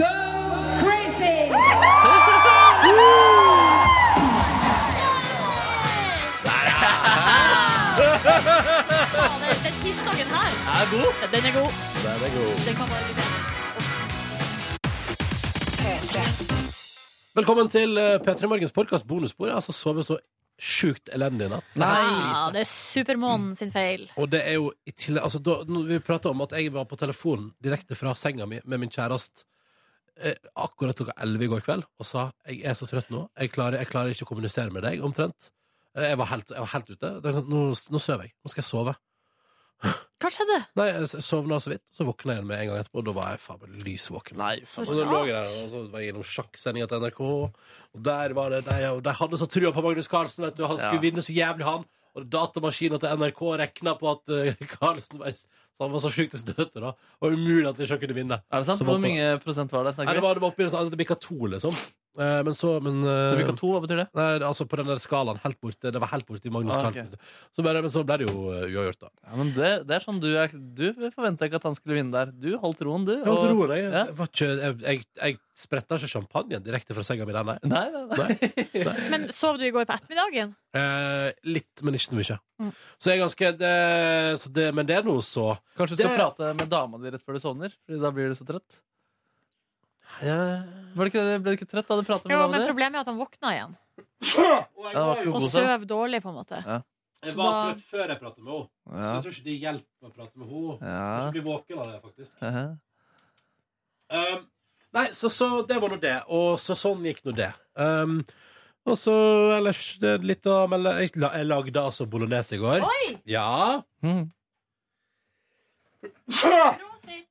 [SPEAKER 10] Go crazy!
[SPEAKER 3] Fader, Den tirsdagen her, den er god. Den kan bare bli bedre.
[SPEAKER 2] Velkommen til eh, P3 Morgens podkast bonusbord. Jeg har altså sovet så sjukt elendig i natt.
[SPEAKER 3] Ja, Ah, det er Supermånen sin feil.
[SPEAKER 2] Og det er jo i tillegg altså, da, når Vi prata om at jeg var på telefonen direkte fra senga mi med min kjæreste eh, akkurat klokka 11 i går kveld og sa jeg er så trøtt nå. Jeg klarer, jeg klarer ikke å kommunisere med deg, omtrent. Eh, Jeg var helt, jeg var helt ute. Det er sånn, nå, nå sover jeg. Nå skal jeg sove.
[SPEAKER 3] Hva skjedde?
[SPEAKER 2] Nei, Jeg sovna så vidt, så våkna jeg igjen med en gang etterpå. Og da var jeg faen meg lysvåken.
[SPEAKER 4] så
[SPEAKER 2] og da lå jeg der, og så var jeg innom sjakksendinga til NRK. Og der var det, de, de hadde så trua på Magnus Carlsen. Vet du, han skulle
[SPEAKER 4] Ja.
[SPEAKER 2] vinne så jævlig, han. Og datamaskina til NRK regna på at eh, Carlsen var, så han var så sjukt i støtet. da Og umulig at de ikke kunne vinne.
[SPEAKER 4] Er det sant?
[SPEAKER 2] Så
[SPEAKER 4] Hvor
[SPEAKER 2] måtte-
[SPEAKER 4] mange prosent var det?
[SPEAKER 2] Nei,
[SPEAKER 4] snakker
[SPEAKER 2] det
[SPEAKER 4] vi?
[SPEAKER 2] var, det var oppi det bikka to, liksom. Eh, men så men, eh,
[SPEAKER 4] Det blir to, hva betyr det?
[SPEAKER 2] Nei, altså På den der skalaen. Helt borte. Det var helt borte i Magnus
[SPEAKER 4] Ah, ok.
[SPEAKER 2] Carlsen. Så bare, men så ble det jo eh, uavgjort, da.
[SPEAKER 4] Ja, men det, det er sånn du er Du forventa ikke at han skulle vinne der. Du holdt roen, du.
[SPEAKER 2] Jeg holdt
[SPEAKER 4] og-
[SPEAKER 2] roen, jeg.
[SPEAKER 4] Ja.
[SPEAKER 2] Jeg, var ikke, jeg, jeg, jeg spretta ikke champagnen direkte fra senga mi, den, nei.
[SPEAKER 4] Nei, nei, nei.
[SPEAKER 3] Men sov du i går på ettermiddagen?
[SPEAKER 2] Eh, litt, men ikke så mye.
[SPEAKER 3] Mm.
[SPEAKER 2] Så jeg er ganske det, så det, Men det er noe så
[SPEAKER 4] Kanskje du skal
[SPEAKER 2] Det-
[SPEAKER 4] prate med dama di rett før du sovner? Fordi da blir du så trøtt. Var det ikke, det- ble du ikke trøtt da du pratet med
[SPEAKER 3] Jo, men
[SPEAKER 4] dama di?
[SPEAKER 3] problemet er at han våkna igjen.
[SPEAKER 4] Ja, det var ikke noe
[SPEAKER 3] Og
[SPEAKER 4] god søvn.
[SPEAKER 3] søv dårlig, på en måte.
[SPEAKER 4] Ja.
[SPEAKER 2] Jeg
[SPEAKER 3] Så
[SPEAKER 2] var
[SPEAKER 3] da-
[SPEAKER 2] trøtt før jeg pratet med henne, så
[SPEAKER 4] Ja.
[SPEAKER 2] jeg tror ikke det hjelper å prate med henne.
[SPEAKER 4] Ja.
[SPEAKER 2] Jeg tror ikke bli våken av det, faktisk.
[SPEAKER 4] Ehe.
[SPEAKER 2] Um, nei, så, så det var nå det. Og så sånn gikk nå det. Um, og så ellers det er litt å melde Jeg la- jeg lagde altså bolognese i går.
[SPEAKER 3] Oi!
[SPEAKER 2] Ja.
[SPEAKER 4] Mhm.
[SPEAKER 3] Prosit.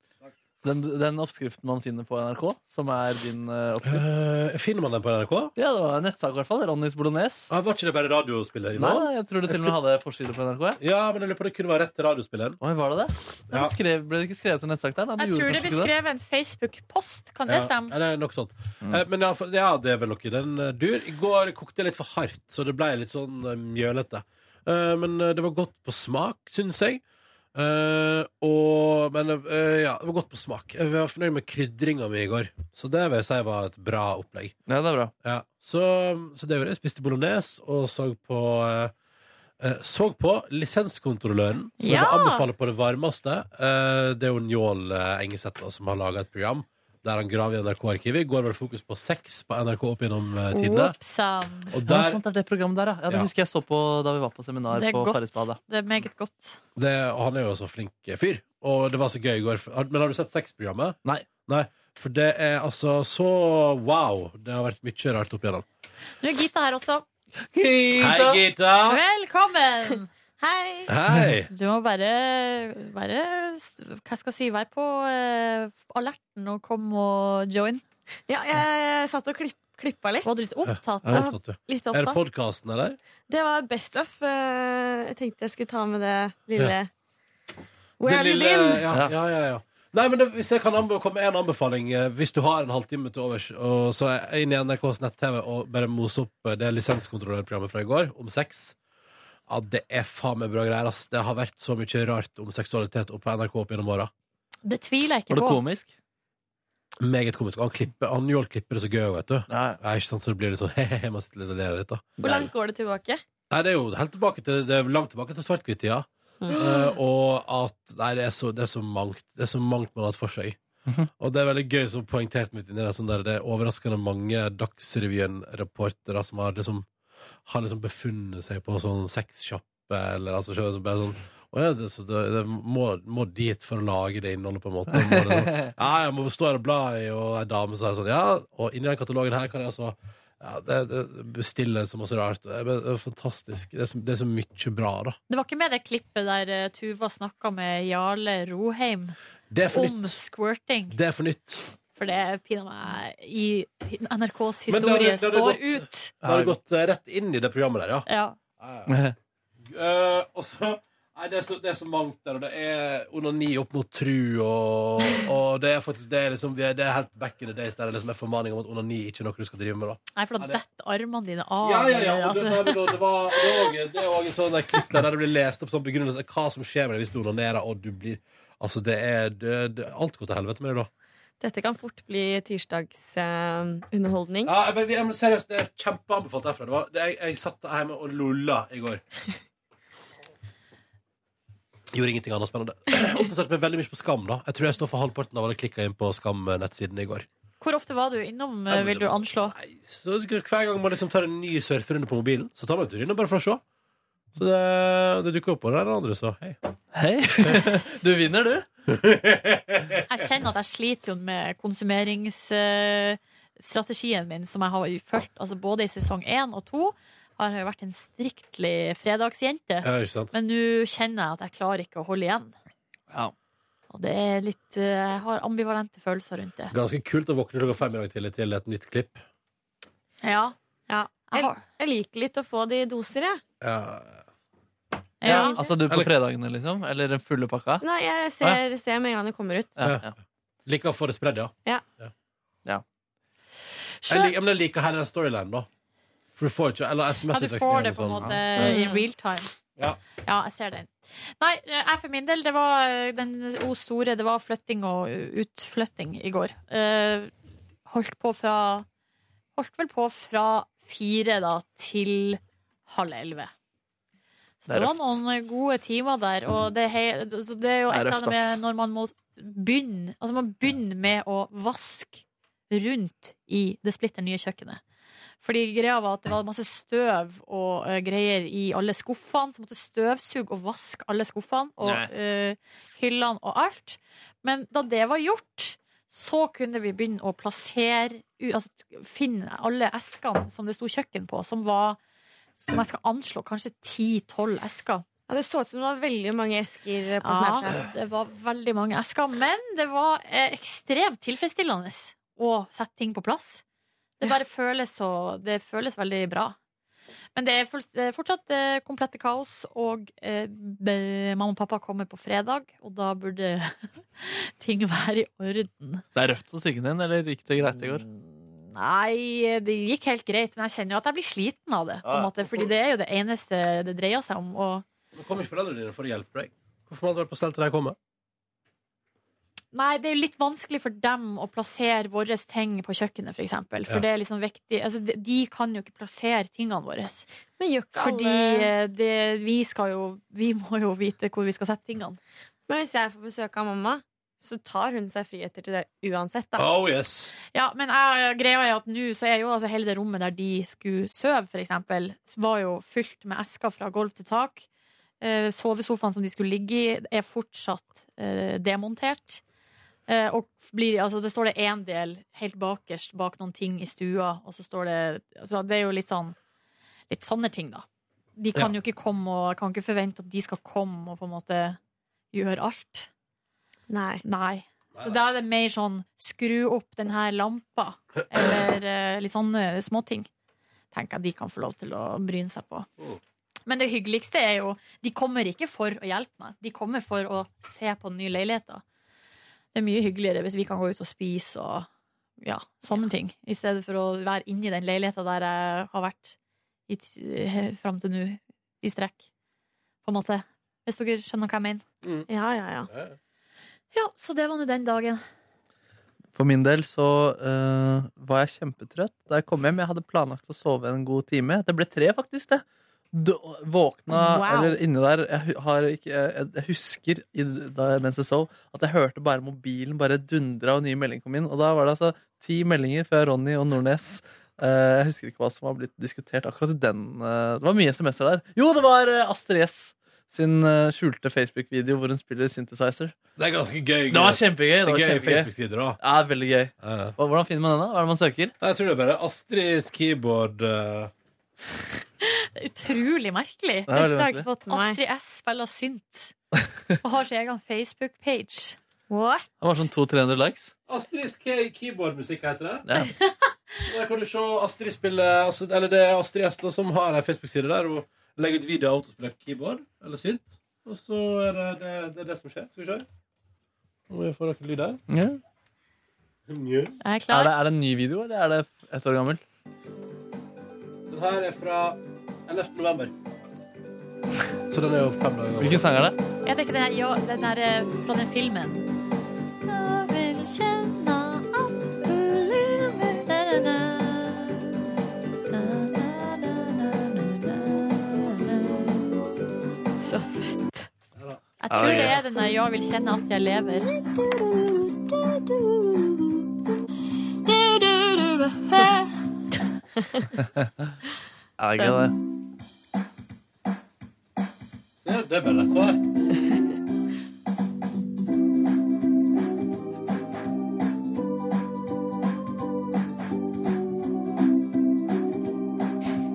[SPEAKER 4] Den, den oppskriften man finner på NRK, som er din eh, oppskrift.
[SPEAKER 2] Eh, finner man den på NRK?
[SPEAKER 4] Ja, det var en nettsak, i hvert fall. Ronnys bolognese.
[SPEAKER 2] Ah, var ikke det bare radiospiller i
[SPEAKER 4] Nei,
[SPEAKER 2] nå?
[SPEAKER 4] jeg tror det til og med hadde forside på NRK. jeg.
[SPEAKER 2] Ja, men jeg lurer på om det kunne være rett til radiospilleren.
[SPEAKER 4] Oi, var det det? Det
[SPEAKER 2] Ja.
[SPEAKER 4] ble skrevet- ble det ikke skrevet en nettsak der? Da?
[SPEAKER 3] Jeg
[SPEAKER 4] gjorde
[SPEAKER 3] tror det
[SPEAKER 4] kanskje
[SPEAKER 3] ble
[SPEAKER 4] ikke
[SPEAKER 3] skrevet en Facebook-post, kan det
[SPEAKER 2] Ja,
[SPEAKER 3] stemme?
[SPEAKER 2] Ja, det er nok sånt. Eh, Men i alle fall, ja, det er vel nok i den eh, dur. I går kokte jeg litt for hardt, så det ble litt sånn eh, mjølete. Eh, Men eh, det var godt på smak, syns jeg. Eh, og Men eh, ja, det var godt på smak. Jeg var fornøyd med krydringa mi i går, så det vil jeg si var et bra opplegg.
[SPEAKER 4] Ja, det er bra.
[SPEAKER 2] Ja. Så, så det gjorde jeg. Spiste bolognese og så på eh, eh, så på lisenskontrolløren, som jeg
[SPEAKER 3] Ja!
[SPEAKER 2] må anbefale på det varmeste. Eh, Det er jo Njål eh, Engeseth da, som har laga et program der han graver i NRK-arkivet. I går var det fokus på sex på NRK opp gjennom eh, tidene.
[SPEAKER 3] Oppsann.
[SPEAKER 2] Og
[SPEAKER 4] Ja,
[SPEAKER 2] der,
[SPEAKER 4] sant, det er det programmet der, ja. ja det
[SPEAKER 2] Ja.
[SPEAKER 4] husker jeg så på da vi var på seminar
[SPEAKER 3] Det er
[SPEAKER 4] på
[SPEAKER 3] godt.
[SPEAKER 4] Farrisbadet.
[SPEAKER 3] Det er meget godt.
[SPEAKER 2] det, og han er jo så flink eh, fyr. Og det var så gøy i går. Har- Men har du sett sexprogrammet?
[SPEAKER 4] Nei.
[SPEAKER 2] Nei. For det er altså så wow. Det har vært mye rart opp igjennom.
[SPEAKER 3] Nå er Gita her også.
[SPEAKER 2] Hei, Gita!
[SPEAKER 3] Velkommen! Hei!
[SPEAKER 2] Hei!
[SPEAKER 3] Du må bare, bare st- hva skal jeg si, være på eh, alerten og komme og join.
[SPEAKER 11] Ja, jeg satt og klipp, klippa litt.
[SPEAKER 3] Var du litt opptatt?
[SPEAKER 2] Jeg er opptatt, du.
[SPEAKER 11] Litt
[SPEAKER 2] Er det
[SPEAKER 11] opptatt.
[SPEAKER 2] podkasten, eller?
[SPEAKER 11] Det var best of. eh, Jeg tenkte jeg skulle ta med det lille
[SPEAKER 2] Ja.
[SPEAKER 11] Where
[SPEAKER 2] Det
[SPEAKER 11] have you
[SPEAKER 2] lille-
[SPEAKER 11] been?
[SPEAKER 2] Ja, ja, ja, ja. Nei, men det, hvis jeg kan anbe- komme med en anbefaling eh, Hvis du har en halvtime til overs og Så er jeg inn i NRKs nett-tv Og bare mose opp eh, det lisenskontrollørprogrammet fra i går Om sex Ja, det er faen meg bra greier ass. Det har vært så mye rart om seksualitet opp på NRK opp gjennom åra
[SPEAKER 3] Det tviler jeg ikke
[SPEAKER 4] Var det
[SPEAKER 3] på.
[SPEAKER 4] komisk?
[SPEAKER 2] Meget komisk Han, klipper, han Joel klipper det så gøy, vet du
[SPEAKER 4] Ja.
[SPEAKER 2] ja, ikke sant, så det blir litt sånn Hehehe, man sitter litt og ler litt da
[SPEAKER 11] Hvor langt går det tilbake?
[SPEAKER 2] Nei, det er jo helt tilbake til Det er langt tilbake til svart-hvitt-tida
[SPEAKER 11] Mm.
[SPEAKER 2] Eh, og at Nei, det er, så, det er så mangt Det er så mangt man har hatt for seg. Og det er veldig gøy, som poengtert midt inni der, sånn der, det er overraskende mange Dagsrevyen-reportere som har liksom har liksom befunnet seg på sånn sexsjappe, eller altså så- så bare sånn Å ja, det, så det, det må, må dit for å lage det innholdet, på en måte. Må det, ja, jeg må stå her og bla i, og ei dame som er sånn Ja, og inni den katalogen her kan jeg altså ja, det, det bestille så masse rart. Det er fantastisk. Det er så, det er så mye bra, da.
[SPEAKER 3] Det var ikke med det klippet der eh, Tuva snakka med Jarle Roheim
[SPEAKER 2] Det er for
[SPEAKER 3] om
[SPEAKER 2] nytt.
[SPEAKER 3] squirting.
[SPEAKER 2] Det er for nytt.
[SPEAKER 3] For det er pinadø meg i NRKs
[SPEAKER 2] Men det hadde-
[SPEAKER 3] historie
[SPEAKER 2] det hadde
[SPEAKER 3] står
[SPEAKER 2] gått-
[SPEAKER 3] ut.
[SPEAKER 2] Da har du gått eh, rett inn i det programmet der, ja.
[SPEAKER 3] Ja.
[SPEAKER 2] Eh, og så Nei, det er, så, det er så mangt der, og det er onani opp mot tru, og, og det er faktisk det er liksom, vi er, det er helt back in the days der det liksom er formaning om at onani ikke er noe du skal drive med, da.
[SPEAKER 3] Nei, for da detter armene dine av.
[SPEAKER 2] Ja, ja, ja. Og det,
[SPEAKER 3] altså.
[SPEAKER 2] der, det var det er også- det er også en sånn der klipp der det blir lest opp sånn begrunnelse hva som skjer med deg hvis du onanerer, og du blir Altså, det er det, det, Alt går til helvete med deg da.
[SPEAKER 11] Dette kan fort bli tirsdagsunderholdning.
[SPEAKER 2] Ja, jeg, men- jeg, men seriøst, det er kjempeanbefalt herfra. Det var, det, jeg, jeg satt hjemme og lulla i går. Gjorde ingenting annet spennende. Oppdaterte meg veldig mye på Skam. da Jeg tror jeg står for halvparten av alle klikka inn på Skam-nettsiden i går.
[SPEAKER 3] Hvor ofte var du innom, eh, vil du anslå?
[SPEAKER 2] Så Hver gang man liksom tar en ny surferunde på mobilen, så tar man en tur innom bare for å se. Så det, det dukker opp, og der er andre, så hei.
[SPEAKER 4] Du vinner, du.
[SPEAKER 3] Jeg kjenner at jeg sliter jo med konsumeringsstrategien min, som jeg har fulgt altså både i sesong én og to. Har jeg jo vært en striktlig fredagsjente.
[SPEAKER 2] Ja, ikke sant.
[SPEAKER 3] Men nå kjenner jeg at jeg klarer ikke å holde igjen.
[SPEAKER 4] Ja.
[SPEAKER 3] Og det er litt eh, Jeg har ambivalente følelser rundt det.
[SPEAKER 2] Ganske kult å våkne klokka fem i dag tidlig til et nytt klipp.
[SPEAKER 3] Ja.
[SPEAKER 11] Jeg, jeg liker litt å få det i doser, jeg.
[SPEAKER 2] Ja.
[SPEAKER 11] Ja.
[SPEAKER 4] Altså du på fredagene, liksom? Eller den fulle pakka?
[SPEAKER 11] Nei, jeg ser, ser med en gang det kommer ut.
[SPEAKER 4] Ja, ja.
[SPEAKER 2] Liker å få det spredd, ja.
[SPEAKER 11] Ja.
[SPEAKER 4] Ja.
[SPEAKER 2] Jeg liker, men jeg liker hele den storylinen, da. For du får ikke Eller
[SPEAKER 3] Ja,
[SPEAKER 2] SMS-utveksling.
[SPEAKER 3] du får det på en måte i real time.
[SPEAKER 2] Ja.
[SPEAKER 3] Ja, jeg ser den. Nei, eh, jeg for min del, det var eh, den O store, det var flytting og utflytting i går. Eh, holdt på fra Holdt vel på fra fire da til halv elleve. Så
[SPEAKER 11] Det er
[SPEAKER 3] det var
[SPEAKER 11] røft.
[SPEAKER 3] noen eh, gode timer der, og det, er he- så det er
[SPEAKER 11] Det er
[SPEAKER 3] jo et eller
[SPEAKER 11] røft,
[SPEAKER 3] annet
[SPEAKER 11] ass.
[SPEAKER 3] med når man må begynne Altså man begynner med å vaske rundt i det splitter nye kjøkkenet. Fordi greia var at det var masse støv og eh, greier i alle skuffene, så måtte støvsuge og vaske alle skuffene og
[SPEAKER 11] Nei.
[SPEAKER 3] eh, hyllene og alt. Men da det var gjort, så kunne vi begynne å plassere u- Altså t- finne alle eskene som det sto kjøkken på, som var som jeg skal anslå kanskje 10-12 esker.
[SPEAKER 11] Ja, det så ut som det var veldig mange esker på
[SPEAKER 3] Ja,
[SPEAKER 11] Snapchat.
[SPEAKER 3] det var veldig mange esker, men det var eh, ekstremt tilfredsstillende å sette ting på plass. Det bare føles så Det føles veldig bra. Men det er full- det er fortsatt eh, komplette kaos, og eh, be- mamma og pappa kommer på fredag, og da burde ting være i orden.
[SPEAKER 4] Det er røft for psyken din, eller gikk det greit i går?
[SPEAKER 3] Nei, det gikk helt greit, men jeg kjenner jo at jeg blir sliten av det. På en
[SPEAKER 2] Ja.
[SPEAKER 3] måte, fordi det er jo det eneste det dreier seg om. Og
[SPEAKER 2] Nå sånn- kommer ikke foreldrene dine for å hjelpe deg. Hvorfor må alt være på stell til de kommer?
[SPEAKER 3] Nei, det er jo litt vanskelig for dem å plassere våre ting på kjøkkenet, for eksempel. For
[SPEAKER 11] Ja.
[SPEAKER 3] det er liksom viktig altså, de, de kan jo ikke plassere tingene våre.
[SPEAKER 11] Men gjør ikke
[SPEAKER 3] Fordi
[SPEAKER 11] alle
[SPEAKER 3] eh, det, vi skal jo Vi må jo vite hvor vi skal sette tingene.
[SPEAKER 11] Men hvis jeg får besøk av mamma, så tar hun seg friheter til det uansett, da.
[SPEAKER 2] Oh yes.
[SPEAKER 3] Ja, men jeg, greia er at nå så er jo altså hele det rommet der de skulle sove, for eksempel, var jo fylt med esker fra gulv til tak. Eh, sovesofaen som de skulle ligge i, er fortsatt eh, demontert. Eh, og blir, altså, det står det én del helt bakerst bak noen ting i stua, og så står det altså, Det er jo litt sånn Litt sånne ting, da. De kan
[SPEAKER 11] Ja.
[SPEAKER 3] jo ikke komme og jeg kan ikke forvente at de skal komme og på en måte gjøre alt.
[SPEAKER 11] Nei.
[SPEAKER 3] Så da er det mer sånn skru opp den her lampa, eller eh, litt sånne småting. Tenker jeg de kan få lov til å bryne seg på. Men det hyggeligste er jo De kommer ikke for å hjelpe meg, de kommer for å se på den nye leiligheten. Det er mye hyggeligere hvis vi kan gå ut og spise og ja, sånne ting, i stedet for å være inni den leiligheten der jeg har vært i t- fram til nå, i strekk. På en måte. Hvis dere skjønner hva jeg mener.
[SPEAKER 11] Ja, ja, ja.
[SPEAKER 3] Ja, så det var nå den dagen.
[SPEAKER 4] For min del så eh, var jeg kjempetrøtt da jeg kom hjem. Jeg hadde planlagt å sove en god time. Det ble tre, faktisk, det. Du, våkna
[SPEAKER 7] Wow.
[SPEAKER 4] eller inne der Jeg, hu- har ikke, jeg, jeg husker i, da, mens jeg sov, at jeg hørte bare mobilen bare dundra, og nye meldinger kom inn. Og da var det altså ti meldinger fra Ronny og Nordnes. Eh, jeg husker ikke hva som har blitt diskutert akkurat i den. eh, det var mye SMS-er der. Jo, det var eh, Astrid S sin eh, skjulte Facebook-video hvor hun spiller synthesizer.
[SPEAKER 2] Det er ganske gøy.
[SPEAKER 4] Det var kjempegøy.
[SPEAKER 2] Det
[SPEAKER 4] Det
[SPEAKER 2] er
[SPEAKER 4] var
[SPEAKER 2] gøy
[SPEAKER 4] kjempegøy.
[SPEAKER 2] Facebook-sider òg.
[SPEAKER 4] Ja, veldig gøy. Hva- Hvordan finner man den, da? Hva er det man søker?
[SPEAKER 2] Jeg tror det er bare Astrid's keyboard eh,
[SPEAKER 3] Utrolig merkelig.
[SPEAKER 2] Det er veldig Dette har jeg merkelig. ikke
[SPEAKER 8] fått med meg.
[SPEAKER 3] Astrid S spiller synt. Og har sin egen Facebook-page.
[SPEAKER 8] What?
[SPEAKER 4] Det var sånn 200-300 likes.
[SPEAKER 2] Astrid's key- keyboardmusikk heter det. Der kan du se Astrid spille altså, Eller det er Astrid Estland som har ei Facebook-side der. Hun legger ut video av autospillert keyboard eller synt. Og så er det det, det, er det som skjer. Skal vi se. Må jeg få noe lyd her?
[SPEAKER 4] Ja.
[SPEAKER 2] Nja.
[SPEAKER 3] Er,
[SPEAKER 4] er, det, er det en ny video, eller er det ett år gammel?
[SPEAKER 2] Den her er fra 11. november. Så den er jo fem dager gammel.
[SPEAKER 4] Hvilken sang er det?
[SPEAKER 3] Er det ikke den, her- ja, den der eh, fra den filmen? Jeg vil kjenne at du lever na, na, na. Na, na, na, na, na, na, na.
[SPEAKER 8] Så fett.
[SPEAKER 3] Jeg tror det er den der 'Jeg vil kjenne at jeg lever'.
[SPEAKER 4] Er det ikke det?
[SPEAKER 2] Ja, det er bare rett på her.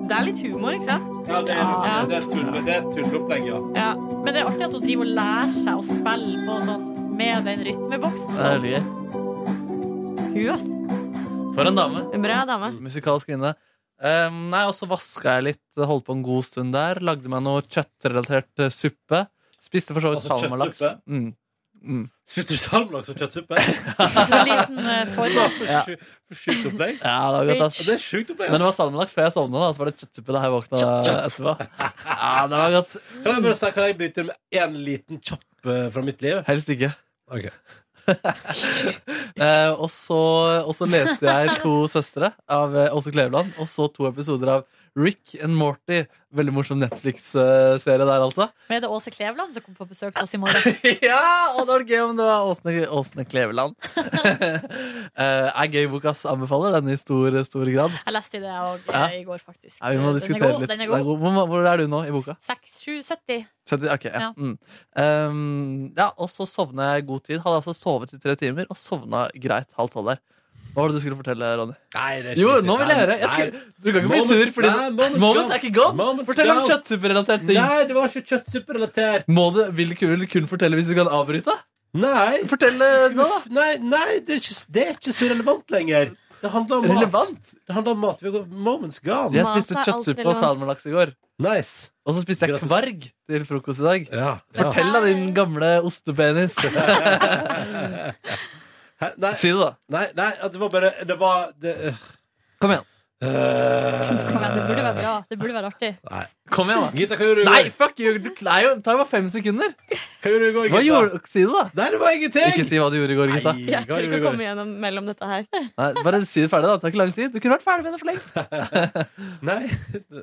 [SPEAKER 8] Det er litt humor, ikke sant?
[SPEAKER 2] Ja, det
[SPEAKER 8] Ja.
[SPEAKER 2] er, det er, tull, det er tulleopplegg, ja.
[SPEAKER 8] Ja.
[SPEAKER 3] Men det er artig at hun driver og lærer seg å spille på sånn med den rytmeboksen. og
[SPEAKER 4] Det er
[SPEAKER 3] Sånn.
[SPEAKER 4] veldig gøy.
[SPEAKER 8] Hun, ass.
[SPEAKER 4] For en dame.
[SPEAKER 8] En bra dame.
[SPEAKER 4] Musikalsk kvinne. Ehm, nei, og så vaska jeg litt, holdt på en god stund der. Lagde meg noe kjøttrelatert eh, suppe. Spiste for så vidt
[SPEAKER 2] Altså,
[SPEAKER 4] salmalaks.
[SPEAKER 2] kjøttsuppe?
[SPEAKER 4] Mm. Mm.
[SPEAKER 2] Spiste du salmalaks og kjøttsuppe?
[SPEAKER 3] Så liten eh, form.
[SPEAKER 4] Ja.
[SPEAKER 2] For sju- for sjukt opplegg.
[SPEAKER 4] Ja, det var godt, ass.
[SPEAKER 2] Det er sjukt opplegg.
[SPEAKER 4] Men det var salmalaks før jeg sovna, da. Så var det kjøttsuppe da jeg våkna etterpå. Ja, det var godt.
[SPEAKER 2] Kan jeg bare si, kan jeg bytte med en liten kjapp eh, fra mitt liv?
[SPEAKER 4] Helst ikke.
[SPEAKER 2] Ok.
[SPEAKER 4] Eh, og, så, og så leste jeg To søstre av eh, Åse Kleveland, og så to episoder av Rick and Morty. Veldig morsom Netflix-serie der, altså.
[SPEAKER 3] Med det Åse Kleveland som kommer på besøk til oss i morgen.
[SPEAKER 4] ja, og det var gøy om det var Åsne, Åsne Kleveland. Eh, er gøy bok, ass. Anbefaler den i stor, stor grad.
[SPEAKER 3] Jeg leste det også,
[SPEAKER 4] Ja.
[SPEAKER 3] eh, i går, faktisk.
[SPEAKER 4] Ja, vi må
[SPEAKER 3] Den er
[SPEAKER 4] diskutere
[SPEAKER 3] god,
[SPEAKER 4] litt.
[SPEAKER 3] Den
[SPEAKER 4] Den
[SPEAKER 3] er
[SPEAKER 4] er
[SPEAKER 3] god.
[SPEAKER 4] god. Hvor, hvor er du nå i boka?
[SPEAKER 3] 6-7-70.
[SPEAKER 4] 70, ok, ja.
[SPEAKER 3] Ja.
[SPEAKER 4] Mm. Ehm, ja, og så sovna jeg i god tid. Hadde altså sovet i tre timer, og sovna greit halv tolv der. Hva var det du skulle fortelle, Ronny?
[SPEAKER 2] Nei, det er ikke
[SPEAKER 4] Jo,
[SPEAKER 2] riktig.
[SPEAKER 4] nå vil jeg høre. Jeg
[SPEAKER 2] Nei.
[SPEAKER 4] skulle, du kan ikke bli
[SPEAKER 2] Moment-
[SPEAKER 4] sur, fordi
[SPEAKER 2] Nei,
[SPEAKER 4] moment, er
[SPEAKER 2] moment's gone.
[SPEAKER 4] ikke gone.
[SPEAKER 2] Moment's
[SPEAKER 4] Fortell om
[SPEAKER 2] gone.
[SPEAKER 4] kjøttsuppe-relaterte ting.
[SPEAKER 2] Nei, det var ikke kjøttsuppe-relatert.
[SPEAKER 4] Må du, vil du kun- kun fortelle hvis du kan avbryte?
[SPEAKER 2] Nei.
[SPEAKER 4] Fortell eh, nå, da.
[SPEAKER 2] Nei, nei det, er ikke, det er ikke så relevant lenger. Det handler om
[SPEAKER 4] Relevant?
[SPEAKER 2] mat. Det handler om mat. Vi går, moments gone.
[SPEAKER 4] Jeg
[SPEAKER 8] Mat er
[SPEAKER 4] spiste
[SPEAKER 8] alt
[SPEAKER 4] kjøttsuppe og
[SPEAKER 8] relevant.
[SPEAKER 4] salmalaks i går.
[SPEAKER 2] Nice.
[SPEAKER 4] Og så spiste jeg
[SPEAKER 2] Gratulerer.
[SPEAKER 4] kvarg til frokost i dag.
[SPEAKER 2] Ja, ja.
[SPEAKER 4] Fortell da, din gamle ostepenis.
[SPEAKER 2] Hæ? Nei,
[SPEAKER 4] si det, da.
[SPEAKER 2] nei, nei, det var bare Det var det, eh,
[SPEAKER 4] Kom igjen.
[SPEAKER 3] Kom igjen, det burde være bra. Det burde være artig.
[SPEAKER 2] Nei.
[SPEAKER 4] Kom igjen, da.
[SPEAKER 2] Gita, hva gjorde du i
[SPEAKER 4] Nei,
[SPEAKER 2] går?
[SPEAKER 4] fuck you! Du klei jo Det tar jo bare fem sekunder.
[SPEAKER 2] Hva gjorde du i går,
[SPEAKER 4] Hva gjorde du? Si det, da.
[SPEAKER 2] Nei, det var ingenting!
[SPEAKER 4] Ikke si hva du gjorde i går, gutta.
[SPEAKER 2] Nei,
[SPEAKER 8] Jeg
[SPEAKER 2] hva
[SPEAKER 8] tør
[SPEAKER 2] gjorde
[SPEAKER 8] ikke
[SPEAKER 2] du
[SPEAKER 8] å
[SPEAKER 2] i går?
[SPEAKER 8] komme gjennom mellom dette her.
[SPEAKER 4] Nei, bare si det ferdig, da. Det tar ikke lang tid. Du kunne vært ferdig med det for lengst.
[SPEAKER 2] Nei,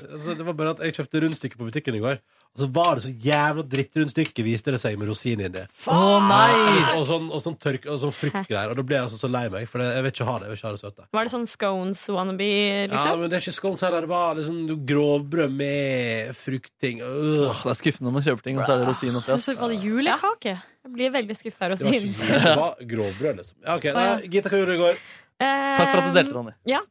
[SPEAKER 2] altså, det var bare at jeg kjøpte rundstykke på butikken i går. Og så var det så jævla dritt rundstykke, viste det seg, med rosin i det.
[SPEAKER 4] Å nei!
[SPEAKER 2] Og sånn, og sånn tørk og sånn fruktgreier. Og da ble jeg altså så lei meg, for jeg vil ikke ha det. Jeg vil ikke ha det søte.
[SPEAKER 8] Var det sånn scones wannabe,
[SPEAKER 2] Ja,
[SPEAKER 8] liksom?
[SPEAKER 2] men det er ikke scones heller. Det var liksom grovbrød med fruktting. Øh.
[SPEAKER 4] Det er skuffende når man kjøper ting, og så er det rosin oppi. ass.
[SPEAKER 3] Så var det julekake.
[SPEAKER 8] Jeg blir veldig skuffa her hos
[SPEAKER 2] Det var, ikke,
[SPEAKER 8] Jimsen.
[SPEAKER 2] det var grovbrød, liksom. Ja, ok, nei, Gita, hva gjorde du i går?
[SPEAKER 4] Takk for at du delte, Ronny.
[SPEAKER 8] Ja.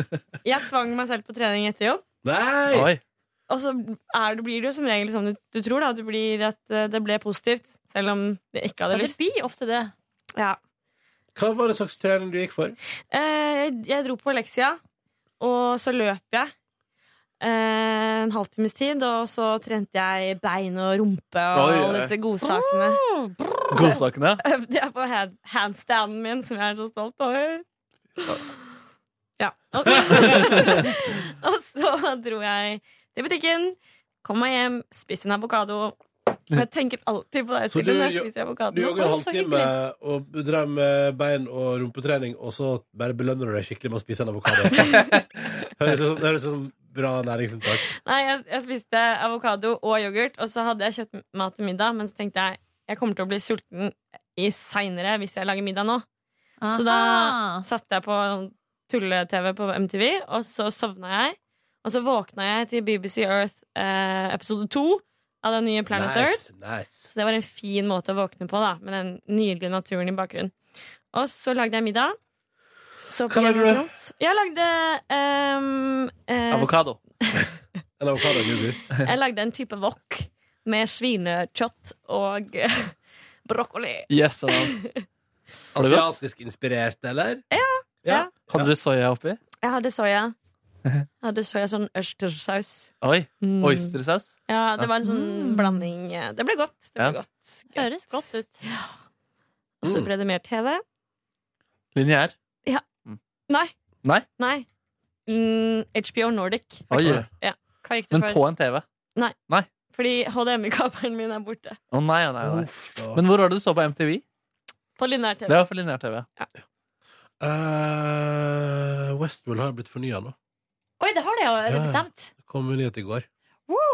[SPEAKER 8] Eh, Jeg tvang meg selv på trening etter jobb.
[SPEAKER 2] Nei!
[SPEAKER 4] Oi.
[SPEAKER 8] Og så er det, blir det jo som regel sånn du, du tror, da. Du blir at eh, det ble positivt, selv om du ikke
[SPEAKER 3] Ja,
[SPEAKER 8] hadde
[SPEAKER 3] det
[SPEAKER 8] lyst.
[SPEAKER 3] blir ofte det.
[SPEAKER 8] Ja.
[SPEAKER 2] Hva var det slags trening du gikk for?
[SPEAKER 8] Eh, jeg- jeg dro på leksia, og så løp jeg eh, en halvtimes tid. Og så trente jeg bein og rumpe og
[SPEAKER 4] Oi, oi.
[SPEAKER 8] alle disse godsakene.
[SPEAKER 4] Godsakene.
[SPEAKER 8] Øvde jeg på hand handstanden min, som jeg er så stolt over. Ja. Og så, og så dro jeg til butikken, kom meg hjem, spiste en avokado. Men jeg tenker alltid på det
[SPEAKER 2] Så
[SPEAKER 8] til når
[SPEAKER 2] du
[SPEAKER 8] jeg
[SPEAKER 2] jo-
[SPEAKER 8] spiser avokado.
[SPEAKER 2] Du jogga en
[SPEAKER 8] Å, så
[SPEAKER 2] halvtime
[SPEAKER 8] hyggelig.
[SPEAKER 2] og drev med bein- og rumpetrening, og så bare belønner du deg skikkelig med å spise en avokado. Høres ut som, høres ut som bra næringsinntak.
[SPEAKER 8] Nei, jeg, jeg spiste avokado og yoghurt, og så hadde jeg kjøpt mat til middag, men så tenkte jeg jeg kommer til å bli sulten i seinere hvis jeg lager middag nå. Så da
[SPEAKER 3] Aha.
[SPEAKER 8] satte jeg på tulle-TV på MTV, og så sovna jeg. Og så våkna jeg til BBC Earth eh, episode to av den nye Planet
[SPEAKER 2] Nice,
[SPEAKER 8] Earth.
[SPEAKER 2] nice.
[SPEAKER 8] Så det var en fin måte å våkne på, da, med den nydelige naturen i bakgrunnen. Og så lagde jeg middag. Så
[SPEAKER 2] Hva lagde du?
[SPEAKER 8] Hjemmefrokost. Jeg lagde ehm, eh,
[SPEAKER 4] Avokado.
[SPEAKER 2] En avokado og yoghurt.
[SPEAKER 8] Jeg lagde en type wok med svinekjøtt og eh, brokkoli.
[SPEAKER 4] Yes, da. Har du godt?
[SPEAKER 2] Asiatisk inspirert, eller?
[SPEAKER 8] Ja, ja.
[SPEAKER 4] Hadde du soya oppi?
[SPEAKER 8] Jeg hadde soya. Jeg hadde soya sånn østersaus.
[SPEAKER 4] Oi. Oystersaus?
[SPEAKER 8] Ja, det var en sånn blanding. eh, Det ble godt. Det ble
[SPEAKER 4] Ja.
[SPEAKER 8] godt. Høres godt ut. Ja. Og så ble det mer TV.
[SPEAKER 4] Lineær?
[SPEAKER 8] Ja. Nei.
[SPEAKER 4] Nei?
[SPEAKER 8] Nei. Mm, HBO Nordic.
[SPEAKER 4] Oi.
[SPEAKER 8] faktisk. Ja.
[SPEAKER 4] Men på en TV?
[SPEAKER 8] Nei.
[SPEAKER 4] Nei.
[SPEAKER 8] Fordi HDMI-kabelen min er borte.
[SPEAKER 4] Å nei, å nei, å nei. Men hvor var det du så på MTV?
[SPEAKER 8] På lineær TV.
[SPEAKER 4] Det var for lineær-TV.
[SPEAKER 2] Eh, Westworld har blitt fornya nå.
[SPEAKER 3] Oi, det har det jo er det
[SPEAKER 2] Ja, ja.
[SPEAKER 3] bestemt.
[SPEAKER 2] Det kom jo nyhet i går.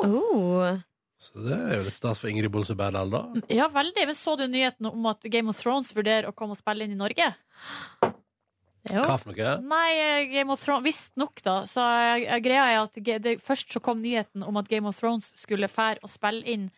[SPEAKER 8] Oh.
[SPEAKER 2] Så det er jo litt stas for Ingrid Bolse Berdal, da.
[SPEAKER 3] Ja, veldig. Men så du nyheten om at Game of Thrones vurderer å komme og spille inn i Norge? Jo.
[SPEAKER 2] Hva for noe?
[SPEAKER 3] Nei, eh, Game of Thrones Visstnok, da. Så eh, greia er at ge- det, først så kom nyheten om at Game of Thrones skulle fære og spille inn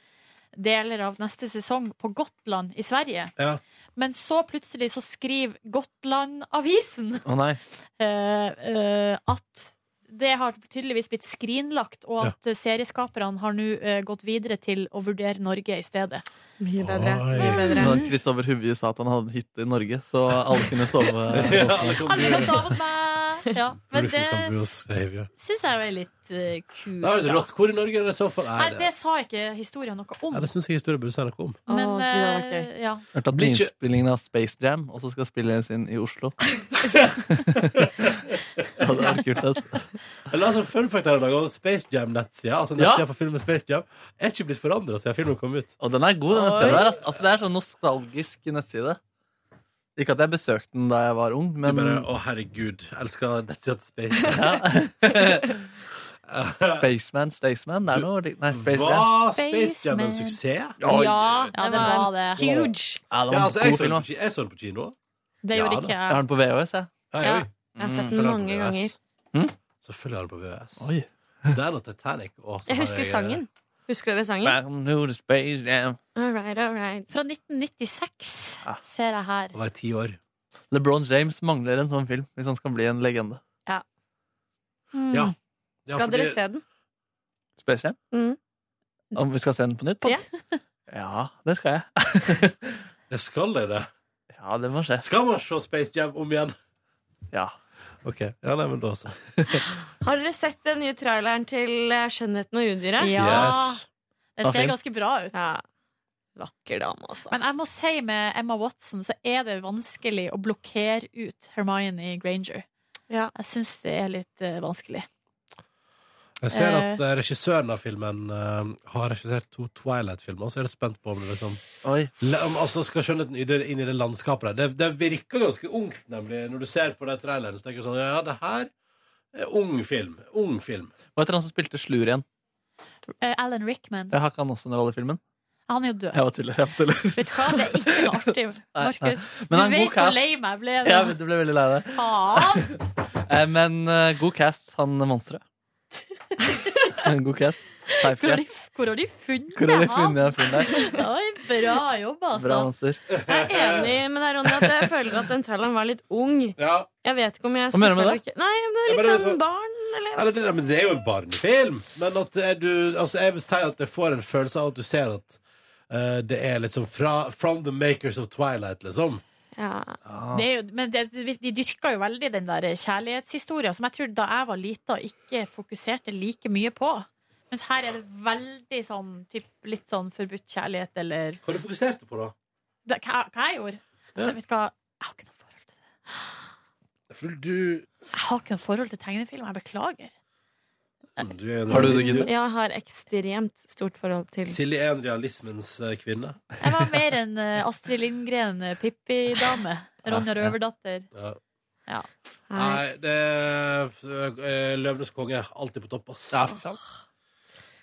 [SPEAKER 3] deler av neste sesong på Gotland i Sverige.
[SPEAKER 2] Ja.
[SPEAKER 3] Men så plutselig så skriver Gotland-avisen
[SPEAKER 4] Å nei.
[SPEAKER 3] eh, eh, at det har tydeligvis blitt skrinlagt, og at eh, serieskaperne har nå eh, gått videre til å vurdere Norge i stedet.
[SPEAKER 8] Mye
[SPEAKER 4] bedre. Når Kristoffer Huvje sa at han hadde hytte i Norge, så alle kunne sove.
[SPEAKER 2] Ja, alle kan
[SPEAKER 3] Alle kan ta av oss meg! Ja, men det
[SPEAKER 2] Det
[SPEAKER 3] syns jeg er litt eh, kult.
[SPEAKER 2] er det
[SPEAKER 3] da.
[SPEAKER 2] rått. Hvor i Norge er det i så fall?
[SPEAKER 3] Nei,
[SPEAKER 2] Er
[SPEAKER 3] det
[SPEAKER 2] det?
[SPEAKER 3] sa ikke historien noe om.
[SPEAKER 8] sånn-
[SPEAKER 2] Ja, det syns jeg historien burde si noe om.
[SPEAKER 3] Men
[SPEAKER 8] Å, det hadde vært
[SPEAKER 3] eh, ja.
[SPEAKER 4] Hørte at
[SPEAKER 2] Blir ikke-
[SPEAKER 4] innspillingen av Space Jam også skal spilles inn i Oslo. ja, det er kult, altså.
[SPEAKER 2] Eller altså, fun fact her i dag om Space Jam-nettsida. Altså nettsida for filmen Space Jam er ikke blitt forandra siden filmen kom ut.
[SPEAKER 4] Og den er god, den
[SPEAKER 2] Oi.
[SPEAKER 4] nettsida der. Altså. Altså, det er sånn nostalgisk nettside. Ikke at jeg besøkte den da jeg var ung, men
[SPEAKER 2] Du bare, Å, herregud. Jeg elsker nettsida til Space
[SPEAKER 4] Spaceman, Staceman Det er noe likt- Nei, Space
[SPEAKER 2] Var
[SPEAKER 4] Jam.
[SPEAKER 2] Space Jam en suksess?
[SPEAKER 4] Ja,
[SPEAKER 8] Ja,
[SPEAKER 3] Ja, det var det.
[SPEAKER 8] Huge.
[SPEAKER 4] Ja, det var
[SPEAKER 2] Ja,
[SPEAKER 4] en
[SPEAKER 2] altså,
[SPEAKER 4] god
[SPEAKER 2] jeg, så
[SPEAKER 4] film,
[SPEAKER 2] den
[SPEAKER 4] da.
[SPEAKER 2] på, ki- jeg så den på kino.
[SPEAKER 3] Det gjorde
[SPEAKER 2] Ja, da.
[SPEAKER 3] ikke
[SPEAKER 4] Jeg har
[SPEAKER 3] jeg.
[SPEAKER 4] den på VHS, jeg.
[SPEAKER 2] Hei,
[SPEAKER 8] Ja,
[SPEAKER 2] oi.
[SPEAKER 8] jeg har sett
[SPEAKER 2] Følger
[SPEAKER 8] den
[SPEAKER 2] den på
[SPEAKER 8] mange
[SPEAKER 2] VHS.
[SPEAKER 8] ganger.
[SPEAKER 2] Selvfølgelig har den på VHS.
[SPEAKER 4] Hm? Oi.
[SPEAKER 2] Det er noe Titanic og så
[SPEAKER 8] Jeg
[SPEAKER 2] har
[SPEAKER 8] husker
[SPEAKER 2] eh,
[SPEAKER 8] sangen. Husker dere sangen?
[SPEAKER 4] Welcome to the Space Jam.
[SPEAKER 8] All right, all right.
[SPEAKER 3] Fra 1996 ser jeg her.
[SPEAKER 2] å være ti år.
[SPEAKER 4] LeBron James mangler en sånn film hvis han skal bli en legende.
[SPEAKER 3] Mm.
[SPEAKER 2] Ja. Ja,
[SPEAKER 8] Skal dere
[SPEAKER 2] fordi-
[SPEAKER 8] se den?
[SPEAKER 4] Space Jam?
[SPEAKER 8] Mm.
[SPEAKER 4] Om vi skal se den på nytt?
[SPEAKER 8] Ja.
[SPEAKER 4] Ja, det skal jeg.
[SPEAKER 2] Jeg skal det, det.
[SPEAKER 4] Ja, det må skje.
[SPEAKER 2] Skal man se Space Jam om igjen?
[SPEAKER 4] Ja.
[SPEAKER 2] OK. Ja, nei, men da så.
[SPEAKER 8] Har dere sett den nye traileren til eh, 'Skjønnheten og udyret'?
[SPEAKER 3] Ja.
[SPEAKER 2] Yes.
[SPEAKER 3] Det
[SPEAKER 4] Var
[SPEAKER 3] ser
[SPEAKER 4] fin.
[SPEAKER 3] ganske bra ut.
[SPEAKER 8] Ja. Vakker dame, altså.
[SPEAKER 3] Men jeg må si med Emma Watson så er det vanskelig å blokkere ut Hermione Granger.
[SPEAKER 8] Ja.
[SPEAKER 3] Jeg syns det er litt eh, vanskelig.
[SPEAKER 2] Jeg ser at eh, regissøren av filmen eh, har regissert to Twilight-filmer, så jeg er litt spent på om det liksom
[SPEAKER 4] Oi.
[SPEAKER 2] La- om- Altså, skal skjønnheten yder inn i det landskapet der. Det, det virker ganske ungt, nemlig, når du ser på de trailerne. Så tenker du sånn Ja, det her er ung film. Ung film.
[SPEAKER 4] Hva heter han som spilte Slur igjen?
[SPEAKER 3] Eh, Alan Rickman,
[SPEAKER 4] Jeg har ikke han også en rolle i filmen.
[SPEAKER 3] han er jo død.
[SPEAKER 4] Jeg var tuller. Jeg var tuller.
[SPEAKER 3] Vet du hva, det er ikke noe artig,
[SPEAKER 4] Nei,
[SPEAKER 3] Markus. Du
[SPEAKER 4] Men han er en god
[SPEAKER 3] vet hvor
[SPEAKER 4] cast.
[SPEAKER 3] lei meg ble.
[SPEAKER 4] Ja, men du ble veldig lei deg.
[SPEAKER 3] Faen!
[SPEAKER 4] Eh, Men eh, god cast, han monsteret. god cast. Five
[SPEAKER 3] Hvor har de,
[SPEAKER 4] cast.
[SPEAKER 3] hvor har de funnet
[SPEAKER 4] Hvor har de
[SPEAKER 3] han?
[SPEAKER 4] funnet fyren der?
[SPEAKER 3] Oi, bra jobb, altså.
[SPEAKER 4] Bra monster.
[SPEAKER 8] Jeg
[SPEAKER 2] eh,
[SPEAKER 8] er enig med deg, Ronny, at jeg føler at den traileren var litt ung.
[SPEAKER 2] Ja.
[SPEAKER 8] Jeg vet ikke om jeg
[SPEAKER 4] Hva mener du med
[SPEAKER 8] skuffer eller ikke. Nei, men det er
[SPEAKER 2] Jeg
[SPEAKER 8] litt
[SPEAKER 2] bare-
[SPEAKER 8] sånn barn, eller
[SPEAKER 2] Eller, det, men det er jo en barnefilm. Men at er du Altså, jeg vil si at jeg får en følelse av at du ser at eh, det er liksom fra From the makers of Twilight, liksom.
[SPEAKER 8] ja.
[SPEAKER 3] Det er jo, men det, de dyrka jo veldig den der kjærlighetshistoria, som jeg tror da jeg var lita, ikke fokuserte like mye på. Mens her er det veldig sånn typ, litt sånn forbudt kjærlighet, eller
[SPEAKER 2] Hva du fokuserte på, da?
[SPEAKER 3] det, hva, hva jeg gjorde. Altså,
[SPEAKER 2] Ja.
[SPEAKER 3] vet du hva? Jeg har ikke noe forhold til det.
[SPEAKER 2] For du
[SPEAKER 3] Jeg har ikke noe forhold til tegnefilm. Jeg beklager.
[SPEAKER 2] Du er en
[SPEAKER 4] Har du det, Gide?
[SPEAKER 8] Jeg har ekstremt stort forhold til
[SPEAKER 2] Silje er en realismens eh, kvinne.
[SPEAKER 3] Jeg var mer en eh, Astrid Lindgren, eh, Pippi-dame. Ronja Røverdatter.
[SPEAKER 2] Ja.
[SPEAKER 8] Nei.
[SPEAKER 2] Nei, det er eh, Løvenes konge. Alltid på topp, ass.
[SPEAKER 4] Ja, for faen.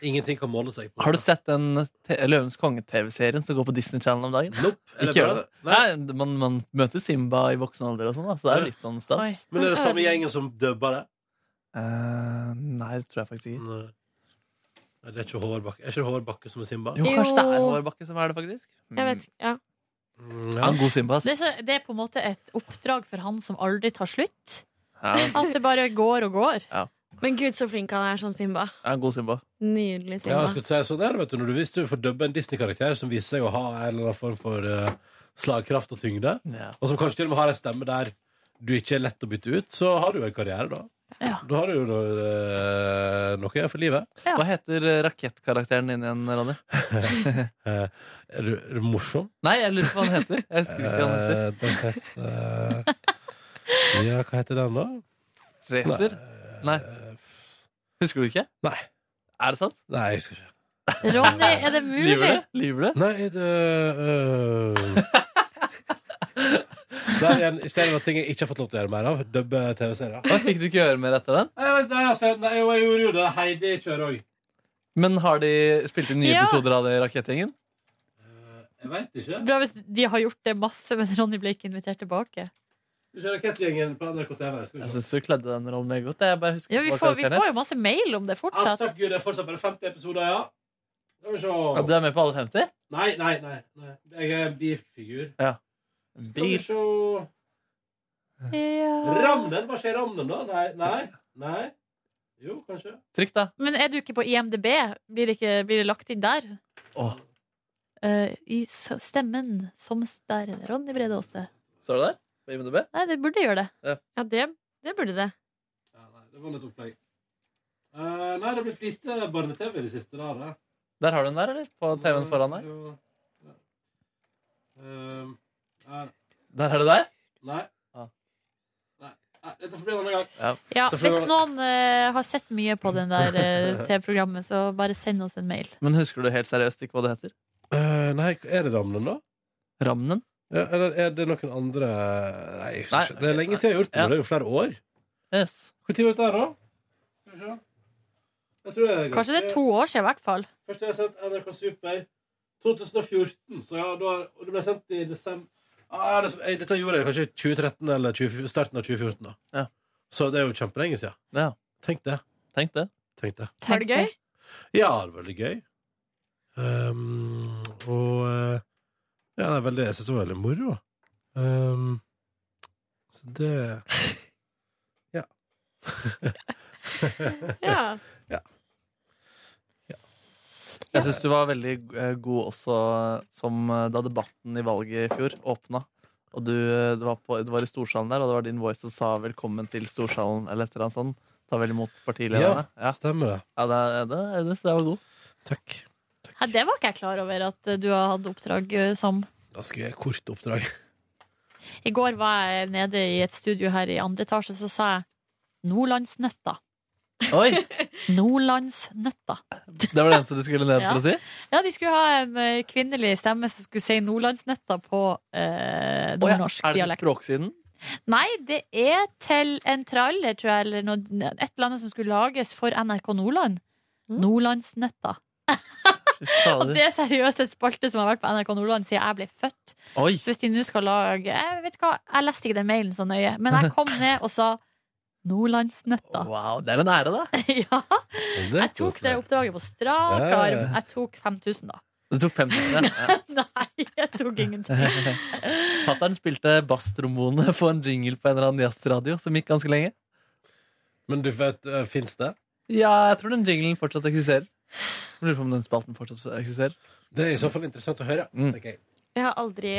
[SPEAKER 2] Ingenting kan måle seg på
[SPEAKER 4] Har du sett den te- Løvens konge-TV-serien som går på Disney Channel om dagen?
[SPEAKER 2] Nope. Er det
[SPEAKER 4] Ikke gjør
[SPEAKER 2] bra,
[SPEAKER 4] det.
[SPEAKER 2] Nei.
[SPEAKER 4] Nei, man, man møter Simba i voksen alder og sånn, da, så det er jo litt sånn
[SPEAKER 3] Oi.
[SPEAKER 4] stas.
[SPEAKER 2] Men er det samme gjengen som dubba det?
[SPEAKER 4] Eh, nei, det tror jeg faktisk ikke.
[SPEAKER 2] Nei. Nei, det er ikke Hårbakke Er ikke det Hårbakke som er Simba?
[SPEAKER 4] Jo, kanskje det er Hårbakke som er det, faktisk.
[SPEAKER 11] Jeg vet, ja.
[SPEAKER 2] Mm,
[SPEAKER 4] Ja, en god Simba,
[SPEAKER 3] Det, er
[SPEAKER 4] ass.
[SPEAKER 3] så- det er på en måte et oppdrag for han som aldri tar slutt.
[SPEAKER 4] Ja,
[SPEAKER 3] At det bare går og går.
[SPEAKER 4] Ja.
[SPEAKER 11] Men gud, så flink han er som Simba.
[SPEAKER 4] Ja, en god Simba.
[SPEAKER 11] Nydelig
[SPEAKER 2] Ja,
[SPEAKER 11] Simba.
[SPEAKER 2] jeg skulle si sånn der, vet du, når du, Hvis du får dubbe en Disney-karakter som viser seg å ha en eller annen form for eh, slagkraft og tyngde,
[SPEAKER 4] Ja.
[SPEAKER 2] og som kanskje til og med har en stemme der du ikke er lett å bytte ut, så har du jo en karriere, da. Da har du jo eh, noe for livet.
[SPEAKER 4] Hva heter eh, rakettkarakteren din igjen, Ronny?
[SPEAKER 2] Eh, er, du, er du morsom?
[SPEAKER 4] Nei, jeg lurer på hva han heter. Jeg husker ikke hva han heter.
[SPEAKER 2] Eh, den heter- Ja, hva heter den, da?
[SPEAKER 4] Racer? Nei. Husker du ikke?
[SPEAKER 2] Nei.
[SPEAKER 4] Er det sant?
[SPEAKER 2] Nei, jeg husker ikke.
[SPEAKER 3] Ronny, er det mulig?
[SPEAKER 4] Lyver du? Lyver du?
[SPEAKER 2] Nei, det øh... Der igjen, istedenfor ting jeg ikke har fått lov til å gjøre mer av, dubbe TV-serier.
[SPEAKER 4] Hva, fikk du ikke gjøre mer etter den?
[SPEAKER 2] Nei, vet, nei, altså, nei, jo, jeg gjorde jo det. Heidi kjører òg.
[SPEAKER 4] Men har de spilt inn nye
[SPEAKER 3] Ja.
[SPEAKER 4] episoder av det i rakettgjengen?
[SPEAKER 2] Jeg veit ikke.
[SPEAKER 3] Bra hvis de har gjort det masse, men Ronny ble ikke invitert tilbake.
[SPEAKER 2] Du kjører Rakettgjengen på NRK TV. Skal
[SPEAKER 4] Jeg
[SPEAKER 2] vi se.
[SPEAKER 4] syns du kledde den rollen meget godt. Jeg bare husker
[SPEAKER 3] Ja, vi,
[SPEAKER 4] ikke hva
[SPEAKER 3] får, vi
[SPEAKER 4] karakteren
[SPEAKER 3] får jo
[SPEAKER 4] het.
[SPEAKER 3] masse mail om det
[SPEAKER 2] Ah,
[SPEAKER 3] fortsatt.
[SPEAKER 2] takk gud, det er fortsatt bare 50 episoder, ja. Skal vi se
[SPEAKER 4] ja, Du er med på alle 50?
[SPEAKER 2] Nei, nei, nei. nei. Jeg er en bifigur.
[SPEAKER 4] Ja.
[SPEAKER 2] Skal vi se Ramnen? Hva skjer i Ramnen, da? Nei, nei. nei. Jo, kanskje.
[SPEAKER 4] Trykk, da.
[SPEAKER 3] Men er du ikke på IMDb? Blir det, ikke, blir det lagt inn der?
[SPEAKER 4] Åh,
[SPEAKER 3] Eh, I s- stemmen som s- der er det Ronny Brede Aase.
[SPEAKER 4] Står det der? På IMDb?
[SPEAKER 3] Nei, det burde gjøre det.
[SPEAKER 11] Ja, det, det burde det.
[SPEAKER 2] Ja, nei, det var litt opplegg. Eh, nei, det har blitt lite barne-TV i det siste. Da, det.
[SPEAKER 4] Der har du den der, eller? På TV-en foran deg?
[SPEAKER 2] Jo, ja. Ehm, nei,
[SPEAKER 4] Der er det der?
[SPEAKER 2] nei.
[SPEAKER 4] Ah.
[SPEAKER 2] Nei, nei, Dette får bli en annen gang.
[SPEAKER 4] Ja.
[SPEAKER 3] Ja,
[SPEAKER 2] Så får
[SPEAKER 3] Hvis
[SPEAKER 2] vi-
[SPEAKER 3] noen eh, har sett mye på den der eh, TV-programmet, så bare send oss en mail.
[SPEAKER 4] Men husker du helt seriøst ikke hva det heter?
[SPEAKER 2] Eh, nei, er det Ramnen, da?
[SPEAKER 4] Ramnen?
[SPEAKER 2] Ja, eller er det noen andre Nei, jeg husker
[SPEAKER 4] Nei,
[SPEAKER 2] ikke. Det er
[SPEAKER 4] ok,
[SPEAKER 2] lenge siden jeg har gjort det.
[SPEAKER 4] ja.
[SPEAKER 2] men Det er jo flere år.
[SPEAKER 4] Yes.
[SPEAKER 2] Når var dette her, da? Skal vi se. Jeg tror det er ganske-
[SPEAKER 3] Kanskje det er to år siden, i hvert fall.
[SPEAKER 2] Først har jeg sendt NRK Super 2014. Så ja, da, og det ble sendt i desember ah, det, eh, Dette gjorde jeg kanskje i 2013 eller 20, starten av 2014. da
[SPEAKER 4] Ja.
[SPEAKER 2] Så det er jo kjempelenge siden.
[SPEAKER 4] Ja.
[SPEAKER 2] Tenk det.
[SPEAKER 4] Tenk det.
[SPEAKER 2] Tenk det.
[SPEAKER 11] Var det gøy?
[SPEAKER 2] Ja, det var veldig gøy. Ehm, og eh, Ja, det er veldig, jeg syns det var veldig moro. Ehm, så det Ja.
[SPEAKER 11] Ja.
[SPEAKER 4] Jeg syns du var veldig eh, god også som eh, da debatten i valget i fjor åpna. Og du, eh, det, var på, det var i storsalen der, og det var din voice som sa 'velkommen til storsalen' eller et eller annet sånt. Ta vel imot partilederne. Ja,
[SPEAKER 2] stemmer det.
[SPEAKER 4] ja det, det, det synes jeg var god.
[SPEAKER 2] Takk.
[SPEAKER 3] Hæ, det var ikke jeg klar over at eh, du har hatt oppdrag eh, som.
[SPEAKER 2] Ganske kort oppdrag.
[SPEAKER 3] I går var jeg nede i et studio her i andre etasje, så sa jeg Nordlandsnøtta.
[SPEAKER 4] Oi!
[SPEAKER 3] Nordlandsnøtta.
[SPEAKER 4] Det var den som du skulle ned for å si?
[SPEAKER 3] Ja, de skulle ha en eh, kvinnelig stemme som skulle si Nordlandsnøtta på
[SPEAKER 4] Å ja,
[SPEAKER 3] eh, nordnorsk
[SPEAKER 4] Er det til
[SPEAKER 3] dialekt.
[SPEAKER 4] språksiden?
[SPEAKER 3] Nei, det er til en traller, tror jeg, eller noe, et eller annet som skulle lages for NRK Nordland.
[SPEAKER 4] Mm.
[SPEAKER 3] Nordlandsnøtta.
[SPEAKER 4] Fy
[SPEAKER 3] Og
[SPEAKER 4] fader.
[SPEAKER 3] det er seriøst et spalte som har vært på NRK Nordland siden jeg ble født.
[SPEAKER 4] Oi!
[SPEAKER 3] Så hvis de nå skal lage Jeg vet hva, jeg leste ikke den mailen så nøye, men jeg kom ned og sa Nordlandsnøtta.
[SPEAKER 4] Wow, det er en ære, da.
[SPEAKER 3] Ja,
[SPEAKER 2] Jeg
[SPEAKER 3] jeg tok det oppdraget på strak
[SPEAKER 2] Ja, ja, ja.
[SPEAKER 3] arm. Jeg tok 5000, da.
[SPEAKER 4] Du tok 50. Ja.
[SPEAKER 3] Nei, jeg tok ingenting.
[SPEAKER 4] Fattern spilte basstrombone på en jingle på en eller annen jazzradio som gikk ganske lenge.
[SPEAKER 2] Men du vet, uh, fins det?
[SPEAKER 4] Ja, jeg tror den jinglen fortsatt eksisterer. Jeg Lurer på om den spalten fortsatt eksisterer.
[SPEAKER 2] Det er i så fall interessant å høre.
[SPEAKER 4] Mm.
[SPEAKER 2] tenker jeg.
[SPEAKER 11] Jeg har aldri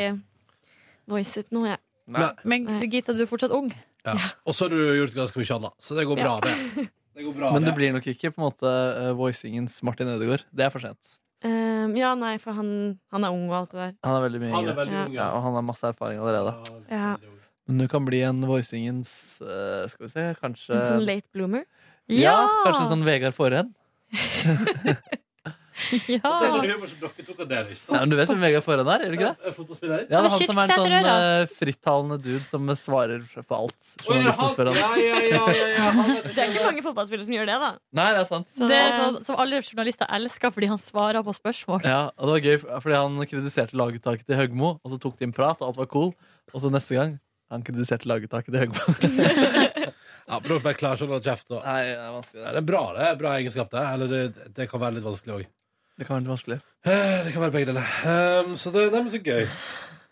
[SPEAKER 11] voicet noe, jeg.
[SPEAKER 2] Nei.
[SPEAKER 3] Men
[SPEAKER 11] Nei.
[SPEAKER 3] Gita, du er fortsatt ung.
[SPEAKER 2] Ja. Og så har du gjort ganske mye annet, så det går bra, det. det, går bra,
[SPEAKER 4] Men det
[SPEAKER 2] det.
[SPEAKER 4] blir nok ikke på en måte eh, voicingens Martin Ødegaard. Det er for sent.
[SPEAKER 11] Ehm, ja, nei, for han, han er ung og alt det der.
[SPEAKER 4] Han er veldig mye
[SPEAKER 2] Han er
[SPEAKER 4] yngre.
[SPEAKER 2] veldig ung,
[SPEAKER 4] Ja, og han har masse erfaring allerede.
[SPEAKER 11] Ja.
[SPEAKER 4] Men du kan bli en voicingens eh, Skal vi se, kanskje
[SPEAKER 11] En sånn late bloomer.
[SPEAKER 4] ja, Kanskje en sånn Vegard Forhen?
[SPEAKER 3] Ja.
[SPEAKER 2] Det er sånn humor som dere tok av dere, ikke
[SPEAKER 4] Nei,
[SPEAKER 2] sant?
[SPEAKER 4] men du vet hvem Vegard Forhen er? Gjør du ikke det?
[SPEAKER 2] Er Fotballspiller?
[SPEAKER 4] Ja, det
[SPEAKER 3] Men
[SPEAKER 4] er han som er en sånn
[SPEAKER 3] Kyrksæterøra.
[SPEAKER 4] eh, frittalende dude som svarer på alt.
[SPEAKER 2] Å, ja,
[SPEAKER 4] Journalisten spør
[SPEAKER 2] han, ja,
[SPEAKER 4] han.
[SPEAKER 2] ja, ja, ja, ja, han er
[SPEAKER 11] Det er ikke mange fotballspillere som gjør det, da.
[SPEAKER 4] Nei, det er sant.
[SPEAKER 11] Så
[SPEAKER 3] Det er sånn som alle journalister elsker fordi han svarer på spørsmål.
[SPEAKER 4] Ja, og det var gøy, fordi han kritiserte laguttaket til Høgmo, og så tok de en prat, og alt var cool. Og så neste gang han kritiserte laguttaket til Høgmo.
[SPEAKER 2] Ja, men dere bare klarer ikke å holde kjeft. Og...
[SPEAKER 4] Nei, det er vanskelig.
[SPEAKER 2] Ja, det er bra, det. er Bra egenskap, det. Eller det, det kan være litt vanskelig òg.
[SPEAKER 4] Det kan være litt vanskelig.
[SPEAKER 2] Det kan være begge deler. Ehm, så det, nei, men så gøy.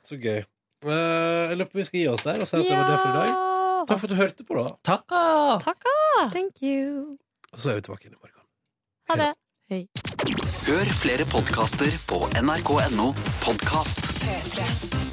[SPEAKER 2] Så gøy. Eh, jeg lurer på om vi skal gi oss der og si at det var det for i dag. Takk for at du hørte på, da.
[SPEAKER 4] Takka!
[SPEAKER 3] Takka!
[SPEAKER 11] Thank you.
[SPEAKER 2] Og så er vi tilbake igjen i morgen.
[SPEAKER 3] Ha det.
[SPEAKER 11] Hei.
[SPEAKER 12] Hør flere podkaster på nrk.no podkast. 3, 3.